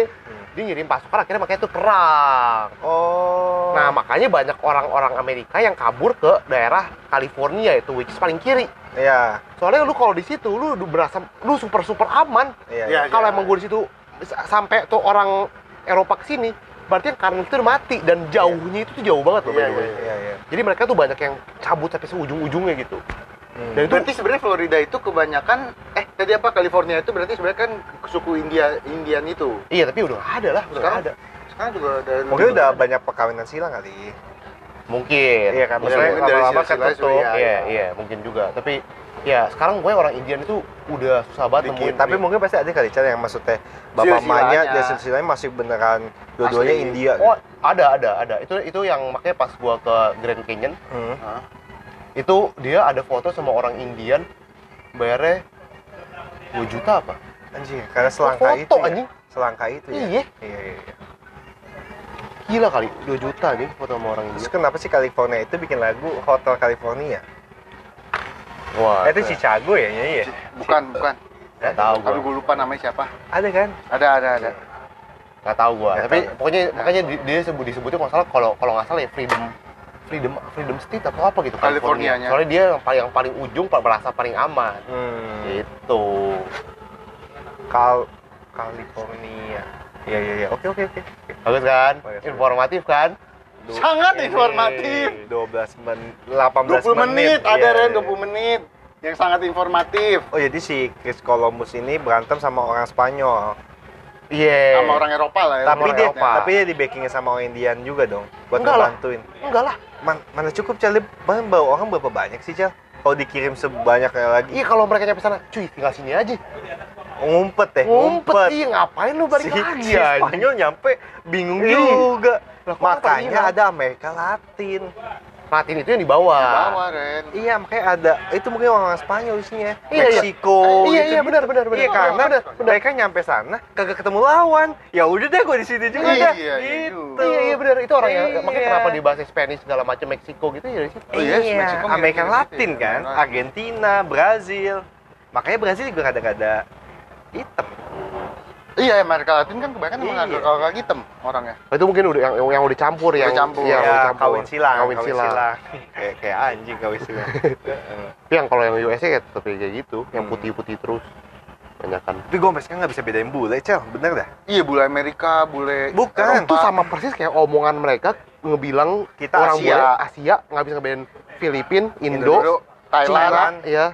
Dia ngirim pasukan akhirnya makanya itu perang. oh Nah, makanya banyak orang-orang Amerika yang kabur ke daerah California itu which is paling kiri. iya Soalnya lu kalau di situ lu udah berasa lu super super aman. iya Iya. Kalau emang gue di situ s- sampai tuh orang Eropa ke sini, berarti yang kanan itu udah mati dan jauhnya itu tuh jauh banget loh. by Iya, the way. iya, iya iya Jadi mereka tuh banyak yang cabut sampai seujung-ujungnya gitu. Hmm. Dan itu Berarti sebenarnya Florida itu kebanyakan eh tadi apa California itu berarti sebenarnya kan suku India Indian itu. Iya tapi udah nggak ada lah, udah nggak Sekarang? ada. Sekarang juga ada Mungkin udah banyak perkawinan silang kali. Mungkin. Iya kan, Mungkin. maksudnya mungkin dari lama-lama sila-sila ketutup. juga, Iya iya mungkin juga. Tapi ya sekarang gue orang Indian itu udah susah banget Dikit. nemuin. Tapi mungkin pasti ada kali cara yang maksudnya bapak Silsilahnya. mamanya dan silsilahnya masih beneran dua-duanya Asli. India. oh ada ada ada. Itu itu yang makanya pas gue ke Grand Canyon Hmm. Hah? itu dia ada foto sama orang Indian bayarnya 2 juta apa? anjir karena selangka Foto, itu ya anjing. selangka itu ya Iya. iya, iya, iya. Gila kali, 2 juta nih foto sama orang terus India. kenapa sih California itu bikin lagu Hotel California Wah, Eh, itu Chicago ya nyanyi ya bukan bukan Gak tahu tapi gua. gue lupa namanya siapa ada kan ada ada ada Gak tahu gua. Nggak Tapi tahu. pokoknya makanya di- dia sebut disebutnya kalau nggak salah kalau kalau nggak salah ya freedom freedom freedom state atau apa gitu California-nya. Soalnya dia yang paling yang paling ujung pa- merasa paling aman. hmm. Gitu. Kal California iya iya iya oke oke oke Bagus kan? Bagus. Informatif kan? Du- Sangat ini, informatif. 12 menit 18 20 menit, ada Iya, Ren iya. 20 menit yang sangat informatif Oh jadi si Chris Columbus ini berantem sama orang Spanyol, Iya. sama orang Eropa lah ya tapi orang dia Eropa. tapi dia di backingnya sama orang Indian juga dong buat Enggak lah. ngebantuin. Enggak lah. Man- mana cukup Cal, Dia bawa- bawa orang berapa banyak sih Cal? Kalau dikirim sebanyaknya lagi Iya kalau mereka nyampe sana, cuy tinggal sini aja. ngumpet deh, Ngumpet. Iya ngapain lu balik Si, lagi ya? si anjing? Spanyol nyampe bingung Iya. juga. Lah, kok Makanya Spanyol? ada Amerika Latin. Latin itu yang di bawah. bawa Ren Iya, makanya ada. Itu mungkin orang Spanyol isinya. Iya, iya. Meksiko. iya iya gitu-gitu. benar benar benar. Iya karena benar, benar. mereka nyampe sana kagak ketemu lawan. Ya udah deh gue di sini juga Iya, dah. iya gitu. juga. Iya iya benar itu orang yang makanya Iya. kenapa dibahas Spanish segala macam Meksiko gitu ya dari situ. Oh, Iya, iya, Meksiko mirip-mirip Amerika gitu ya, Latin kan, Amerika Latin. Argentina, Brazil. Makanya Brazil juga kadang-kadang hitam. iya Amerika Latin kan kebanyakan Iya. emang agak agak hitam orangnya Itu mungkin udah yang yang udah campur Udah yang campur. Iya, Ya, udah campur. kawin silang, Kawin silang. kayak kayak anjing kawin silang. Heeh. Tapi yang kalau yang USA ya tetap kayak gitu, yang Hmm. putih-putih terus. Banyak kan. Tapi gue sampai sekarang nggak bisa bedain bule, cel, bener dah. iya bule Amerika bule Bukan. Itu sama persis kayak omongan mereka ngebilang Kita orang Asia. bule Asia nggak bisa ngebedain Filipin, Indo, Indo Gitu, Thailand Thailand. Cina, ya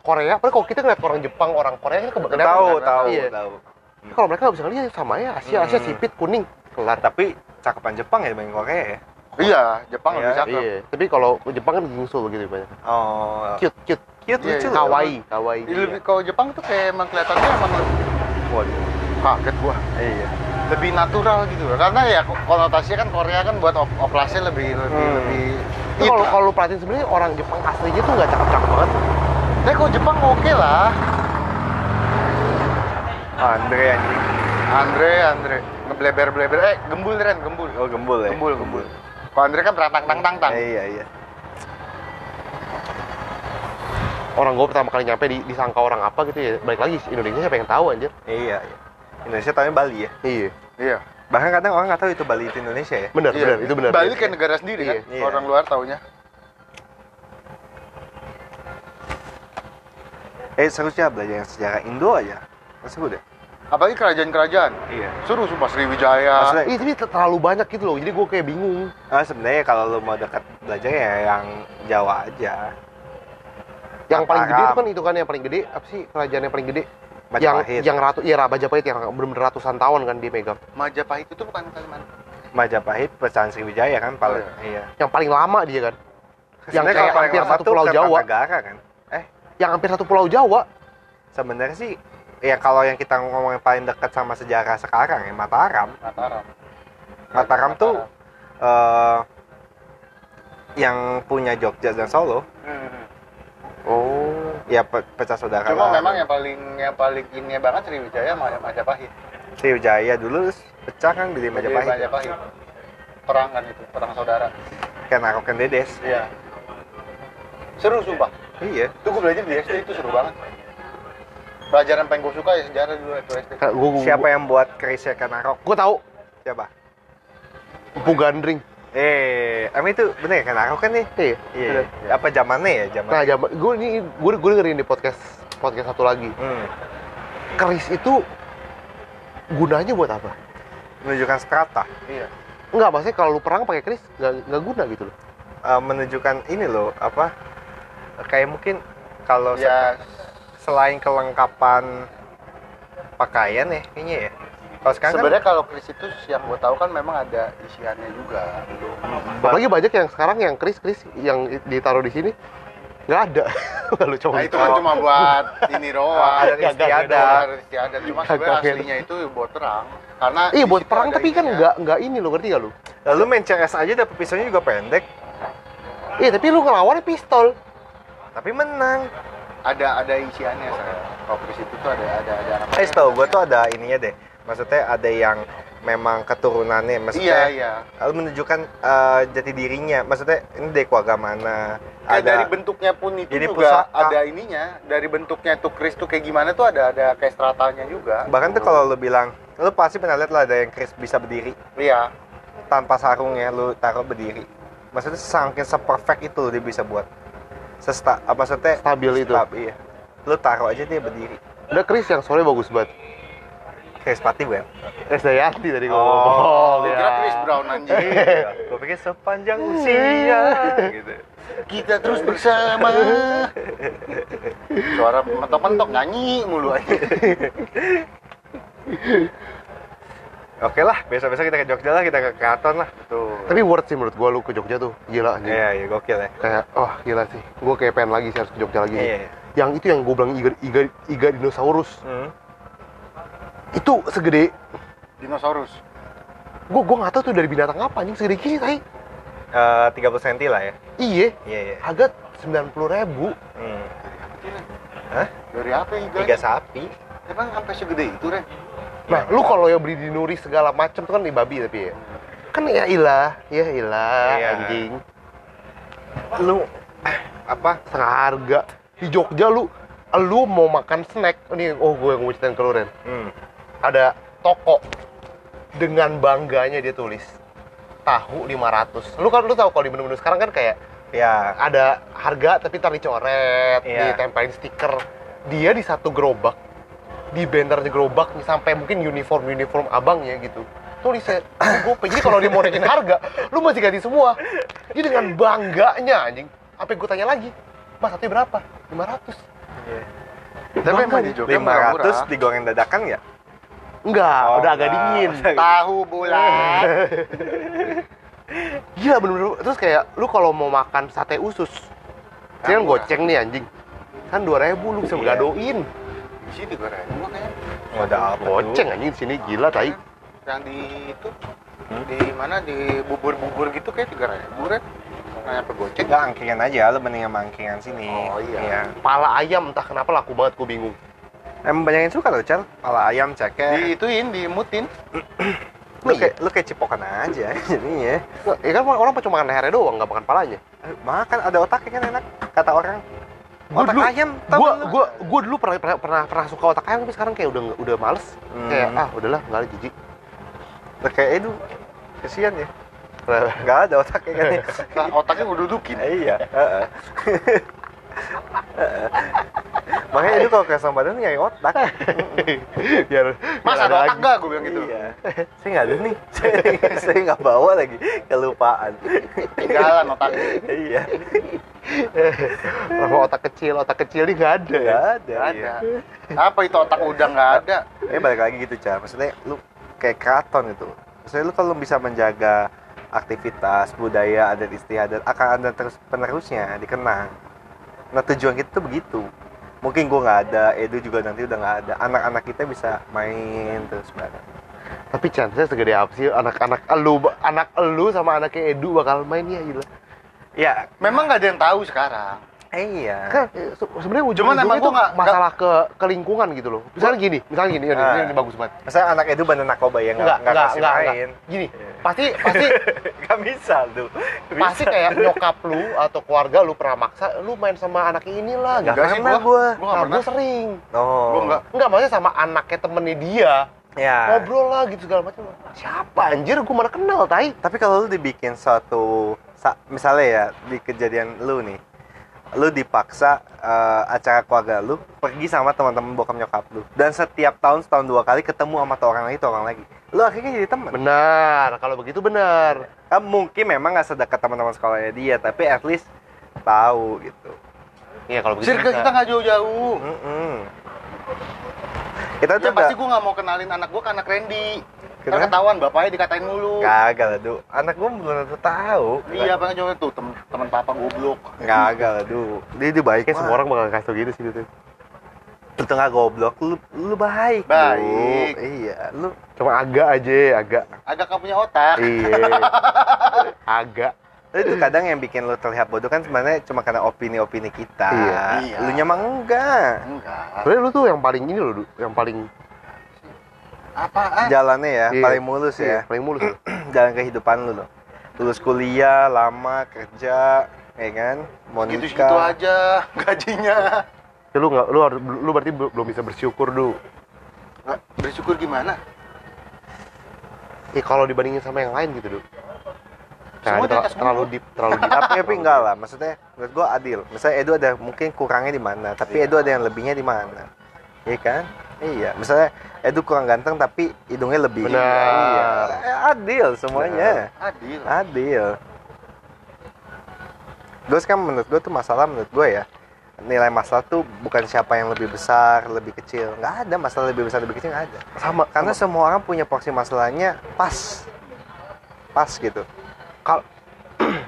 Korea. Padahal kalau kita ngeliat orang Jepang, orang Korea kan kebanyakan Tahu, orang- tahu, iya. tahu. Tapi Kalau mereka nggak bisa ngeliat sama ya Asia, Asia Hmm. sipit kuning kelar. Tapi cakepan Jepang ya dibanding Korea ya. iya Jepang Iya, lebih cakep Iya. Tapi kalau Jepang kan gingsul gitu banyak. Oh, Cute, cute, cute Iya, lucu. iya. kawaii, kawaii. Jadi lebih kalau Jepang tuh kayak emang kelihatannya emang lebih Waduh, kaget gua Iya. lebih natural gitu loh. karena ya konotasinya kan Korea kan buat op- operasi lebih lebih Hmm. lebih gitu. Tapi kalau kalau lu perhatiin sebenarnya orang Jepang aslinya tuh nggak cakep-cakep banget. Tapi kalau Jepang oke lah Oh, Andre anjing. Andre Andre ngebleber bleber eh gembul Ren gembul Oh, gembul ya. gembul gembul kalau Andre kan beratang tang tang tang Eh, iya, iya. Orang gue pertama kali nyampe di, disangka orang apa gitu ya. Balik lagi Indonesia siapa yang tahu anjir? Iya, iya. Indonesia tapi Bali ya. Iya. iya Bahkan kadang orang nggak tahu itu Bali itu Indonesia ya. Benar, Iya. benar, itu benar. Bali kayak negara sendiri kan Iya. orang luar taunya Eh, seharusnya belajar yang sejarah Indo aja. Kan Masih udah. apalagi kerajaan kerajaan Iya. suruh sumpah Sriwijaya Maksudnya- Iya, tapi terlalu banyak gitu loh. Jadi gue kayak bingung. Nah, sebenarnya kalau lu mau dekat belajar ya yang Jawa aja. Yang paling gede itu Mataram. kan itu kan yang paling gede apa sih kerajaan yang paling gede? yang Majapahit. yang ratu iya Majapahit yang bener-bener ratusan tahun kan dia megang. Majapahit itu bukan Kalimantan Majapahit pecahan Sriwijaya kan paling. Iya. Yang paling lama dia kan. Oh, Yang Sebenarnya kayak kalau paling hampir lama satu tuh pulau Jawa. Kartanegara kan. Yang hampir satu pulau Jawa. Sebenarnya sih ya kalau yang kita ngomong yang paling dekat sama sejarah sekarang ya Mataram. Mataram Iya, Mataram tuh eh, yang punya Jogja dan Solo Hmm. Oh. ya pe- pecah saudara cuma lah. ya. memang yang paling yang paling ini banget Sriwijaya sama Majapahit Sriwijaya dulu terus pecah kan jadi Jadi Majapahit Majapahit ya? perang kan itu perang saudara kan aku kan dedes iya seru sumpah iya itu gue belajar di SD itu seru banget pelajaran paling gue suka ya sejarah dulu itu SD Gue gua, siapa yang buat kerisnya Kanarok Gue tahu siapa Empu Gandring. eh emang itu bener ya Kanarok kan nih Iya. iya apa zamannya ya zaman Nah, zaman gue ini gue gue dengerin di podcast podcast satu lagi. hmm. Keris itu gunanya buat apa? menunjukkan strata iya Enggak, maksudnya kalau lu perang pakai keris nggak nggak guna gitu loh. Eh, menunjukkan ini loh apa kayak mungkin kalau se- ya selain kelengkapan pakaian ya kayaknya ya kalau sekarang kan sebenarnya kalau keris itu yang gue tahu kan memang ada isiannya juga Ba- Apalagi banyak yang sekarang yang keris-keris yang ditaruh di sini nggak ada. Lalu coba nah itu kan Oh. cuma buat ini adat doang Gagak istiadat ada istiadat cuma Gagak sebenarnya gitu. aslinya itu buat perang karena Iya di buat situ perang ada tapi kan isinya. nggak nggak ini lo ngerti gak lo? lalu main CS aja dapet pisaunya juga pendek Iya tapi lu ngelawan pistol. tapi menang ada ada isiannya saya kopi itu tuh ada ada ada apa Eh, setahu gue tuh ada ininya deh. Maksudnya ada yang memang keturunannya, iya maksudnya iya lalu menunjukkan eh, jati dirinya. Maksudnya ini dari keluarga mana? Kayak dari bentuknya pun itu Jadi juga pusaka. ada ininya dari bentuknya tuh Kris tuh kayak gimana tuh ada ada kayak stratanya juga bahkan tuh kalau lu bilang, lu pasti pernah lihat lah ada yang Chris bisa berdiri iya tanpa sarung ya, lu taruh berdiri. Maksudnya saking seperfect itu dia bisa buat. Sesta, apa maksudnya stabil itu Tetap, iya. Lu taruh aja dia berdiri. udah Chris yang sore bagus banget Chris Pati gue. Chris Dayanti tadi Oh, iya. ngomong Gua ya. kira Chris Brown anjing gue pikir sepanjang usia gitu. kita terus bersama suara mentok-mentok nyanyi mulu aja Oke lah, besok-besok kita ke Jogja lah, kita ke Keraton lah. tuh tapi worth sih menurut gua lu ke Jogja tuh gila anjing Iya, iya gokil ya. kayak wah gila sih gua kayak pengen lagi sih harus ke Jogja lagi Iya. iya. yang itu yang gua bilang iga, iga, iga dinosaurus Hmm. itu segede dinosaurus gua gua nggak tahu tuh dari binatang apa anjing segede gini tai Eh, 30 cm lah ya. iya Iya, iya. harga sembilan puluh ribu Hmm. dari apa ya Tiga guys sapi. emang sampai segede itu Ren nah lu kalau yang beli di Nuri segala macam tuh kan di babi tapi ya kan ya ilah ya ilah Iya. anjing lu ah, apa? seharga di Jogja lu lu mau makan snack ini oh gue yang mau ceritain ke lu Ren Hmm. ada toko dengan bangganya dia tulis tahu 500 lu kan lu tahu kalau di menu-menu sekarang kan kayak Ya, ada harga tapi ntar dicoret Iya. ditempelin stiker dia di satu gerobak di bannernya gerobak nih, sampai mungkin uniform uniform abangnya gitu tulisnya gue jadi kalau dia mau naikin harga lu masih ganti semua dia dengan bangganya anjing sampai gue tanya lagi mas satunya berapa 500 tapi emang di kan Jogja murah-murah 500 digoreng dadakan ya? enggak Oh, udah agak enggak. dingin tahu bulat Gila bener-bener Terus kayak lu kalau mau makan sate usus Dia kan Murah. goceng nih anjing Kan 2000 lu bisa Nah, Iya. gadoin di sini gue Ren kan Gua kayak Modal apa Goceng tuh? anjing di sini gila tai yang di itu di mana di bubur-bubur gitu kayak tiga ribu Ren nanya apa goceng Enggak angkringan aja, lu mending sama angkringan sini. Oh, iya. Pala ayam entah kenapa laku banget gue bingung Emang banyak yang suka loh, Cal. Pala ayam, ceker. di ituin dimutin Lu Iya. kayak lu kayak cipokan aja jadinya. Nggak, Ya kan orang cuma makan lehernya doang nggak makan palanya Eh, Makan ada otaknya kan enak kata orang. Gua Otak dulu- ayam, tau Gue kan lu? gua, gua dulu pernah, pernah, pernah, pernah suka otak ayam tapi sekarang kayak udah nggak- udah males Hmm. Kayak ah udahlah nggak ada jijik Lah, kayak itu kesian ya. Enggak ada otaknya kan. ya. nah, otaknya gue dudukin Eh, iya, heeh. Heeh. Makanya itu kalau kesel badan nyari otak. biar, mas biar ada otak lagi. gak gue bilang gitu Iya. Saya nggak ada nih. Saya saya nggak bawa lagi kelupaan. tinggalan otaknya Iya. Orang otak kecil, otak kecil ini nggak ada ya Nggak ada. Gak Iya. ada. Apa itu otak udang nggak ada? Tapi balik lagi gitu, Ca. Maksudnya lu kayak keraton itu. Maksudnya lu kalau bisa menjaga aktivitas, budaya, adat istiadat akan ada terus penerusnya dikenang. Nah tujuan kita tuh begitu. Mungkin gua nggak ada, Edu juga nanti udah nggak ada. Anak-anak kita bisa main terus bareng. Tapi chance segede apa sih anak-anak elu anak elu sama anaknya Edu bakal main ya gila. Ya, Memang nggak ada yang tahu sekarang. iya. Kan eh, se- sebenarnya ujung Cuman emang gua nggak- masalah ke ke lingkungan gitu loh. Misalnya gini, misalnya gini, yaudah, Ah. ini, ini bagus banget. Masa anak Edu bandel narkoba ya Enggak, nggak nggak enggak, kasih enggak, main. enggak. Gini, pasti pasti Gak bisa tuh. Bisa. pasti kayak nyokap lu atau keluarga lu pernah maksa lu main sama anaknya inilah Nggak gitu. Enggak sih, pernah gua- gua. Gua nggak Nah, pernah. gua sering. Oh. Gua nggak. Enggak, maksudnya sama anaknya temennya dia. Ya. Ah. Ngobrol lah gitu segala macam. Siapa anjir gua mana kenal tai. Tapi kalau lu dibikin suatu sa- misalnya ya di kejadian lu nih, lu dipaksa eh, acara keluarga lu pergi sama teman-teman bokap nyokap lu dan setiap tahun setahun dua kali ketemu sama tuh orang lagi tuh orang lagi. Lu akhirnya jadi teman. Benar, kalau begitu benar. Kan mungkin memang gak sedekat teman-teman sekolahnya dia, tapi at least tahu gitu. Iya, kalau begitu. Sirkel bisa. kita nggak jauh-jauh. Mm-mm. Kita tuh Ya udah- pasti gue nggak mau kenalin anak gue ke anak Randy. Kita Kenapa? ketahuan bapaknya dikatain mulu. Gagal lah, Du. Anak gue belum tentu tahu. Iya, pengen coba tuh temen, temen papa goblok. Gagal lah, Du. Dia dia baik Kayak semua orang bakal kasih tau gitu sih gitu. Lu tengah goblok, lu, lu baik. Du. Baik. Iya, lu Cuma agak aja, agak. Agak gak punya otak. Iya. agak. Tapi itu kadang yang bikin lo terlihat bodoh kan sebenarnya cuma karena opini-opini kita. Iya. Iya. Lu nyamang enggak. enggak Sebenernya lu tuh yang paling ini loh, Du. yang paling apaan Jalannya ya Iya. paling mulus ya. paling mulus. loh. Jalan kehidupan lu loh. Lulus kuliah, lama kerja, ya kan? Mau nikah. gitu-gitu Gitu, aja gajinya Ya, lu nggak, lu harus, lu berarti bel- belum bisa bersyukur du. Nggak, bersyukur gimana Ya kalau dibandingin sama yang lain gitu du. Semua di terla- atas terlalu gua. deep, terlalu deep. tapi tapi enggak lah maksudnya menurut gua adil misalnya Edo ada mungkin kurangnya di mana Iya. tapi Edo ada yang lebihnya di mana iya kan iya misalnya Edo kurang ganteng tapi hidungnya lebih Benar. iya Eh, adil semuanya adil adil terus kan menurut gua tuh masalah menurut gua ya nilai masalah tuh bukan siapa yang lebih besar lebih kecil nggak ada masalah lebih besar lebih kecil nggak ada sama karena semua orang punya porsi masalahnya pas pas gitu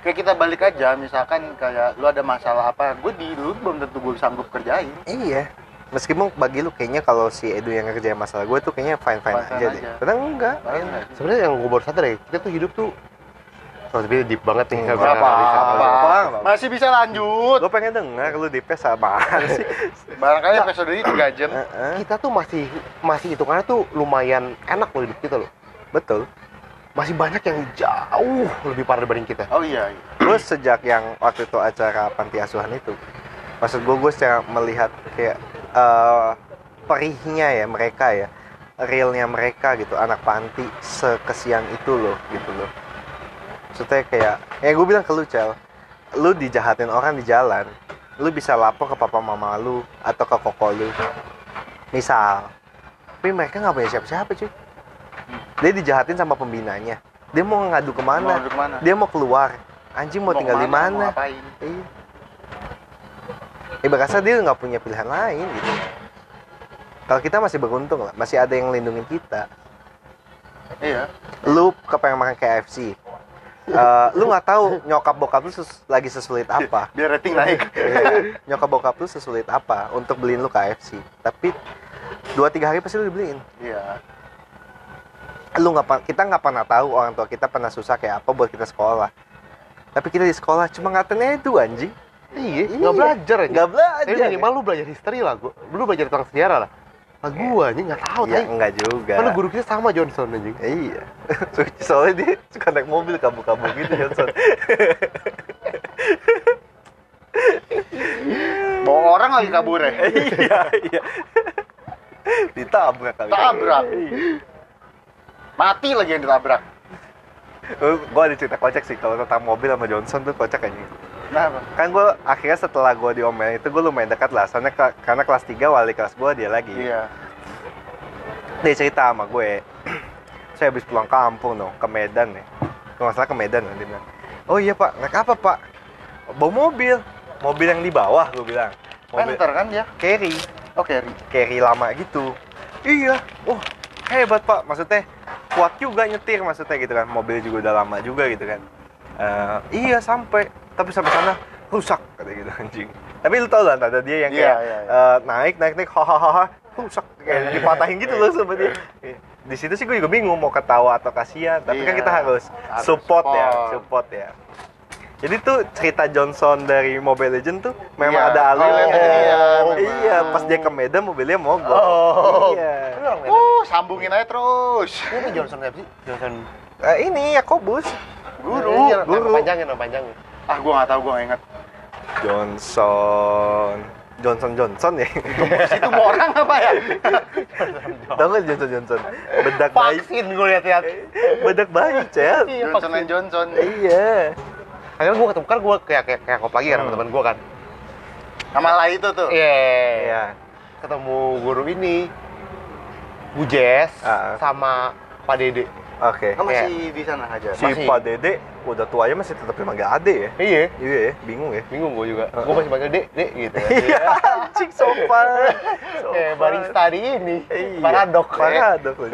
kayak kita balik aja misalkan kayak lu ada masalah apa gue di lu belum tentu gue sanggup kerjain Iya. Meskipun bagi lu kayaknya kalau si Edu yang ngerjain masalah gue tuh kayaknya fine fine Fine-fine aja, deh. aja. Padahal enggak. Bayangin nggak sih? sebenarnya yang gue baru sadar ya kita tuh hidup tuh oh, tapi deep banget nih nggak Nggak bisa- nggak bisa- apa-apa. nggak bisa. masih bisa lanjut Gue pengen dengar lu DP sama Iya. sih. barangkali episode ini 3 jam Heeh, kita tuh masih masih hitungannya tuh lumayan enak loh hidup kita loh Betul. masih banyak yang jauh lebih parah dibanding kita oh iya, iya. Gue sejak yang waktu itu acara panti asuhan itu, maksud gue gue secara melihat kayak eh, perihnya ya mereka ya, realnya mereka gitu, anak panti sekesian itu loh gitu loh. Maksudnya kayak, ya gue bilang ke lu Cel, lu dijahatin orang di jalan, lu bisa lapor ke papa mama lu atau ke koko lu, misal. Tapi mereka nggak punya siapa-siapa cuy. Dia dijahatin sama pembinanya. Dia mau ngadu mau kemana? duduk mana dia mau keluar anjing mau, tinggal di kemana, mau mana ngapain iya eh berasa dia nggak punya pilihan lain gitu kalau kita masih beruntung lah masih ada yang lindungin kita iya lu kepengen makan KFC Eh, lu nggak tahu nyokap bokap lu sus- lagi sesulit apa biar rating naik Iya. nyokap bokap lu sesulit apa untuk beliin lu KFC tapi dua tiga hari pasti lu dibeliin iya lu nggak pa- kita nggak pernah tahu orang tua kita pernah susah kayak apa buat kita sekolah tapi kita di sekolah cuma ngatain itu anjing iya Iya. nggak belajar aja Gak belajar. tapi minimal lu belajar history lah gua lu belajar tentang sejarah lah lah gua anjing Iya. nggak tahu ya, tadi enggak juga. mana Oh, guru kita sama Johnson anjing Iya. Soalnya dia suka naik mobil kabur-kabur gitu Johnson. bawa orang lagi kabur ya iya, iya. Ditabrak kali. Tabrak. Iya. mati lagi yang ditabrak Eh, Gua ada cerita kocak sih kalau tentang mobil sama Johnson tuh kocak aja. kenapa Kan gua akhirnya setelah gua diomelin itu gua lumayan dekat lah. Soalnya ke- karena kelas 3 wali kelas gua dia lagi. iya Dia cerita sama gue. Saya habis pulang kampung dong ke Medan ya. Kalau nggak salah ke Medan dia bilang. Oh iya pak, naik apa pak? Bawa mobil. Mobil yang di bawah gue bilang. Mobil Panther kan dia Oh, carry, oke Ri. carry lama gitu. Iya, wah hebat pak. Maksudnya kuat juga nyetir maksudnya gitu kan. Mobil juga udah lama juga gitu kan. Eh, iya sampai, tapi sampai sana rusak kata gitu anjing. Tapi lu tau lah ada dia yang Iya, kayak iya, iya. eh, naik naik naik hahaha rusak kayak dipatahin gitu loh sama dia. Di situ sih gue juga bingung mau ketawa atau kasihan, tapi kan Iya, kita harus, harus support, ya, support. support ya. Jadi tuh cerita Johnson dari Mobile Legend tuh memang Iya. ada alurnya. Oh, iya, memang. Iya, pas dia ke Medan mobilnya mogok. Oh. Iya. uh sambungin aja terus ini Iya, Johnson apa sih Johnson Eh, ini Yakobus. guru Iya, nama guru. panjangnya nama panjangnya ah gua nggak tahu gua nggak inget Johnson. Johnson Johnson ya. itu mau orang apa ya Tahu nggak Johnson Johnson? Bedak bayi. vaksin gue lihat-lihat Bedak bayi, Cel. Iya, Johnson vaksin. and Johnson Iya. akhirnya gue ketemu kan gue kayak kayak kayak ngop lagi kan sama Hmm. teman gue kan sama lah itu tuh iya Iya. ketemu guru ini Bu Jess Ah. sama Pak Dede Oke. Kan masih di sana aja Iya. Si masih- Pak Dede udah tuanya masih tetap dipanggil Ade ya. iya Iya ya, bingung ya. bingung gue juga gue masih panggil Dek Dek gitu ya. Iya, anjing sopan. kayak barista di ini Iya. paradok ya. Paradok lu.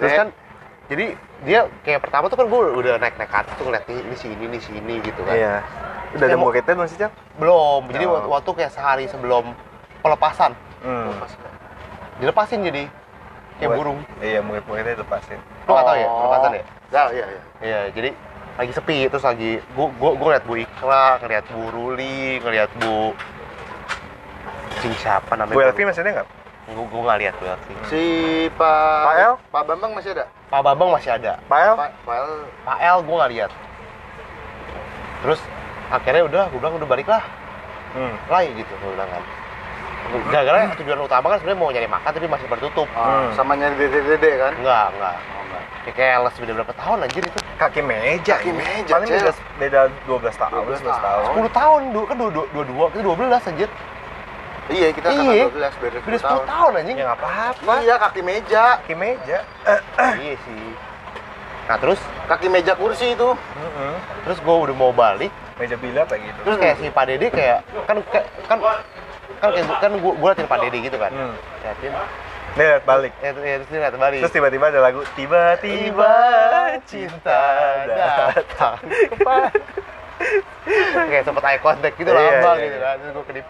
terus kan jadi dia kayak pertama tuh kan gue udah naik naik atas tuh ngeliat nih, ini si ini ini si ini gitu kan Iya. Udah ada Kayak mau- muridnya masih, Cel? belum jadi Oh. waktu, waktu kayak sehari sebelum pelepasan Hmm. dilepasin jadi kayak burung Iya, murid-muridnya lepasin. Oh. lu nggak tahu ya pelepasan ya ya iya iya Iya, jadi lagi sepi terus lagi gua gua, gua ngeliat Bu Ikra ngeliat Bu Ruli ngeliat Bu Cing siapa namanya Bu Elvi masih ada nggak? gua gua nggak lihat Bu Elvi Si Pak Pak El? Pak Bambang masih ada? Pak Babang masih ada Pak El? Pak Pak El Pak El gua nggak lihat terus akhirnya udah gua bilang udah baliklah Hmm. Lai gitu gua bilang kan gara-gara tujuan utama kan sebenarnya mau nyari makan tapi masih tertutup oh, Hmm. sama nyari dede-dede kan? enggak enggak Oh, enggak. Ya kayak keles udah berapa tahun anjir itu Kaki meja. Kaki ini. meja, Paling Cel. beda, beda 12 tahun, 12 11 tahun. 10 tahun dulu kan dua dua dua dua kita dua belas anjir Iya, kita kan Iya. 12 beda 10 udah 10 tahun. tahun anjing Ya nggak apa-apa. Iya, kaki meja. Kaki meja. iya sih nah terus Kaki meja kursi itu. Mm-mm. terus gue udah mau balik Meja gitu. biliar lagi itu. terus kayak si Pak Dede kayak kan kayak- kan kan kayak kan gue gue liatin Pak Dede gitu kan Hmm. liatin Dia lihat balik. ya, terus- ya terus dia liat balik Terus tiba-tiba ada lagu tiba-tiba cinta datang. kepada kayak sempet eye contact gitu Iya, lama iya, gitu iya. kan terus gue kedip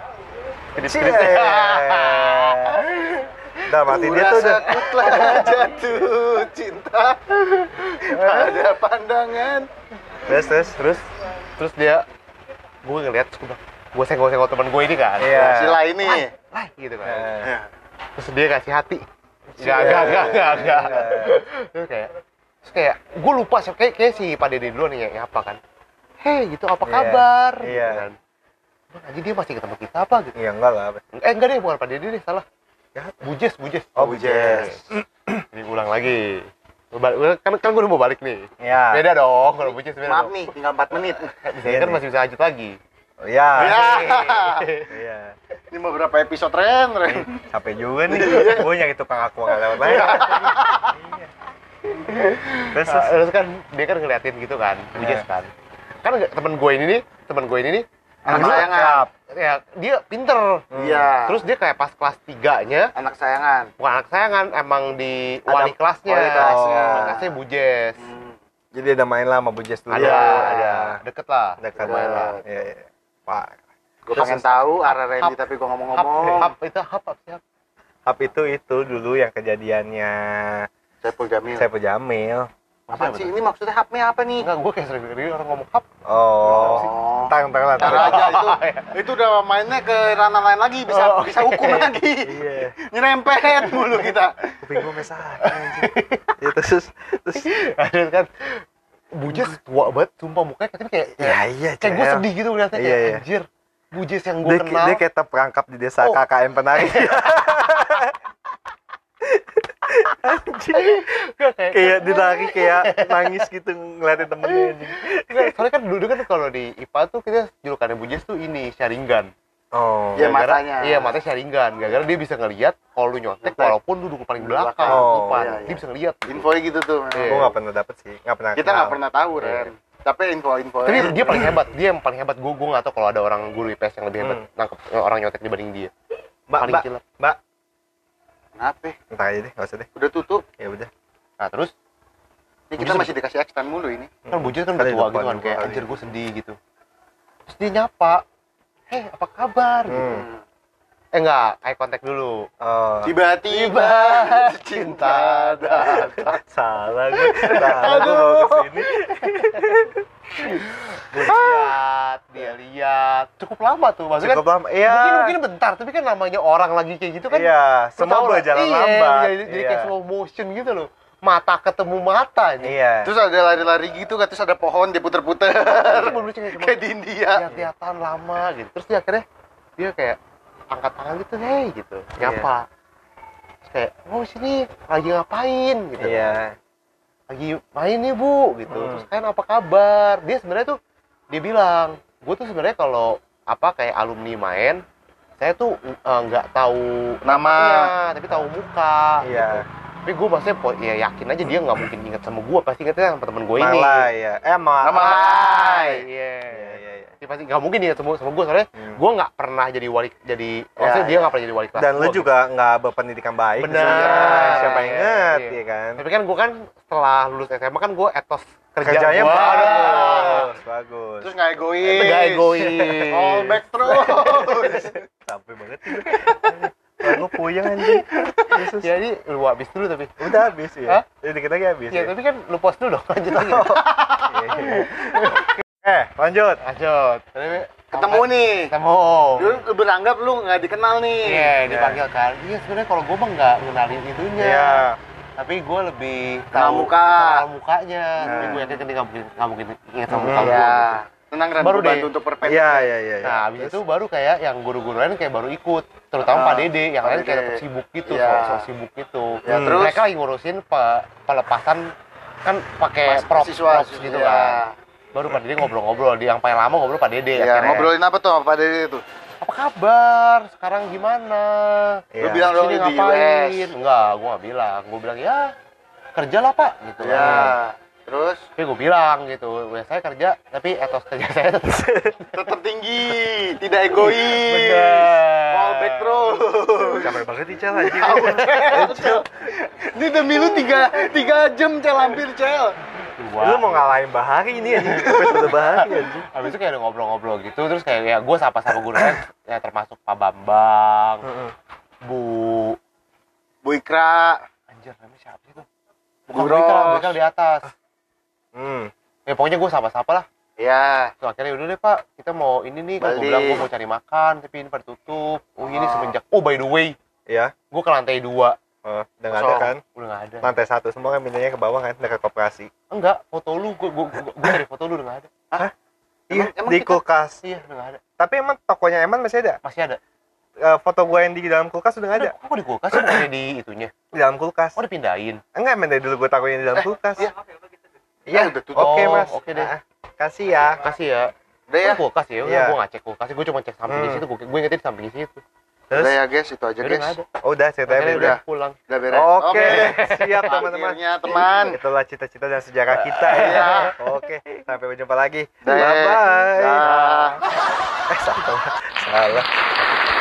kedip Cie. kedip Udah mati dia tuh udah. Ku telah jatuh cinta Eh. pada pandangan. Terus terus terus. terus dia gue ngeliat terus gue bilang gue senggol-senggol temen gue ini kan Iya. Nah, Sila ini. lah gitu kan Eh, terus dia kasih hati Iya. gak gak gak gak gak terus kayak terus kayak gue lupa sih kayak, kayak si Pak Dede dulu nih yang apa kan hei gitu apa Iya, kabar gitu iya. kan Bang, anjing dia masih ketemu kita apa gitu Iya enggak lah. eh enggak deh bukan Pak Dede deh salah Bujes Bujes Oh, Bujes. ini ulang lagi Gua balik- gua- kan kan gue udah mau balik nih Iya. beda dong kalau Bujes beda Maaf dong. nih, tinggal 4 menit. Saya kan masih bisa lanjut lagi Iya. Ya. Iya. Ini mau berapa episode Ren? Ren? Capek juga nih. Gue nyari tukang aku nggak lewat lagi. Terus Nah, terus. terus kan dia kan ngeliatin gitu kan Bujes Iya. kan kan nggak- temen gue ini nih temen gue ini nih Anak dulu- sayangan. ya dia pinter Iya. terus dia kayak pas kelas 3 nya anak sayangan. bukan anak sayangan emang di Ada wali kelasnya Oh. wali kelasnya. Hmm. Wali kelasnya bujes Jadi ada main lah sama Bu Jess dulu. ada Iya. ada deket lah Dekat Ada. main lah. Iya. iya. Wah. Gue pengen tahu arah Randy Hap. tapi gue hap, eh, hap ngomong-ngomong. itu hap hap siap Hap itu itu dulu yang kejadiannya Saiful Jamil. saya Jamil. Apa sih ini maksudnya hapnya apa nih? enggak gue kayak sering dengerin orang ngomong hap Iya. Oh. Oh. Tang tang lah. Ntar aja itu itu udah mainnya ke ranah lain lagi bisa Oh, oke. bisa hukum lagi. Iya. Nyerempet mulu kita. kuping gue mesah Ah, anjing. ya, terus terus terus kan bujes tua banget sumpah mukanya tapi kayak ya kayak, iya kayak gue Cel. sedih gitu ngeliatnya Iya, kayak iya. anjir bujes yang gue dia, kenal dia kayak terperangkap di desa Oh. KKM penari anjing Enggak, kayak, kayak dilari kayak nangis gitu ngeliatin temennya anjing Enggak, soalnya kan dulu kan kalau di IPA tuh kita julukannya bujes tuh ini sharingan oh Iya, Gara-gara- matanya. Iya, matanya sharingan. Gara-gara dia bisa ngelihat kalau lu nyontek Nyontek. walaupun lu duduk paling belakang, Oh, depan. iya, iya. Dia bisa ngelihat. Infonya gitu tuh. Iya. gue nggak pernah dapet sih nggak pernah Kita nggak pernah tahu Ren. Tapi info-info. Tapi Iya. dia paling hebat. Dia yang paling hebat. Gue gue nggak tahu kalau ada orang guru IPS yang lebih hebat Hmm. nangkep orang nyontek dibanding dia. mbak paling mbak gila. mbak Kenapa? entah aja deh nggak usah deh ya, Udah tutup. ya udah Nah terus Ini kita Bisa- masih dikasih extend mulu ini. Hmm. kan Bujes kan udah Kali tua depan gitu kan juga kayak kali. anjir gue sedih gitu. Terus dia nyapa. Hei apa kabar? Gitu. Hmm. Eh enggak, eye contact dulu. oh Tiba-tiba cinta datang. salah gue salah gue mau kesini Gue lihat, dia lihat. Cukup lama tuh maksudnya. cukup kan, lama iya Mungkin mungkin bentar, tapi kan namanya orang lagi kayak gitu kan iya Lu semua tau lah, berjalan iya, lambat Jadi, jadi kayak slow motion gitu loh. Mata ketemu mata ini. iya Terus ada lari-lari gitu, kan, terus ada pohon dia puter-puter iya. Terus gue bilang cuma kayak di Iya. India. lihat-lihatan lama gitu. Terus dia akhirnya dia kayak angkat tangan gitu, hey gitu. Iya. Nyapa. Terus kayak, oh sini lagi ngapain gitu. iya Lagi main nih bu gitu. Hmm. Terus kalian apa kabar? Dia sebenarnya tuh dia bilang, gue tuh sebenarnya kalau apa kayak alumni main, saya tuh eh, nggak tahu Nama. namanya, tapi tahu muka. iya gitu. tapi gue maksudnya po- ya yakin aja dia nggak mungkin inget sama gue pasti ingetnya sama temen gue Oh, ini Malai ya. Eh ma- Sama Malai Malai. iya Iya iya iya. Dia pasti nggak mungkin inget sama sama gue soalnya Hmm. gue nggak pernah jadi wali jadi Ya, maksudnya dia iya. nggak pernah jadi wali kelas Dan lu gua gitu. juga nggak berpendidikan baik. Benar. sebenarnya. Siapa yang Iya, inget iya. ya kan? tapi kan gue kan setelah lulus SMA kan gue etos kerja Kerjanya gua. bagus, bagus. Terus nggak egois. Nggak egois. Iya, All back terus. Sampai banget. Gue puyeng anjing. Yesus. jadi lu habis dulu tapi Iya, Udah habis ya. Iya. Hah? Iya. Jadi kita lagi habis. ya tapi kan lu post dulu dong lanjut lagi Iya, eh lanjut lanjut Tapi Ketemu apa- nih. ketemu Dulu lu beranggap lu nggak dikenal nih. iya dipanggil kan iya sebenarnya kalau gue mah nggak ngenalin itunya iya tapi gue lebih Kenal tahu muka. kenal mukanya tapi Nah. gue yakin dia nggak mungkin nggak mungkin ingat sama Hmm, muka gue Iya. Tenang Ren, Baru gua bantu deh. untuk perpet. iya iya iya nah abis itu baru kayak yang guru-guru lain kayak baru ikut terutama Ah, Pak Dede yang Pak lain kayak Dede. tetap sibuk gitu Iya. sok sok sibuk gitu Ya, Hmm. terus mereka lagi ngurusin pe- pelepasan kan pakai Mas- prop mahasiswa, props gitu iya. kan baru Pak Dede ngobrol-ngobrol di yang paling lama ngobrol Pak Iya, Dede akhirnya. ngobrolin apa tuh sama Pak Dede itu? apa kabar sekarang gimana Lu bilang lu Sini di ngapain US. enggak gue nggak bilang gue bilang ya kerjalah pak gitu Iya. kan. Terus tapi gue bilang gitu ya saya kerja tapi etos kerja saya tetap tetap tinggi, tidak egois. Iya, Fallback terus. capek banget nih cel anjing Ini demi lu tiga, tiga jam cel hampir cel. lu mau ngalahin bahari ini anjing gue sudah bahari anjing habis itu kayak ada ngobrol-ngobrol gitu terus kayak ya gue sapa sama guru lain ya termasuk Pak Bambang Bu Bu Ikra, anjir namanya siapa sih tuh bukan Bu Bu Ika, Bu Ros. Ika di atas hmm ya pokoknya gue sapa-sapa lah Ya, Terus akhirnya udah deh pak, kita mau ini nih, kan Balik. gue bilang gue mau cari makan, tapi ini pada tutup. Oh ini Ah. semenjak, oh by the way, ya gue ke lantai dua, Oh, udah nggak ada Kosong. kan udah nggak ada. lantai satu semua kan pindahnya ke bawah kan dekat koperasi Enggak, foto lu, gue gue gue cari foto lu udah nggak ada. iya Emang- emang di kita- kulkas Iya udah nggak ada, tapi emang tokonya Eman masih ada masih ada. Eh, foto gue yang di dalam kulkas udah nggak ada Ada. Kok di kulkas Kok ada di itunya? di dalam kulkas Kok dipindahin? enggak Eman dari dulu gue takutin di dalam kulkas iya. Eh, iya Eh, udah tutup. oke Oh, mas oke deh. Ah, kasih ya Kasih ya. Udah ya, Kok di kulkas ya, Iya. gue nggak cek kulkas, gue cuma cek samping di Hmm. situ. Gue gue ingetin samping di situ. udah terus ya guys, itu aja Ya Udah guys. nggak ada. udah ceritanya Akhirnya beda udah pulang. Udah beres. Oke, siap teman-teman. Akhirnya teman. Itulah cita-cita dan sejarah kita ya. Iya. Oke, sampai berjumpa lagi. Dah. Bye bye. Dah. Eh, salah. Salah.